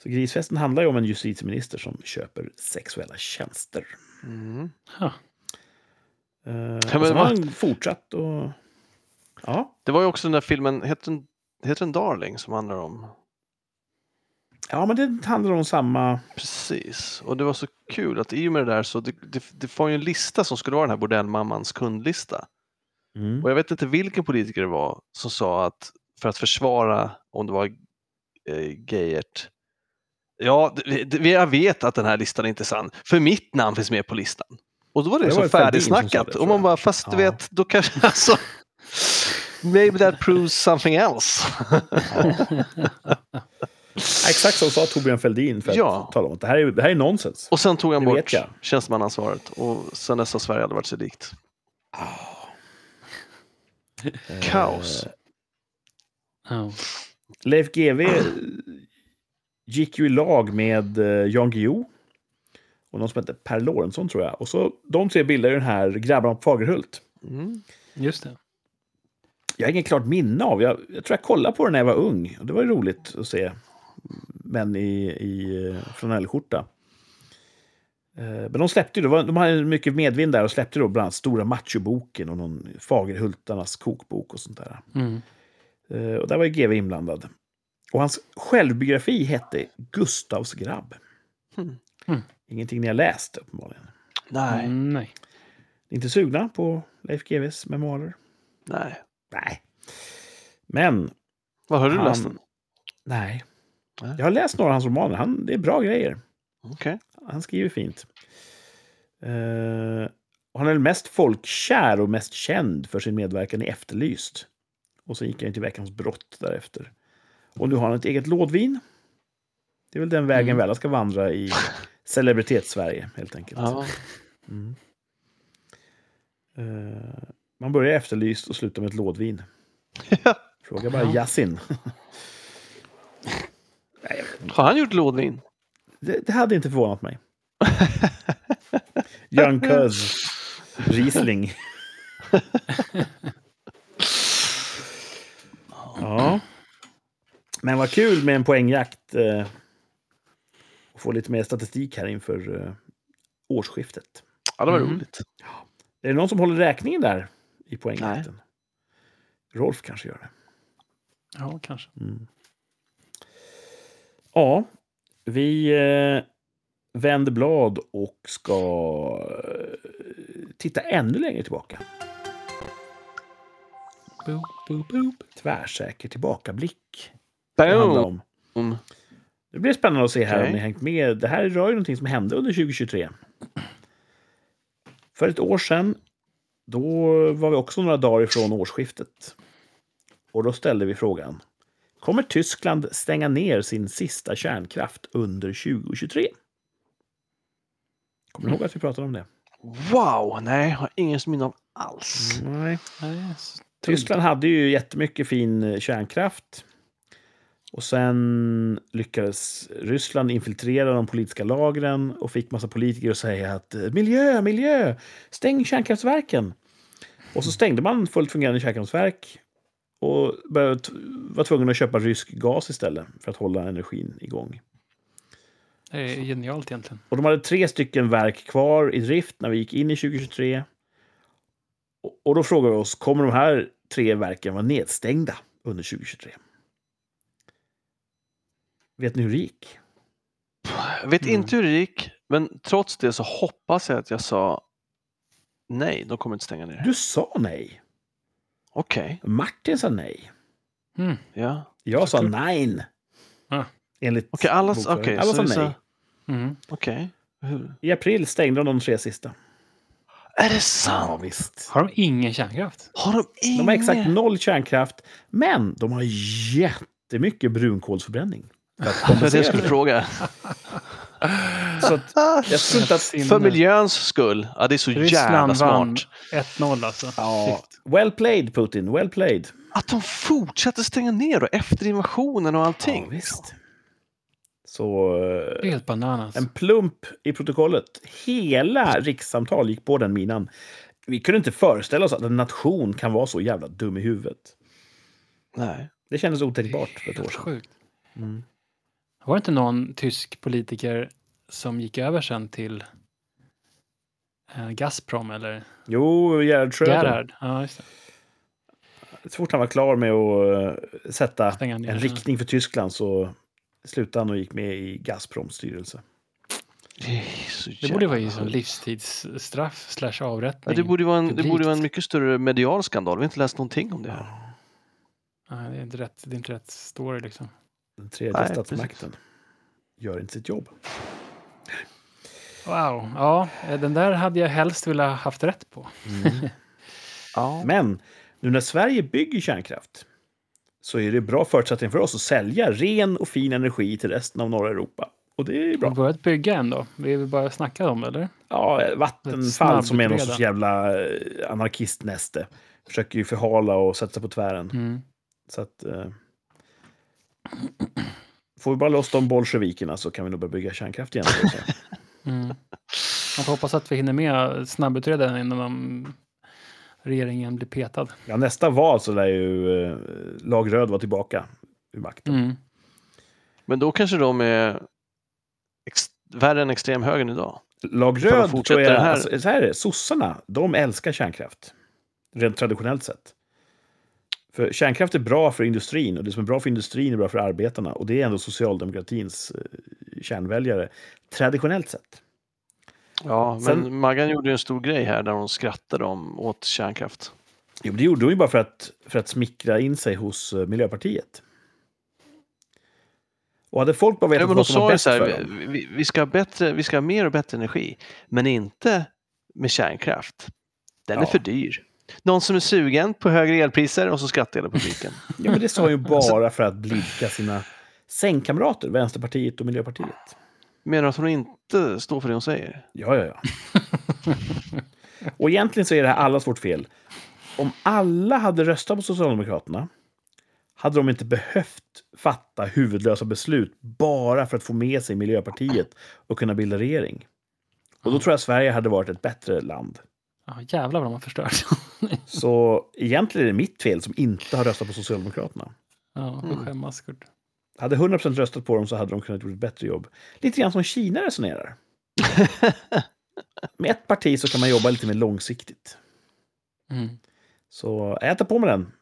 S1: Så grisfesten handlar ju om en justitieminister som köper sexuella tjänster.
S2: Mm.
S1: Eh,
S2: men
S1: och sen har
S2: vad-
S1: han fortsatt och... Ja,
S2: Det var ju också den där filmen, heter den, heter den Darling, som handlar om...
S1: ja, men det handlar om samma...
S2: Precis. Och det var så kul att i och med det där så det, det, det var ju en lista som skulle vara den här bordellmammans kundlista.
S1: Mm.
S2: Och jag vet inte vilken politiker det var som sa att för att försvara om det var eh, Geijert. Ja, det, det, jag vet att den här listan är inte är sann, för mitt namn finns med på listan. Och då var det,
S1: Det var
S2: liksom
S1: ju Fälldin som sa det,
S2: färdigsnackat.
S1: tror
S2: och man
S1: jag.
S2: bara, fast du
S1: Ja.
S2: vet, då kanske <laughs> alltså. Maybe that proves something else.
S1: Exakt så sa Torbjörn Fälldin för att
S2: Ja.
S1: tala om att det här är, det här är nonsens.
S2: Och sen tog han
S1: Det vet
S2: bort
S1: jag.
S2: tjänstemannaansvaret och sen dess har Sverige aldrig varit så likt. Kaos.
S3: Ja.
S1: Leif GW gick ju i lag med eh, Jan Guillou och någon som hette Per Lorentzon, tror jag. Och så, de tre bildade ju den här Grabbarna på Fagerhult.
S2: Mm.
S3: Just det.
S1: Jag har inget klart minne av. Jag, jag tror jag kollade på den när jag var ung. Och Det var ju roligt att se män i, i eh, flanellskjorta. Eh, Men de släppte ju, det var- de hade mycket medvind där och släppte då bland annat Stora Machoboken och någon Fagerhultarnas kokbok och sånt där.
S3: Mm.
S1: Eh, Och där var ju GV inblandad. Och hans självbiografi hette Gustavs grabb.
S2: Hmm.
S3: Hmm.
S1: Ingenting ni har läst uppenbarligen.
S2: Nej,
S3: Mm, Nej.
S1: Ni är Inte sugna på Leif GWs memoarer?
S2: nej.
S1: Nej. Men
S2: Vad har du
S1: Han-
S2: läst den?
S1: Nej.
S2: Nej.
S1: Jag har läst några av hans romaner. Han, det är bra grejer.
S2: Okej.
S1: Han skriver fint. Eh, han är den mest folkkär och mest känd för sin medverkan i Efterlyst. Och sen gick han ju till Veckans brott därefter. Och nu har han ett eget lådvin. Det är väl den vägen
S3: Mm.
S1: vi alla ska vandra
S3: <laughs>
S1: i celebritetssverige, helt enkelt.
S2: Ja.
S1: Mm. Eh, man börjar Efterlyst och slutar med ett lådvin. Fråga bara
S3: <laughs> Ja.
S1: Yasin. Nej, jag vet inte.
S2: Har han gjort lådvin?
S1: Det, det hade inte förvånat mig. <laughs> Young Cuz Riesling. <laughs> ja. Men vad kul med en poängjakt eh, och få lite mer statistik här inför eh, årsskiftet.
S2: Ja, det var
S3: Mhm.
S2: roligt.
S1: Är Mm. det någon som håller räkningen där i poängjakten? Rolf kanske gör det.
S3: Ja, kanske.
S1: Ja, vi eh, vänder blad och ska eh, titta ännu längre tillbaka.
S3: Boop, boop, boop.
S1: Tvärsäker tillbakablick. Det handlar
S2: Boom!
S1: om. Det blir spännande att se här om
S2: Okej.
S1: ni hängt med. Det här rör ju någonting som hände under 2023. För ett år sedan, då var vi också några dagar ifrån årsskiftet. Och då ställde vi frågan. Kommer Tyskland stänga ner sin sista kärnkraft under 2023? Kommer ni ihåg att vi pratade om det?
S2: Wow! Nej, jag har ingen minne av alls.
S1: Nej.
S3: Nej, så tungt.
S1: Tyskland hade ju jättemycket fin eh, kärnkraft. Och sen lyckades Ryssland infiltrera de politiska lagren och fick massa politiker att säga att eh, miljö, miljö, stäng kärnkraftverken. Och så stängde man fullt fungerande kärnkraftverk och började, t- var tvungen att köpa rysk gas istället för att hålla energin igång.
S3: Det är genialt egentligen.
S1: Och de hade tre stycken verk kvar i drift när vi gick in i 2023. Och- Och då frågar vi oss, kommer de här tre verken vara nedstängda under 2023? Vet ni hur det gick?
S2: Jag vet
S3: Mm.
S2: inte hur det gick, men trots det så hoppas jag att jag sa nej, de kommer inte stänga ner.
S1: Du sa nej.
S2: Okej,
S1: Martin sa nej.
S3: Mm.
S2: ja.
S1: Jag sa
S3: Såklart.
S1: nej.
S3: Ja.
S1: Enligt
S2: Okej, alla,
S1: bokföringen.
S2: okay,
S1: alla
S2: så
S1: sa
S2: vi sa-
S1: nej.
S3: Mm.
S2: Okej. Hur-
S1: I april stängde de de tre sista.
S2: Är det sant?
S1: visst.
S3: Har de ingen kärnkraft?
S2: Har de ingen?
S1: De har exakt noll kärnkraft, men de har jättemycket brunkolsförbränning. För att
S2: <laughs> Det var det
S1: kompensera
S2: jag skulle
S1: det.
S2: fråga.
S1: Så
S3: <laughs>
S1: att
S2: Ah,
S1: jag tror inte att
S2: För miljöns skull. Ja, det är så jävla
S3: Ryssland vann
S2: smart.
S3: 1-0 alltså.
S1: Ja,
S3: Shit.
S1: well played Putin, well played.
S2: Att de fortsatte stänga ner då, efter invasionen och allting.
S1: Ja, visst. Så
S3: Det är
S1: eh,
S3: helt bananas.
S1: en plump i protokollet. Hela rikssamtal gick på den minan. Vi kunde inte föreställa oss att en nation kan vara så jävla dum i huvudet.
S2: Nej.
S1: Det kändes otänkbart för ett år
S3: Helt
S1: sedan.
S3: sjukt.
S1: Mm.
S3: Var det inte någon tysk politiker som gick över sen till eh, Gazprom eller
S1: Jo, Gerhard Schröder.
S3: Gerhard? Ja, just det.
S1: Så fort han var klar med att eh, sätta
S3: Stänga ner.
S1: en riktning för Tyskland så slutade han och gick med i Gazproms styrelse.
S2: Det, är så
S3: Det
S2: jävla...
S3: borde vara ju som livstidsstraff slash
S2: ja,
S3: avrättning.
S2: det, borde vara en, det
S3: Publikt.
S2: borde vara en mycket större medial skandal. Vi har inte läst någonting om det här.
S3: Nej, det, är inte rätt, det är inte rätt story liksom.
S1: Den tredje
S2: Nej, precis.
S1: statsmakten gör inte sitt jobb.
S3: Wow, ja, eh, den där hade jag helst velat haft rätt på.
S2: Ja.
S1: Men nu när Sverige bygger kärnkraft så är det bra förutsättning för oss att sälja ren och fin energi till resten av norra Europa. Och det är
S3: Har vi
S1: bra.
S3: börjat bygga än då? Vi vill bara snacka om det, eller?
S1: Ja, Vattenfall
S3: Snabbutreda.
S1: som är någon sorts jävla eh, anarkistnäste försöker ju förhala och sätta sig på tvären.
S3: Mm.
S1: Så att... Eh, får vi bara loss de bolsjevikerna så kan vi nog börja bygga kärnkraft igen. så att säga.
S3: Mm. Man får hoppas att vi hinner med snabbutredaren innan de- regeringen blir petad.
S1: Ja, nästa val så lär ju eh, lag röd vara tillbaka ur makten.
S3: Mm.
S2: Men då kanske de är ex... värre än extremhögern idag.
S1: Lag
S2: Ifall de
S1: röd, tror
S2: fortsätter
S1: jag,
S2: det här-
S1: alltså, så här är det, sossarna, de älskar kärnkraft. Rent traditionellt sett. För kärnkraft är bra för industrin och det som är bra för industrin är bra för arbetarna. Och det är ändå socialdemokratins eh, kärnväljare, traditionellt sett.
S2: Ja, men
S1: Sen-
S2: Maggan gjorde ju en stor grej här där hon skrattade om, åt kärnkraft.
S1: Jo, men det gjorde de ju bara för att, för att smickra in sig hos eh, Miljöpartiet. Och hade folk bara
S2: Ja,
S1: vetat
S2: men de
S1: vad som var
S2: sa ju
S1: bäst för
S2: så här,
S1: dem.
S2: vi, vi- vi, ska ha bättre, vi ska ha mer och bättre energi, men inte med kärnkraft. Den är
S1: Ja.
S2: för dyr. Någon som är sugen på högre elpriser och så skrattar hela publiken.
S1: Ja, men det sa ju bara för att blidka sina sängkamrater, Vänsterpartiet och Miljöpartiet.
S2: Menar du att hon inte står för det hon säger?
S1: Ja, ja, ja. och egentligen så är det här allas vårt fel. Om alla hade röstat på Socialdemokraterna hade de inte behövt fatta huvudlösa beslut bara för att få med sig Miljöpartiet och kunna bilda regering. Och då tror jag Sverige hade varit ett bättre land.
S3: Ja, jävlar vad man förstörde. <laughs>
S1: Så egentligen är det mitt fel som inte har röstat på Socialdemokraterna.
S2: Mm.
S3: Ja, och skämmas Kurt.
S1: Hade 100% röstat på dem så hade de kunnat gjort ett bättre jobb. Lite grann som Kina resonerar. Med ett parti så kan man jobba lite mer långsiktigt.
S3: Mm.
S1: Så jag tar på mig den.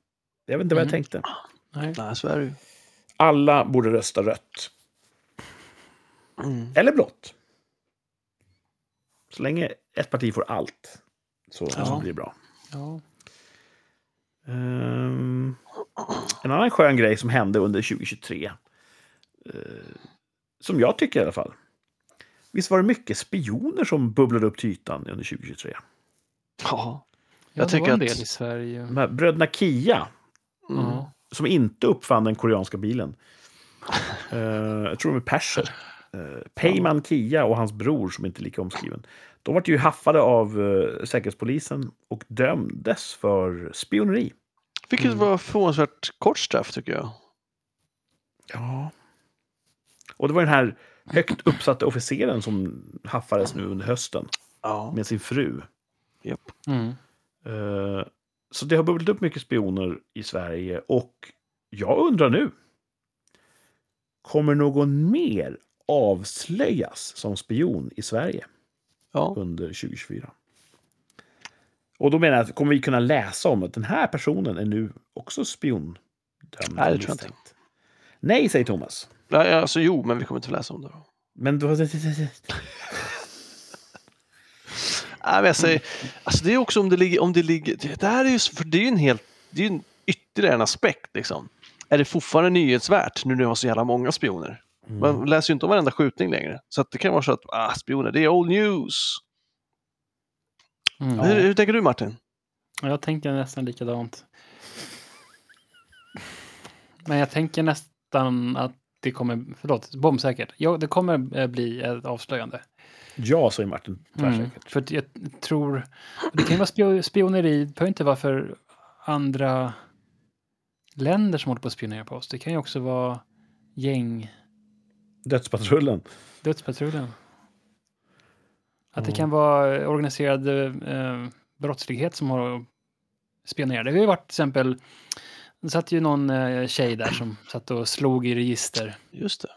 S1: Jag vet inte vad jag
S3: Mm.
S1: tänkte.
S3: Nej.
S2: Nej, så är det ju.
S1: Alla borde rösta rött.
S2: Mm.
S1: Eller blått. Så länge ett parti får allt så
S3: Ja.
S1: blir det bra.
S3: Ja.
S1: Ehm, en annan skön grej som hände under 2023. eh, som jag tycker i alla fall. Visst var det mycket spioner som bubblade upp till ytan under 2023?
S2: Ja.
S3: Jag
S2: Jag
S3: det
S2: tycker
S3: var en
S2: att-
S3: del i Sverige.
S1: De här bröderna Kia,
S2: Mm.
S3: Ja.
S1: som inte uppfann den koreanska bilen. Eh, jag tror de är perser. Uh, Peyman Kia och hans bror, som inte är lika omskriven. De vart ju haffade av eh, Säkerhetspolisen och dömdes för spioneri.
S2: Vilket
S3: Mm.
S2: var förvånansvärt kort straff tycker jag.
S1: Ja. Och det var den här högt uppsatta officeren som haffades nu under hösten
S2: Ja.
S1: med sin fru.
S3: Mm.
S1: Eh, Så det har bubblat upp mycket spioner i Sverige och jag undrar nu. Kommer någon mer avslöjas som spion i Sverige
S2: ja.
S1: under 2024? Och då menar jag, att kommer vi kunna läsa om att den här personen är nu också spiondömd?
S2: Nej, det tror jag inte.
S1: misstänkt? Nej, säger Thomas.
S2: Nej, alltså jo, men vi kommer inte läsa om det. Då.
S1: Men då...
S2: Nej, men jag säger, alltså det är också om det ligger, om det ligger, det det här är ju, s- för det är ju en helt, det är ju en ytterligare en aspekt liksom. Är det fortfarande nyhetsvärt nu när vi har så jävla många spioner?
S1: Mm.
S2: Man läser ju inte om varenda skjutning längre. Så att det kan vara så att, ah, spioner, det är old news.
S3: Mm.
S2: Hur, hur tänker du Martin?
S3: Ja, Jag tänker nästan likadant. Men jag tänker nästan att det kommer, förlåt, bombsäkert. Ja, det kommer eh, bli ett avslöjande.
S1: Ja, säger Martin.
S2: Mm.
S1: Tvärsäkert.
S3: För att jag tror, det kan ju vara spio- spioneri, det behöver inte vara för andra länder som håller på att spionera på oss. Det kan ju också vara gäng,
S1: Dödspatrullen.
S3: dödspatrullen. Att det
S1: Ja.
S3: kan vara eh, organiserad eh, brottslighet som har spionerat. Det har ju varit till exempel, det satt ju någon eh, tjej där som satt och slog i register.
S2: Just det.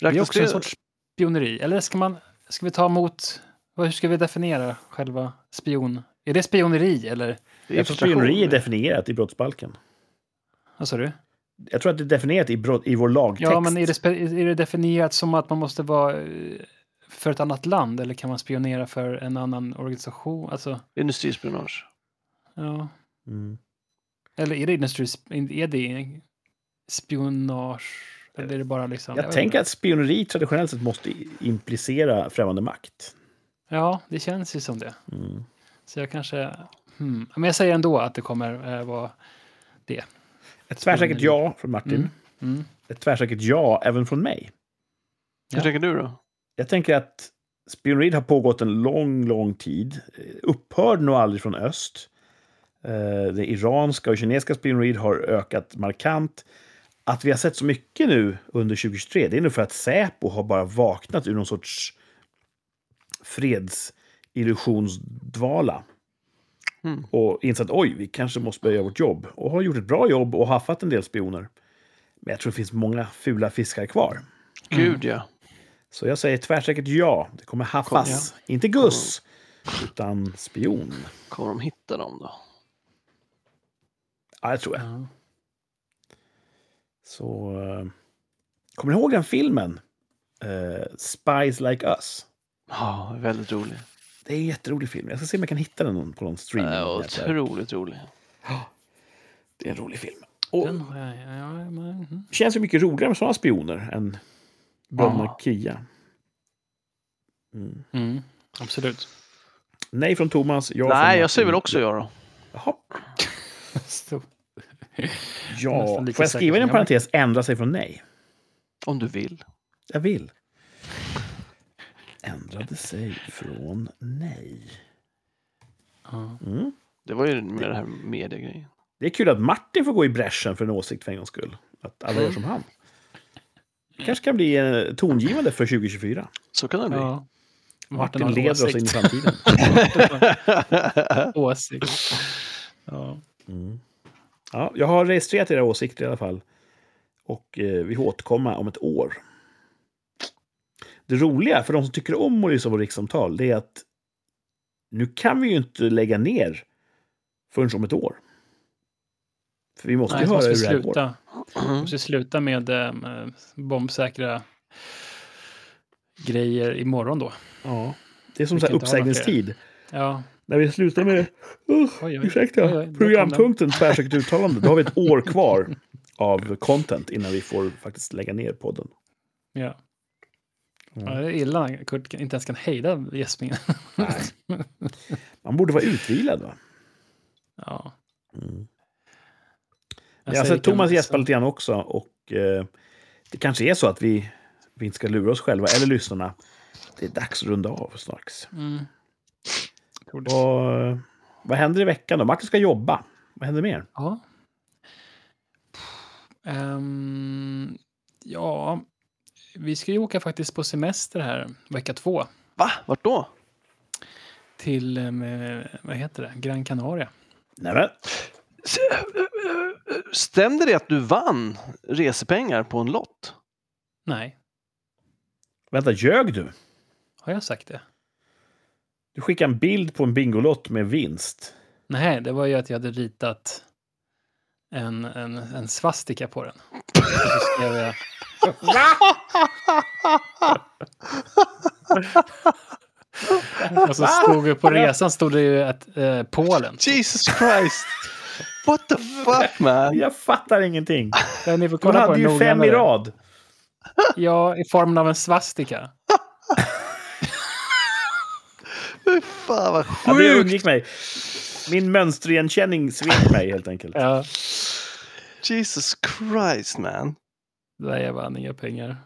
S3: Det är
S2: Räknas
S3: också en sorts spioneri. Eller ska, man, ska vi ta emot... vad- Hur ska vi definiera själva spion? Är det spioneri eller?
S2: det är
S1: Jag tror
S2: infiltration.
S1: spioneri är definierat i brottsbalken.
S3: Vad sa du?
S1: Jag tror att det är definierat i, brott, i vår lagtext.
S3: Ja, men är det, spe- är det definierat som att man måste vara eh, för ett annat land eller kan man spionera för en annan organisation? Alltså,
S2: Industrispionage.
S3: ja.
S1: Mm.
S3: Eller är det, industri- är det spionage? Eller är det bara liksom...
S1: Jag
S3: vet
S1: tänker
S3: inte.
S1: att spioneri traditionellt sett måste i- implicera främmande makt.
S3: Ja, det känns ju som det.
S1: Mm.
S3: Så jag kanske... Hmm. Men jag säger ändå att det kommer eh, vara...
S1: Ett tvärsäkert ja från Martin.
S3: Mm. Mm.
S1: Ett tvärsäkert ja även från mig.
S2: Hur
S3: Ja.
S2: tänker du då?
S1: Jag tänker att spioneriet har pågått en lång, lång tid. Eh, Upphörde nog aldrig från öst. Eh, Det iranska och kinesiska spioneriet har ökat markant. Att vi har sett så mycket nu under 2023, det är nog för att Säpo har bara vaknat ur någon sorts fredsillusionsdvala.
S2: Mm.
S1: Och insett oj, vi kanske måste börja göra vårt jobb. Och har gjort ett bra jobb och haffat en del spioner. Men jag tror det finns många fula fiskar kvar.
S2: Gud ja.
S1: Så jag säger tvärsäkert ja. Det kommer haffas. Inte Guss, utan spion.
S2: Kommer de hitta dem då?
S1: Ja, det tror jag.
S3: Ja.
S1: Så... eh, Kommer ni ihåg den filmen? Eh, Spies Like Us.
S2: Ja, väldigt rolig.
S1: Det är en jätterolig film. Jag ska se om jag kan hitta den någon- på någon streaming.
S2: Ja, otroligt rolig.
S1: det är en rolig film. Och
S3: Den har jag, ja, ja, men, mm.
S1: det känns ju mycket roligare med sådana spioner än bröderna Kia. Mm.
S3: Mm,
S1: <laughs>
S3: absolut.
S1: Nej från Thomas. Ja från
S2: Nej, jag säger
S1: Martin.
S2: väl också jag då.
S1: Jaha.
S3: Så,
S1: Ja.
S3: Nästan lika
S1: Får jag
S3: säker
S1: skriva in en
S3: som jag var.
S1: parentes? Ändra sig från nej.
S2: Om du vill.
S1: Jag vill. Ändrade sig från nej.
S3: ja.
S1: Mm.
S2: Det var ju med det här mediegrejen.
S1: Det är kul att Martin får gå i bräschen för en åsikt för en gångs skull. Att alla
S3: Mm.
S1: gör som han. Det kanske kan bli eh, tongivande för 2024.
S2: Så kan det bli.
S3: ja.
S1: Martin
S3: har en
S1: leder oss
S3: åsikt.
S1: in i
S3: <laughs>
S1: framtiden.
S3: åsikt. Ja. Mm.
S1: Ja, jag har registrerat era åsikter i alla fall. Och eh, vi återkommer om ett år. Det roliga för de som tycker om Morrison och rikssamtal det är att nu kan vi ju inte lägga ner förrän om ett år. För vi måste
S3: Nej,
S1: ju
S3: så
S1: höra
S3: måste
S1: hur
S3: vi
S1: det här går.
S3: sluta. måste vi sluta med äm, bombsäkra grejer imorgon då.
S1: Ja. Det är som
S3: Vi
S1: så här
S3: kan inte ha några
S1: uppsägningstid.
S3: Ja,
S1: När vi slutar med uh,
S3: oj, oj.
S1: ursäkta,
S3: Oj, oj, där kom
S1: programpunkten tvärsäkert uttalande. Då har vi ett år kvar av content innan vi får faktiskt lägga ner podden.
S3: Ja.
S1: Mm.
S3: ja. Det är illa när Kurt kan- inte ens kan hejda gäspningen.
S1: Man borde vara utvilad va?
S3: <laughs> Ja.
S1: Mm.
S3: Jag
S1: Jag har
S3: säger
S1: sett Thomas
S3: Kurt,
S1: gäspa lite grann också och eh, det kanske är så att vi, vi inte ska lura oss själva eller lyssnarna. Det är dags att runda av strax.
S3: så- Mm. Tror det.
S1: Och, eh, vad händer i veckan då? Martin ska jobba. Vad händer mer?
S3: Ja. Ehm, ja, vi ska ju åka faktiskt på semester här vecka två
S2: <laughs> Va? Vart då?
S3: till, ehm, eh, vad heter det, Gran Canaria.
S1: Nämen,
S2: S- eh, eh, eh, Stämde det att du vann resepengar på en lott?
S3: Nej,
S1: vänta, ljög du?
S3: har jag sagt det?
S1: Du skickade en bild på en bingolott med vinst.
S3: Nej, det var ju att jag hade ritat en, en, en svastika på den. Och Så skrev jag, och så stod det på resan stod det ju att eh, Polen.
S2: Jesus Christ! <laughs> What the fuck man?
S1: Jag fattar ingenting.
S3: Ja, ni får
S1: Hon
S3: <laughs> kolla på
S1: hade
S3: den
S1: ju fem i
S3: noggrannare.
S1: rad.
S3: Ja, i formen av en svastika.
S2: Fy fan vad
S1: Ja, det
S2: sjukt!
S1: undgick mig. Min mönsterigenkänning svek mig helt enkelt.
S3: Ja,
S2: Jesus Christ man!
S3: där jag vann inga pengar.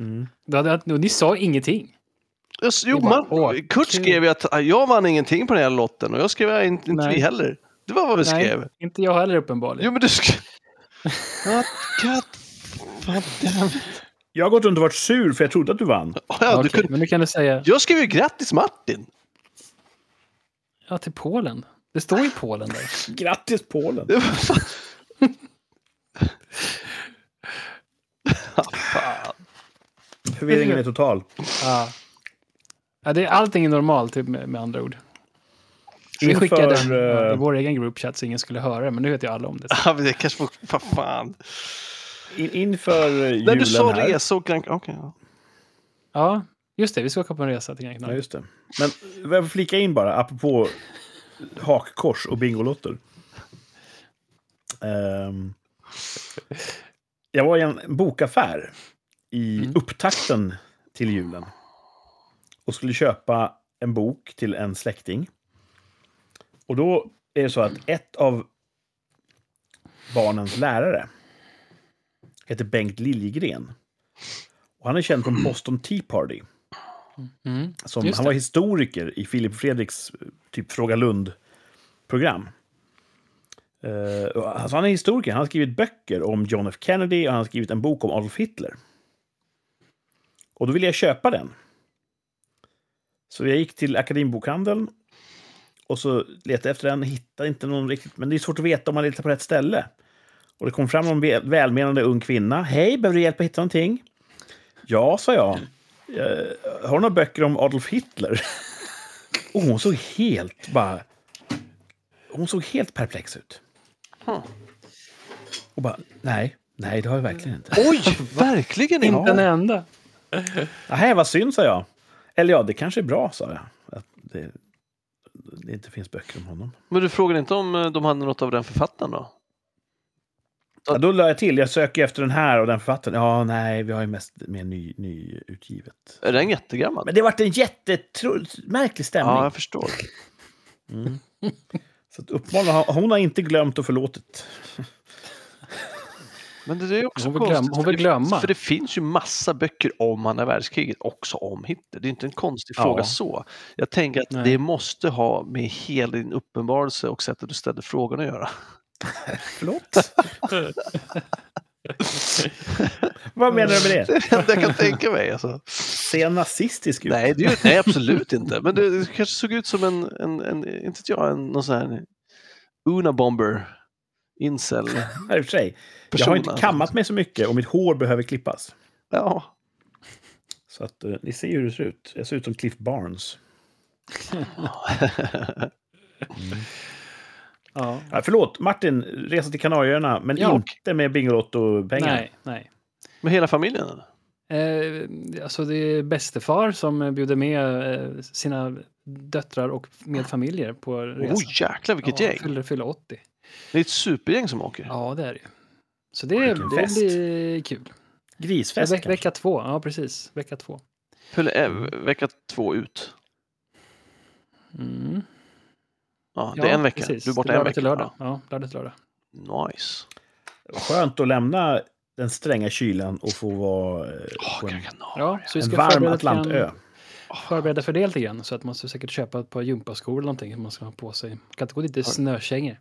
S1: Mm.
S3: Då hade, jag- och ni sa ingenting.
S2: Jag s- Jo,
S3: Det var-
S2: man,
S3: åh, kul.
S2: Kurt skrev ju att ah, jag vann ingenting på den här lotten och jag skrev ah, inte, inte
S3: Nej.
S2: vi heller. Det var vad vi skrev.
S3: Nej, inte jag heller uppenbarligen.
S2: Jo men du
S3: <laughs>
S2: skrev... God, God, fan, damn.
S1: Jag har gått runt och varit sur för jag trodde att du vann.
S2: Ah, ja, du
S3: Okej,
S2: kunde...
S3: Men nu kan du säga
S2: Jag skrev ju grattis Martin! <laughs>
S3: ja, till Polen. Det står ju Polen där.
S1: Grattis Polen!
S2: Det var fan- Ah, fan.
S1: Förvirringen är total.
S3: Ja. Ja, det är allting är normalt typ, med, med andra ord. Vi
S1: Inför,
S3: skickade den ja, i
S1: eh,
S3: vår egen groupchat så ingen skulle höra det, men nu vet ju alla om det.
S2: Ah, men det kanske var... Fan, fan.
S1: In, inför eh,
S2: När du sa
S1: julen här.
S2: resa och Gran... Okej,
S3: <laughs>
S2: ja.
S3: Ja, just det, vi ska åka på en resa till Gran
S1: Ja,
S3: Canaria.
S1: just det. Men jag vill flika in bara, apropå hakkors och bingolotter. Ehm, jag var i en bokaffär i upptakten till julen och skulle köpa en bok till en släkting. Och då är det så att ett av barnens lärare heter Bengt Liljegren. Och han är känd från Boston Tea Party.
S3: Mm.
S1: Som,
S3: Just
S1: han
S3: det.
S1: var historiker i Filip och Fredriks eh, typ Fråga Lund-program. Eh, och alltså han är historiker. Han har skrivit böcker om John F Kennedy och han har skrivit en bok om Adolf Hitler. Och då ville jag köpa den. Så jag gick till Akademibokhandeln och så letade jag efter den. Hittade inte någon riktigt, men det är svårt att veta om man letar på rätt ställe. Och det kom fram någon väl- välmenande ung kvinna. Hej, behöver du hjälp att hitta någonting? Ja, sa jag. Eh, har du några böcker om Adolf Hitler? <laughs> Och hon såg helt bara... Hon såg helt perplex ut.
S2: Huh.
S1: Och bara, nej, nej, det har jag verkligen inte.
S2: Oj, verkligen inte!
S3: Inte en enda.
S1: Nej, vad synd, sa jag. Eller ja, det kanske är bra, sa jag. Att det, det inte finns böcker om honom.
S2: Men du frågade inte om eh, de hade något av den författaren då?
S1: Ja, då la jag till, jag söker efter den här och den författaren. Ja, nej, vi har ju mest mer ny, nyutgivet.
S2: Är den jättegammal?
S1: Men det vart en jättemärklig stämning.
S2: ja, jag förstår.
S1: Så att uppenbarligen, har- hon har inte glömt och förlåtit.
S2: Men det är ju också
S3: Hon vill
S2: konstigt,
S3: glömma- hon
S2: för
S3: vill
S2: det-
S3: glömma.
S2: För det finns ju massa böcker om andra världskriget, också om Hitler. Det är inte en konstig
S1: Ja.
S2: fråga så. Jag tänker att
S3: Nej.
S2: det måste ha med hela din uppenbarelse och sättet du ställde frågan att göra. <laughs>
S1: Förlåt? Vad menar du med
S2: Det
S1: det?
S2: är det enda jag kan tänka mig. Alltså.
S1: Ser nazistisk ut?
S2: <laughs> Nej, det är, ju- nej, absolut inte. Men det, det kanske såg ut som en, en, en inte vet jag, en, någon sån här Una Bomber Incel.
S1: Nej, i och för sig. Jag har inte
S2: Personer.
S1: kammat mig så mycket och mitt hår behöver klippas.
S2: Ja.
S1: Så att eh, ni ser ju hur det ser ut. Jag ser ut som Cliff Barnes.
S3: Ja.
S1: Ja, förlåt, Martin, resa till Kanarieöarna, men
S3: Ja.
S1: inte med Bingolotto-pengar.
S3: Nej, nej.
S2: Med hela familjen? eller?
S3: Eh, alltså det är bästefar som eh, bjuder med eh, sina döttrar och med familjer på resan.
S2: Oj, jäklar vilket
S3: ja,
S2: gäng.
S3: Fyller, fyller 80.
S2: Det är ett supergäng som åker.
S3: Ja, det är det ju. Så det,
S1: Vilken
S3: det
S1: fest.
S3: blir kul.
S1: Grisfest
S3: Ve-
S1: kanske.
S3: vecka två, ja precis. Vecka två.
S2: Eller, eh, vecka två ut.
S3: Mm.
S2: Ja,
S3: Ja,
S2: det är en vecka.
S3: precis.
S2: Du är borta
S3: Det
S2: en
S3: lördag
S2: vecka.
S3: till lördag. Ja, lördag till lördag.
S2: Ja. Nice.
S1: Skönt att lämna den stränga kylan och få vara eh,
S2: Oh,
S1: på en,
S3: Ja, så vi
S1: en
S3: ska
S1: varm
S3: förbereda, till
S1: Atlantö.
S3: en, förbereda för det lite grann. Så att man ska säkert köpa ett par gympaskor eller någonting som man ska ha på sig. Man kan inte gå dit i
S2: Har-
S3: snökängor.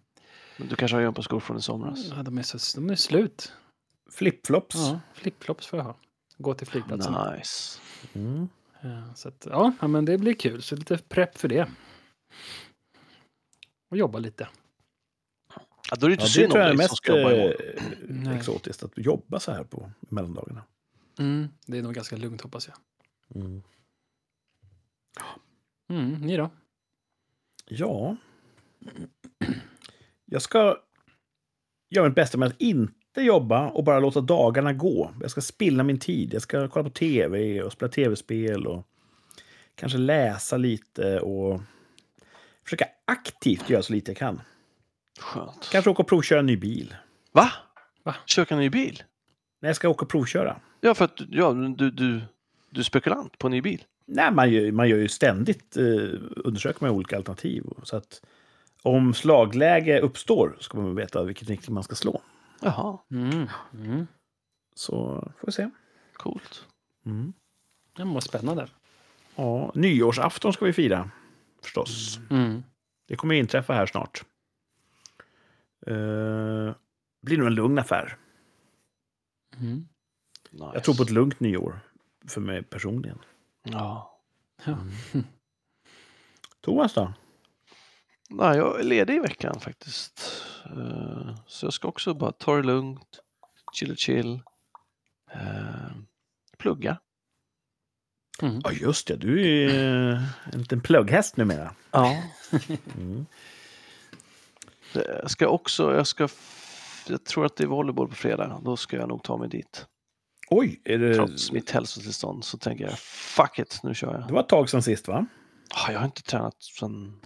S2: Men du kanske har gympaskor från i somras?
S1: Mm,
S3: Ja, de, är så, de är slut.
S1: Flipflops.
S3: Ja, flipflops får jag ha. Gå till flygplatsen.
S2: Nice.
S1: Mm.
S3: Ja, Så att, ja, ja, men det blir kul. Så lite prepp för det. Och jobba lite.
S2: Ja, då är det inte
S1: Ja, det
S2: synd
S1: tror
S2: om
S1: jag är
S2: dig som
S1: mest
S2: ska jobba imorgon.
S1: eh,
S3: Nej.
S1: exotiskt, att jobba så här på mellandagarna.
S3: Mm. Det är nog ganska lugnt hoppas jag.
S1: Mm.
S3: Mm, ni då?
S1: Ja. Jag ska göra mitt bästa med att inte jobba och bara låta dagarna gå. Jag ska spilla min tid. Jag ska kolla på tv och spela tv-spel och kanske läsa lite och försöka aktivt göra så lite jag kan.
S2: Skönt.
S1: Kanske åka och provköra en ny bil.
S2: Va?
S3: Va?
S2: Köka en ny bil?
S1: Nej, jag ska åka och provköra.
S2: Ja, för att ja, du, du, du är spekulant på en ny bil.
S1: Nej, man gör, man gör ju ständigt eh, undersöker man olika alternativ. Så att om slagläge uppstår ska man veta vilken riktning man ska slå.
S2: Jaha,
S3: Mm. Mm.
S1: Så får vi se.
S2: coolt.
S1: Mm.
S3: Ja, men vad spännande.
S1: Ja, nyårsafton ska vi fira, förstås.
S3: Mm.
S1: Det kommer ju inträffa här snart. Eh, blir nog en lugn affär.
S3: Mm.
S2: Nice.
S1: Jag tror på ett lugnt nyår, för mig personligen.
S2: Ja.
S3: Ja.
S1: Thomas då?
S2: Nej, jag är ledig i veckan faktiskt. Eh, Så jag ska också bara ta det lugnt, chill chill, eh, plugga.
S3: Mm.
S1: Ja, just det. Du är eh, en liten plugghäst numera.
S2: Ja.
S1: Mm.
S2: Jag Eh, ska också, jag ska, f- jag tror att det är volleyboll på fredag, då ska jag nog ta mig dit.
S1: Oj, är det,
S2: Trots mitt hälsotillstånd så tänker jag fuck it, nu kör jag.
S1: det var ett tag sedan sist, va?
S2: Ah, Jag har inte tränat sen...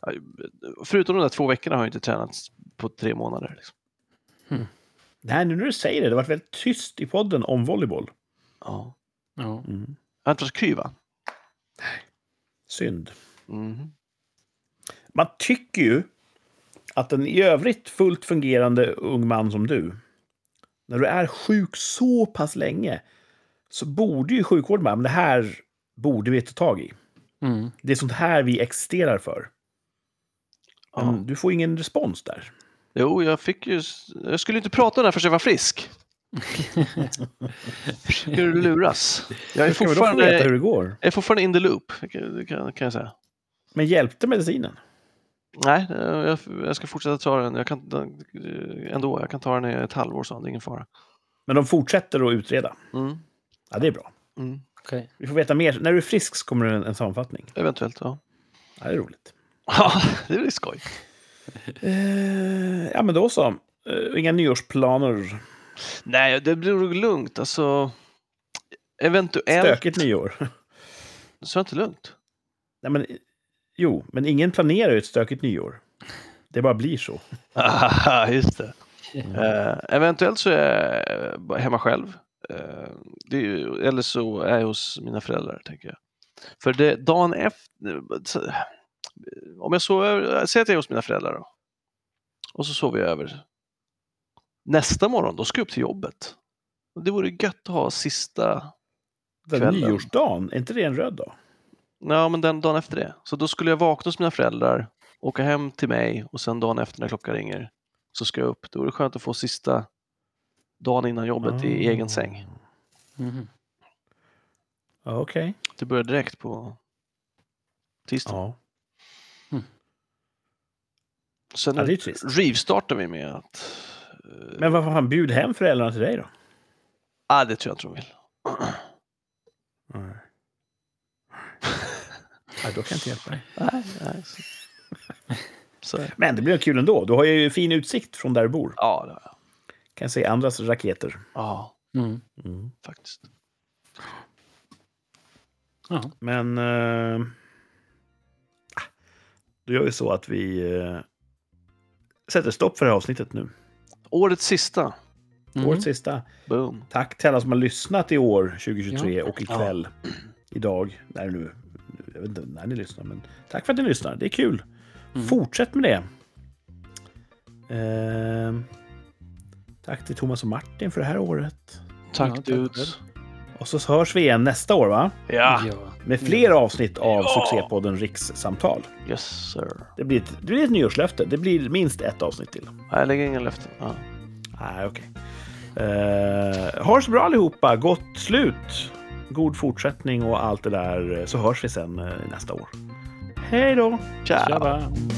S2: Aj, Förutom de där två veckorna har jag inte tränat på tre månader. Liksom.
S1: Nej, nu när du säger det. Det har varit väldigt tyst i podden om volleyboll.
S2: Ja.
S3: Ja.
S1: Mm.
S2: Jag har inte varit kry, va?
S1: Synd. Mm-hmm.
S2: Mhm.
S1: Man tycker ju att en i övrigt fullt fungerande ung man som du, när du är sjuk så pass länge, så borde ju sjukvården bara, men det här borde vi ta tag i.
S3: Mm.
S1: Det är sånt här vi existerar för. Men
S2: Ja.
S1: du får ingen respons där.
S2: Jo, jag fick ju... Jag skulle inte prata där förrän jag
S1: <laughs>
S2: var frisk. Försöker du luras? Jag är
S1: Hur ska vi då få veta
S2: fortfarande,
S1: hur det går?
S2: jag är fortfarande in the loop, det kan, det kan kan jag säga.
S1: Men hjälpte medicinen?
S2: Nej, eh, jag, jag ska fortsätta ta den. Jag kan, den- eh, ändå, jag kan ta den i ett halvår, så det är ingen fara.
S1: Men de fortsätter att utreda.
S2: Mm.
S1: Ja, det är bra.
S2: Mm.
S3: Okej.
S1: Vi får veta mer. När du är frisk så kommer det en, en sammanfattning.
S2: Eventuellt, ja. <laughs>
S1: Ja, det är roligt.
S2: Ja, det blir skoj.
S1: Eh, ja, men då så. Eh, inga nyårsplaner.
S2: Nej, det blir nog lugnt. Alltså, eventuellt...
S1: Stökigt nyår.
S2: Så är det inte lugnt.
S1: Nej, men, jo, men ingen planerar ju ett stökigt nyår. Det bara blir så.
S2: <laughs> Aha, just det. Eh, eventuellt så är jag bara hemma själv. Eh, det är ju, eller så är jag hos mina föräldrar, tänker jag. För det, dagen efter... så- Om jag sover... Säg att jag är hos mina föräldrar då. Och så sover jag över. Nästa morgon, då ska jag upp till jobbet. Och det vore gött att ha sista
S1: Den
S2: Kvällen.
S1: nyårsdagen, är inte det en röd dag?
S2: Ja, men den dagen efter det. Så då skulle jag vakna hos mina föräldrar, åka hem till mig och sen dagen efter när klockan ringer så ska jag upp. Då är det skönt att få sista dagen innan jobbet i
S1: Ah.
S2: egen säng.
S3: Mhm.
S1: Ja, Okej.
S2: Det börjar direkt på tisdag.
S1: Ja.
S3: Mm.
S2: Sen
S1: Ja, det är trist.
S2: rivstartar vi med att...
S1: Men vad fan, bjud hem föräldrarna till dig då.
S2: Ah, det tror jag inte de vill.
S1: <laughs> Nej. Nej, då kan jag inte hjälpa dig.
S2: Nej, nej. Så. <laughs> Så, är det.
S1: Men det blir kul ändå. Du har ju fin utsikt från där du bor.
S2: ja, det har jag.
S1: Kan se andras raketer.
S2: Ja,
S3: Mm.
S2: faktiskt.
S3: Ja.
S1: Men... Eh, ah, då gör vi så att vi eh, sätter stopp för det här avsnittet nu.
S2: Årets sista.
S3: Mm.
S1: Årets sista.
S2: Boom.
S1: Tack till alla som har lyssnat i år, 2023, och ikväll. Idag, när nu. Jag vet inte när ni lyssnar, men tack för att ni lyssnar. Det är kul. Fortsätt med det. Eh, tack till Thomas och Martin för det här året.
S2: Tack
S3: Ja, tack
S2: dudes.
S1: Och så hörs vi igen nästa år, va?
S2: Ja.
S3: Ja.
S1: Med fler avsnitt av succépodden Rikssamtal.
S2: Yes sir.
S1: Det blir, ett, det blir ett nyårslöfte. Det blir minst ett avsnitt till.
S2: Nej, Jag lägger inga löften. Ja.
S1: Nej, okej. Eh, ha det så bra allihopa. Gott slut. God eh, fortsättning och allt det där. Så hörs vi sen eh, nästa år. Hej då!
S2: Ciao.
S3: Tjabba.